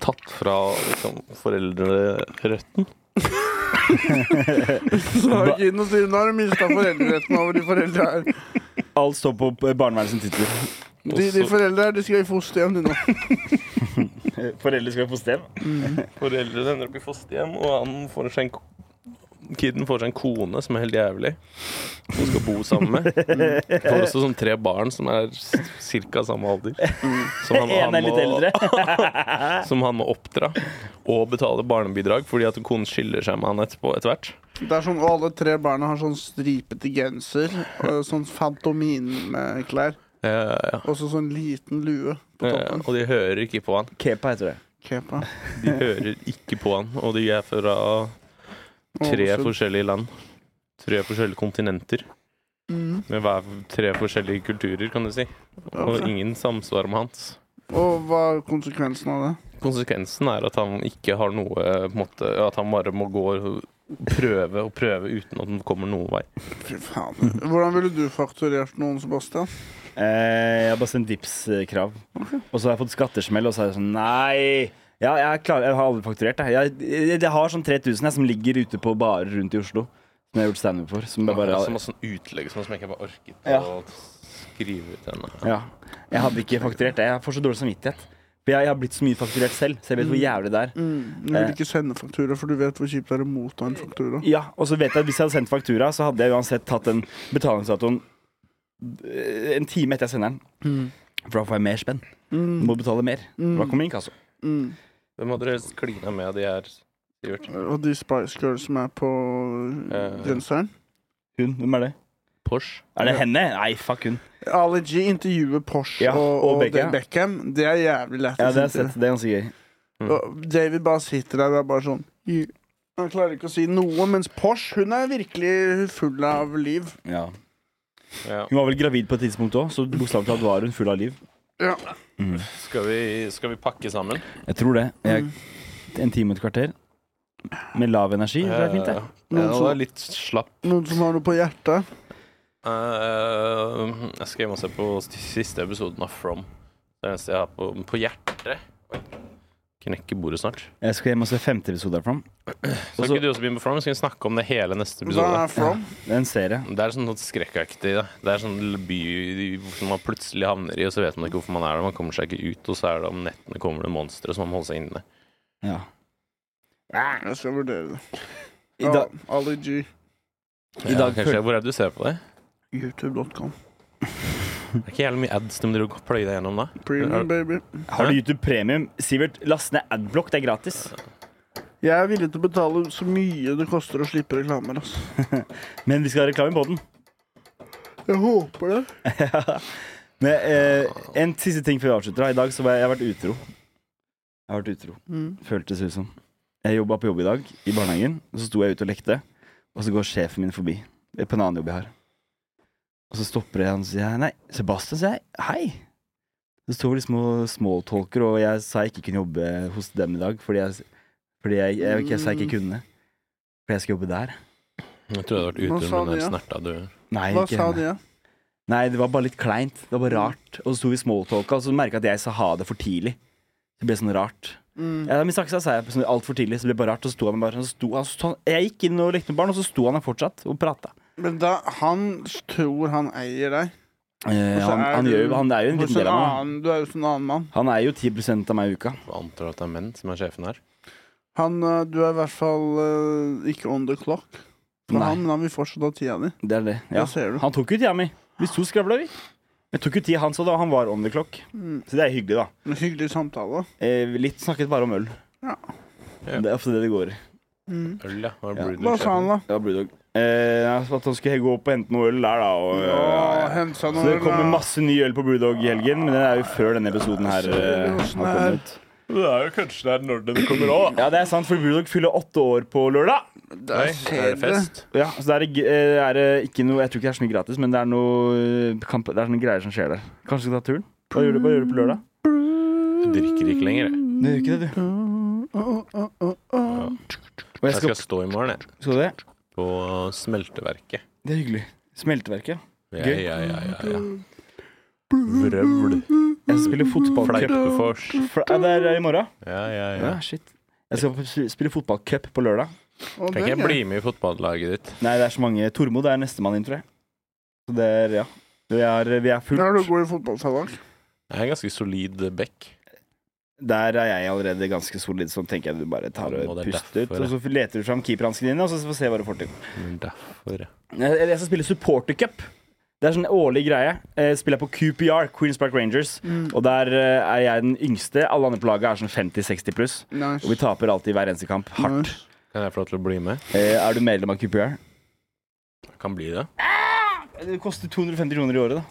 B: tatt fra liksom, foreldreretten.
A: <laughs> Så har kiden og sier nå har du mista foreldreretten over de foreldra her.
C: Alt står på barnevernets titler.
A: De, de foreldra her, de skal i fosterhjem, de nå.
C: Eh, Foreldre skal på fosterhjem.
B: Foreldrene ender opp i fosterhjem, og han får seg en ko- Kiden får seg en kone som er helt jævlig, som skal bo sammen med.
C: Mm.
B: Får også sånn tre barn som er ca. samme alder. Som han,
C: En er litt
B: må,
C: eldre.
B: som han må oppdra. Og betale barnebidrag, fordi at konen skiller seg med han etterpå etter hvert.
A: Det er sånn, Og alle tre barna har sånn stripete genser og sånn fantominklær.
B: Ja, Eh, ja,
A: Og så sånn liten lue på
B: ja.
A: toppen.
B: Og de hører ikke på han.
C: Kepa heter det.
A: Kepa.
B: De hører ikke på han, og de er fra tre
A: Ålesund.
B: forskjellige land. Tre forskjellige kontinenter.
A: Mm.
B: Med hver tre forskjellige kulturer, kan du si. Og
A: Ok.
B: ingen samsvar med hans.
A: Og hva er konsekvensen av det?
B: Konsekvensen er at han ikke har noe på en måte, At han bare må gå og prøve og prøve uten at han kommer noen vei.
A: Fy faen. Hvordan ville du fakturert noen, Sebastian?
C: Eh, jeg har bare sendt Vipps-krav. Og så har jeg fått skattesmell, og så er jeg sånn Nei! Ja, jeg, er klar, jeg har aldri fakturert. Jeg, jeg, jeg, jeg har sånn 3000 jeg, som ligger ute på barer rundt i Oslo. Som jeg har gjort standup for. Som jeg
B: Bare,
C: bare
B: så masse sånn utlegg som jeg ikke bare orket
C: Ja.
B: å skrive ut ennå.
C: ja, Jeg hadde ikke fakturert det. Jeg får så dårlig samvittighet. For jeg, jeg har blitt så mye fakturert selv, så jeg vet hvor jævlig det er.
A: Mm. Du vil ikke sende faktura, for du vet hvor kjipt det er å motta en faktura.
C: Ja, og så vet jeg at Hvis jeg hadde sendt faktura, så hadde jeg uansett tatt den betalingsdatoen eh, en time etter jeg sender den. For da får jeg mer spenn. Må betale mer. Da kommer inkasso.
A: Mm.
B: Hvem hadde dere helst klina med de her, Sivert?
A: Og de Spice Girls som er på
B: Eh.
A: genseren.
C: Hun, hvem er det?
B: Porsche?
C: Er det henne? Nei, fuck hun.
A: Ali G intervjuer Porsche
C: Ja,
A: og, og,
C: og
A: Beckham.
C: Beckham.
A: Beckham. Det er jævlig lættis.
C: Ja, det har jeg
A: intervju.
C: sett. Det er ganske gøy.
A: Og David bare sitter der og er bare sånn "You- Han klarer ikke å si noe, mens Porsche hun er virkelig full av liv.
C: Ja.
B: Ja.
C: Hun var vel gravid på et tidspunkt òg, så bokstavelig talt var hun full av liv.
A: Ja.
B: Skal, vi, skal vi pakke sammen?
C: Jeg tror det. Jeg, en time og et kvarter. Med lav energi. Mm. Det er fint, det.
B: Eh, ja, det var litt slapp.
A: Noen som har noe på hjertet?
B: Eh, jeg skrev masse på st- siste episoden av From. Det er det eneste jeg har på, på hjertet. Oi. Knekker bordet snart.
C: Jeg skal hjem og se femte episode derfra.
B: Skal ikke du også begynne med From? Skal vi snakke om det hele neste
A: Hva
B: episode?
A: er from?
C: Det er en serie.
B: Det er sånn noe skrekkaktig. Da. Det er sånn by som man plutselig havner i, og så vet man ikke hvorfor man er der. Man kommer seg ikke ut, og så er det om nettene kommer det monstre som man må holde seg inne.
C: Ja. Ah.
A: Jeg skal vurdere det.
C: I, da,
A: Ja, Ali G.
C: I dag
B: kanskje,
C: føl-
B: Hvor er det du ser på det?
A: YouTube.com.
B: Det er ikke jævlig mye ads de driver og pløyer deg gjennom da.
A: Premium, baby.
C: har du YouTube Premium? Sivert, last ned Adblock. Det er gratis.
A: Jeg er villig til å betale så mye det koster å slippe reklamer. Altså.
C: Men vi skal ha reklame på den. <laughs>
A: Jeg håper det.
C: Men, eh, en siste ting før vi avslutter. da. I dag så har jeg, jeg har vært utro. Jeg har vært utro.
A: Mm.
C: Føltes ut som. Jeg jobba på jobb i dag, i barnehagen. Og så sto jeg ute og lekte, og så går sjefen min forbi. Det er På en annen jobb jeg har. Og så stopper jeg han og sier jeg, Nei, Sebastian, sier jeg. Hei. Så står vi liksom og smalltalker, og jeg sa jeg ikke kunne jobbe hos dem i dag fordi jeg, fordi jeg, jeg, jeg sa jeg ikke kunne. Fordi jeg skal jobbe der.
B: Jeg tror jeg hadde vært
A: Hva
B: ute
A: sa
B: med den
A: de, ja?
B: snerta du
C: Nei,
A: Hva
C: ikke
A: sa
C: henne.
A: de, da?
C: Nei, det var bare litt kleint. Det var bare rart. Og så sto vi smalltalka, og så merka jeg at jeg sa ha det for tidlig. Det ble sånn rart.
A: Mm.
C: Ja, men saksa sa jeg sånn altfor tidlig, så det ble bare rart. Og så sto han bare sånn, så sto, han, så sto han, Jeg gikk inn og lekte med barn, og så sto han der fortsatt og prata.
A: Men da, han tror han eier deg.
C: Eh,
A: Og så
C: han,
A: er
C: han,
A: du
C: gjør jo- han er jo en
A: hos
C: liten del av meg.
A: annen- Du er jo hos en annen mann.
C: Han er jo 10 av meg i uka.
B: antar at det er menn som er sjefen her.
A: Han, øh, du er i hvert fall øh, ikke on the clock. For
C: Nei.
A: han, men han vil fortsatt ha tida di.
C: Det er det.
A: Det
C: Ja.
A: ser du.
C: Han tok jo tida mi. Vi sto og skravla, vi. Jeg tok jo tida hans, og da han var on the clock.
A: Mm.
C: Så det er hyggelig, da.
A: En hyggelig samtale.
C: Eh, litt snakket bare om øl.
A: Ja.
C: Det er ofte det det går i.
A: Mm.
B: Øl, ja. Hva
C: Ja.
B: blir du
A: Hva sa han, da?
C: Ja, Brewdog. Eh, at han skulle gå opp og hente noe øl der, da. Og, eh,
A: Å, hent seg
C: Så
A: noe
C: det kommer
A: da.
C: masse ny øl på Brewdog i helgen, men den er jo før denne episoden her eh, har
A: Åssen er-
C: kommet ut.
B: Det er jo kanskje det er når den kommer òg.
C: Ja, det er sant, for Brewdog fyller åtte år på lørdag.
B: Oi,
A: Der
B: er
A: ser
B: det
A: du.
B: fest?
C: Ja, så det er, g- eh, er det ikke noe Jeg tror ikke det er så mye gratis, men det er noe eh, kamp, Det er sånne greier som skjer der. Kanskje du skal ta turen? Hva gjør du, hva gjør du på lørdag?
B: Jeg drikker ikke lenger, jeg.
C: Du gjør ikke det, du. Og jeg
B: Jeg
C: skal,
B: skal stå i morgen, jeg.
C: skal du det?
B: På smelteverket.
C: Det er hyggelig. Smelteverket.
B: Ja,
C: Gøy.
B: ja, ja, ja, ja. Vrøvl.
C: Jeg spiller fotballcup.
B: Fleipefors.
C: Fla- Ja, det er eh, i morgen?
B: Ja, ja, ja.
C: Ja, shit. Jeg skal f- spille fotballcup på lørdag.
A: Å,
B: Kan
A: det
B: ikke
A: er
B: jeg
A: gøy.
B: bli med i fotballaget ditt?
C: Nei, det er så mange. Tormod er nestemann inn, tror jeg. Så det er, ja. Vi er, vi er fullt.
A: Ja, du går i fotballsalong.
B: Jeg er en ganske solid bekk.
C: Der er jeg allerede ganske solid, så tenker jeg du bare tar
B: Og
C: og
B: det er
C: puster ut.
B: derfor,
C: Og så leter du fram keeperhanskene dine, og så får vi se hva du får til.
B: Men Derfor, ja.
C: Jeg, jeg skal spille supportercup. Det er sånn årlig greie. Eh, Spiller jeg på QPR, Queens Park Rangers. Og der eh, er jeg den yngste. Alle andre på laget er sånn 50-60 pluss.
A: Nice.
C: Og vi taper alltid hver eneste kamp. Hardt.
A: Nice.
B: Kan jeg få lov til å bli med?
C: Eh, Er du medlem av QPR?
B: Jeg kan bli det.
C: Eh, Det koster 250 kroner i året, da.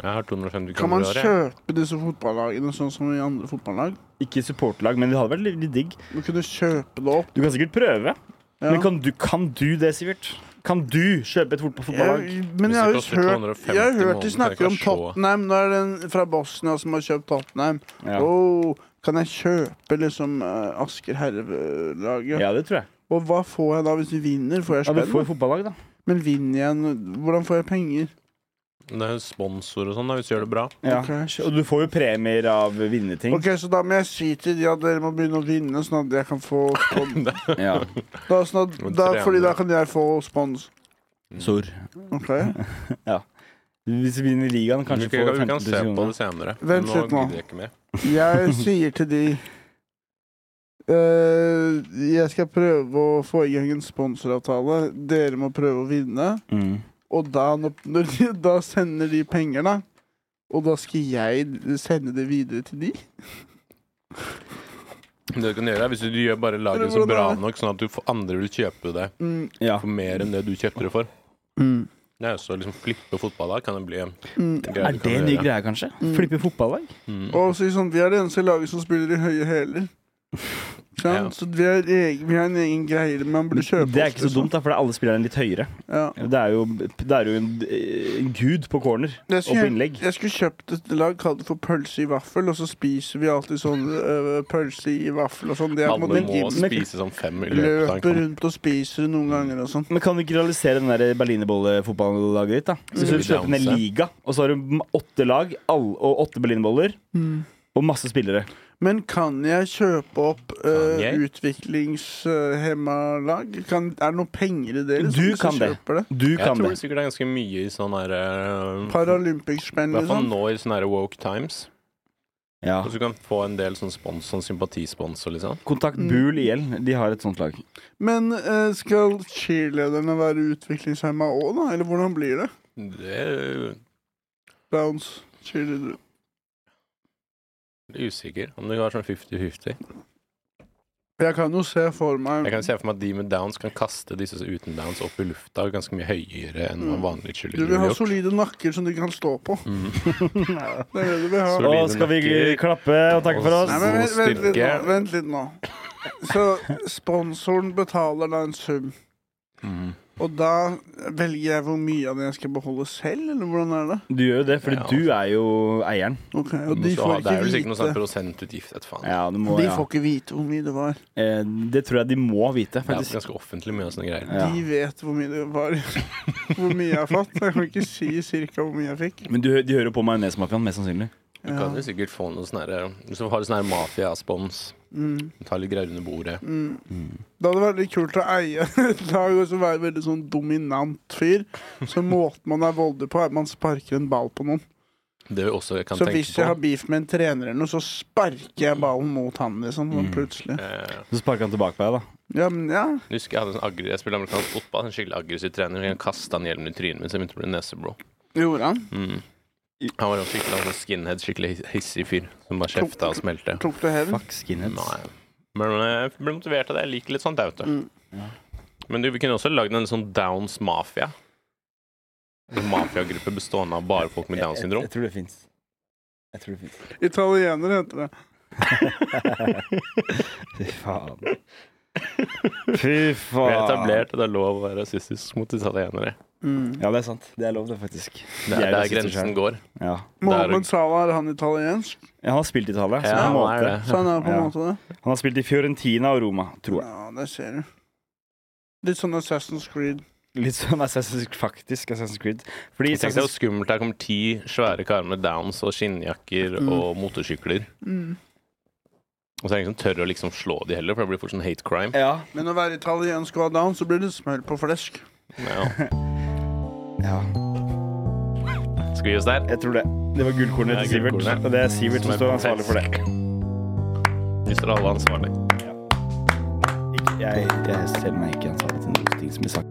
B: Jeg har 250
A: Kan man
B: kroner i året. jeg.
A: kjøpe disse fotballagene sånn som i andre fotballag?
C: Ikke supporterlag, men det hadde vært litt litt digg.
A: Du kunne kjøpe det opp.
C: Du kan sikkert prøve.
A: Ja.
C: Men kan du, kan du det, Sivert? Kan du kjøpe et fotball- fotballag?
A: Jeg, men
B: Hvis
A: jeg har
B: det
A: jo
B: koster
A: hørt,
B: 250
A: jeg har hørt de
B: måneden,
A: snakker
B: kan
A: om
B: jeg ikke se.
A: Tottenham. Nå er det en fra Bosnia som har kjøpt Tottenham.
C: Ja.
A: Oh, kan jeg kjøpe liksom eh, Asker herrelaget?
C: ja, det tror jeg.
A: Og hva får jeg da hvis vi vinner? Får jeg
C: Ja, du
A: spenn?
C: får fotballag, da.
A: Men vinner jeg en- Hvordan får jeg penger?
B: Det er jo sponsor og sånn, da, hvis du gjør det bra.
C: Ja.
A: Ok.
C: Og du får jo premier av vinnerting.
A: Ok, Så da må jeg si til de at dere må begynne å vinne, sånn at jeg kan få
B: <laughs>
A: spons.
C: Ja.
A: Da, sånn at,
B: Men
A: da, fordi
B: trener.
A: da kan jeg få spons.
C: Sor.
A: Ok?
C: Hvis du vinner ligaen,
B: Vi
C: kanskje
B: kan,
C: får
B: vi kan
C: 15
B: se
C: 000
B: på det
C: kroner.
B: senere.
A: Vent
B: Nå
A: litt nå.
B: gidder jeg ikke mer.
C: <laughs>
A: Jeg sier til de eh, Jeg skal prøve å få i gang en sponsoravtale. Dere må prøve å vinne.
C: Mm.
A: Og da, når de, da sender de penger, da. Og da skal jeg sende det videre til de?
B: Det du kan gjøre er Hvis du gjør bare
A: Eller
B: laget så
A: hvordan
B: bra
A: er det?
B: nok, sånn at du får andre vil kjøpe det
A: Mm,
C: Ja.
B: for mer enn det du kjøpte det for
A: mm,
B: Det er jo så liksom flippe fotballag kan det bli en
A: mm.
B: greie
C: Er
B: du kan
C: det nye
B: gjøre.
C: greier, kanskje?
A: Mm.
C: Flippe fotballag?
B: Mm.
A: Og si sånn Vi er det eneste laget som spiller i høye hæler. ikke sant? Så vi har, egen, vi har en egen greie man burde kjøpe
C: Det er
A: oss,
C: ikke så
A: liksom.
C: dumt, da, for det er alle spillerne litt høyere.
A: Ja.
C: Det er jo, det er jo en, en gud på corner
A: Jeg
C: og på
A: skulle,
C: innlegg.
A: jeg skulle kjøpt et lag kalt det for pølse i vaffel, og så spiser vi alltid sånn øh, pølse i vaffel og sånn. Det er på en
B: Alle
A: måte
B: må
A: en
B: spise sånn fem i løpet av en
A: Løper
C: sånn.
B: kamp.
A: rundt og spiser noen ganger og sånn.
C: Men kan du ikke realisere den der berlinerbollefotballaget ditt? da? Så
B: Skal
C: du
B: vi
C: kjøper ned
B: downse?
C: liga, og så har du m- åtte lag all, og åtte berlinerboller. Og masse spillere.
A: Men kan jeg kjøpe opp
B: Kan
A: uh,
B: jeg?
A: utviklingshemma lag? Kan, er det noe penger i det? liksom,
C: Du
A: hvis jeg
C: kan det.
A: kjøper det?
C: Du
B: Jeg
C: kan
B: tror det
C: det.
B: sikkert er ganske mye i sånn her eh, I
A: Paralympics-spenn,
B: hvert fall
A: liksom?
B: nå i sånne her woke times.
C: Ja.
B: Og så kan du få en del sånn spons, sånn sympatisponsor, liksom.
C: Kontakt Bul IL. De har et sånt lag.
A: Men eh, skal cheerlederne være utviklingshemma òg, da? Eller hvordan blir det?
B: Det er
A: Downs cheerleader.
B: jeg usikker om det var sånn 50-50.
A: Jeg kan jo se for meg
B: Jeg kan se for meg at de med downs kan kaste disse uten downs opp i lufta ganske mye høyere enn hva vanlige
A: Mm. Du vil
B: cheerleadere
A: ha
B: ville gjort.
A: solide nakker som du kan stå på.
B: Mm.
A: Det er det du vil
B: <laughs>
A: ha.
B: Så-
C: Og skal vi
B: nakker.
C: klappe og takke for
A: Nei,
C: oss?
A: men vent,
B: god
A: vent, litt nå,
B: styrke.
A: vent litt nå. Så sponsoren betaler da en sum,
B: Mm.
A: og da velger jeg hvor mye av det jeg skal beholde selv, eller hvordan er det?
C: Du gjør jo det, fordi
B: Ja.
C: du er jo eieren.
A: Ok,
B: Du
A: Og
B: må
A: de
B: så ha-
A: får
B: det er vel
A: ikke
B: sikkert noe sånn
A: vite
B: prosentutgift, et faen.
C: Ja, du må,
A: De
C: ja.
A: får ikke vite hvor mye det var.
C: Eh, det tror jeg de må vite,
B: Ja,
C: faktisk.
B: ganske offentlig mye av sånne greier.
C: Ja.
A: De vet hvor mye det var. <laughs> Hvor mye jeg har fått. Jeg kan ikke si cirka hvor mye jeg fikk.
C: Men du, de hører jo på Majonesmafiaen, mest sannsynlig.
B: Du kan jo sikkert få noe sånn her Hvis du har sånn her mafiaspons,
A: Mm.
B: ta litt greier under bordet.
A: Mm. Det hadde vært litt kult å eie <laughs> et lag og så være en veldig sånn dominant fyr. Så måten man er voldelig på, er at man sparker en ball på noen.
B: Det vi også kan
A: Så
B: tenke
A: hvis
B: på.
A: jeg har beef med en trener eller noe, så sparker jeg ballen mot han, liksom.
C: Mm.
A: Sånn plutselig.
B: Eh,
C: Så sparker han tilbake på deg, da.
A: Ja, men ja.
B: jeg husker jeg hadde en sånn aggre, jeg spilte amerikansk fotball, en skikkelig aggressiv trener. Jeg kasta han hjelmen i trynet mitt, så jeg begynte å bli neseblå.
A: Gjorde han.
B: Mm. Han var en skikkelig sånn skinhead, skikkelig his- hissig fyr som bare kjefta og smelte.
A: Tok du hevn?
C: Fuck skinheads.
B: Nei. Men jeg ble motivert av det. Jeg liker litt sånt, jeg, vet du.
A: Mm.
B: Men du, vi kunne også lagd en litt sånn Downs Mafia. En mafiagruppe bestående av bare folk med Downs syndrom.
C: Jeg, jeg, jeg tror det fins. Jeg tror
B: <laughs>
C: det fins.
A: Italiener heter det.
C: Fy faen. Fy
B: Vi
C: faen.
B: har etablert at det er lov å være rasistisk mot italienere.
A: Mm.
C: Ja, det er sant. Det er lov, det, faktisk.
B: Det
C: De
B: er
C: er
B: der
C: rasister
B: grensen
C: selv.
B: går.
C: Ja.
A: Mohammed Salah, er han italiensk?
C: Ja, han har spilt i Italia. så
B: Ja,
C: på en
B: han er
C: måte.
A: Så
B: det.
A: han er på en
C: <laughs> Ja.
A: måte det?
C: han har spilt i Fiorentina og Roma, tror jeg.
A: Ja, det ser du. Litt sånn Assassin's Creed.
C: Litt sånn Assassin's faktisk Assassin's Creed. Fordi
B: Jeg tenkte det var
C: Assassin's,
B: skummelt. Her kommer ti svære karer med downs og skinnjakker
A: Mm.
B: og motorsykler.
A: Mm.
B: Og så er det ingen som tør å liksom slå de heller, for det blir fort sånn hate crime.
C: ja.
A: Men å være italiensk og ha down, så blir det smør på flesk.
B: Ja.
C: ja.
B: Skal vi gi oss der?
C: Jeg tror det. Det var gullkornet
B: Det er
C: til Sivert.
B: gullkornet.
C: Og det er Sivert
B: Som
C: som
B: er
C: står ansvarlig for det.
B: Vi står alle ansvarlig.
C: Ikke- Jeg, jeg ser meg ikke ansvarlig til noen ting som blir sagt.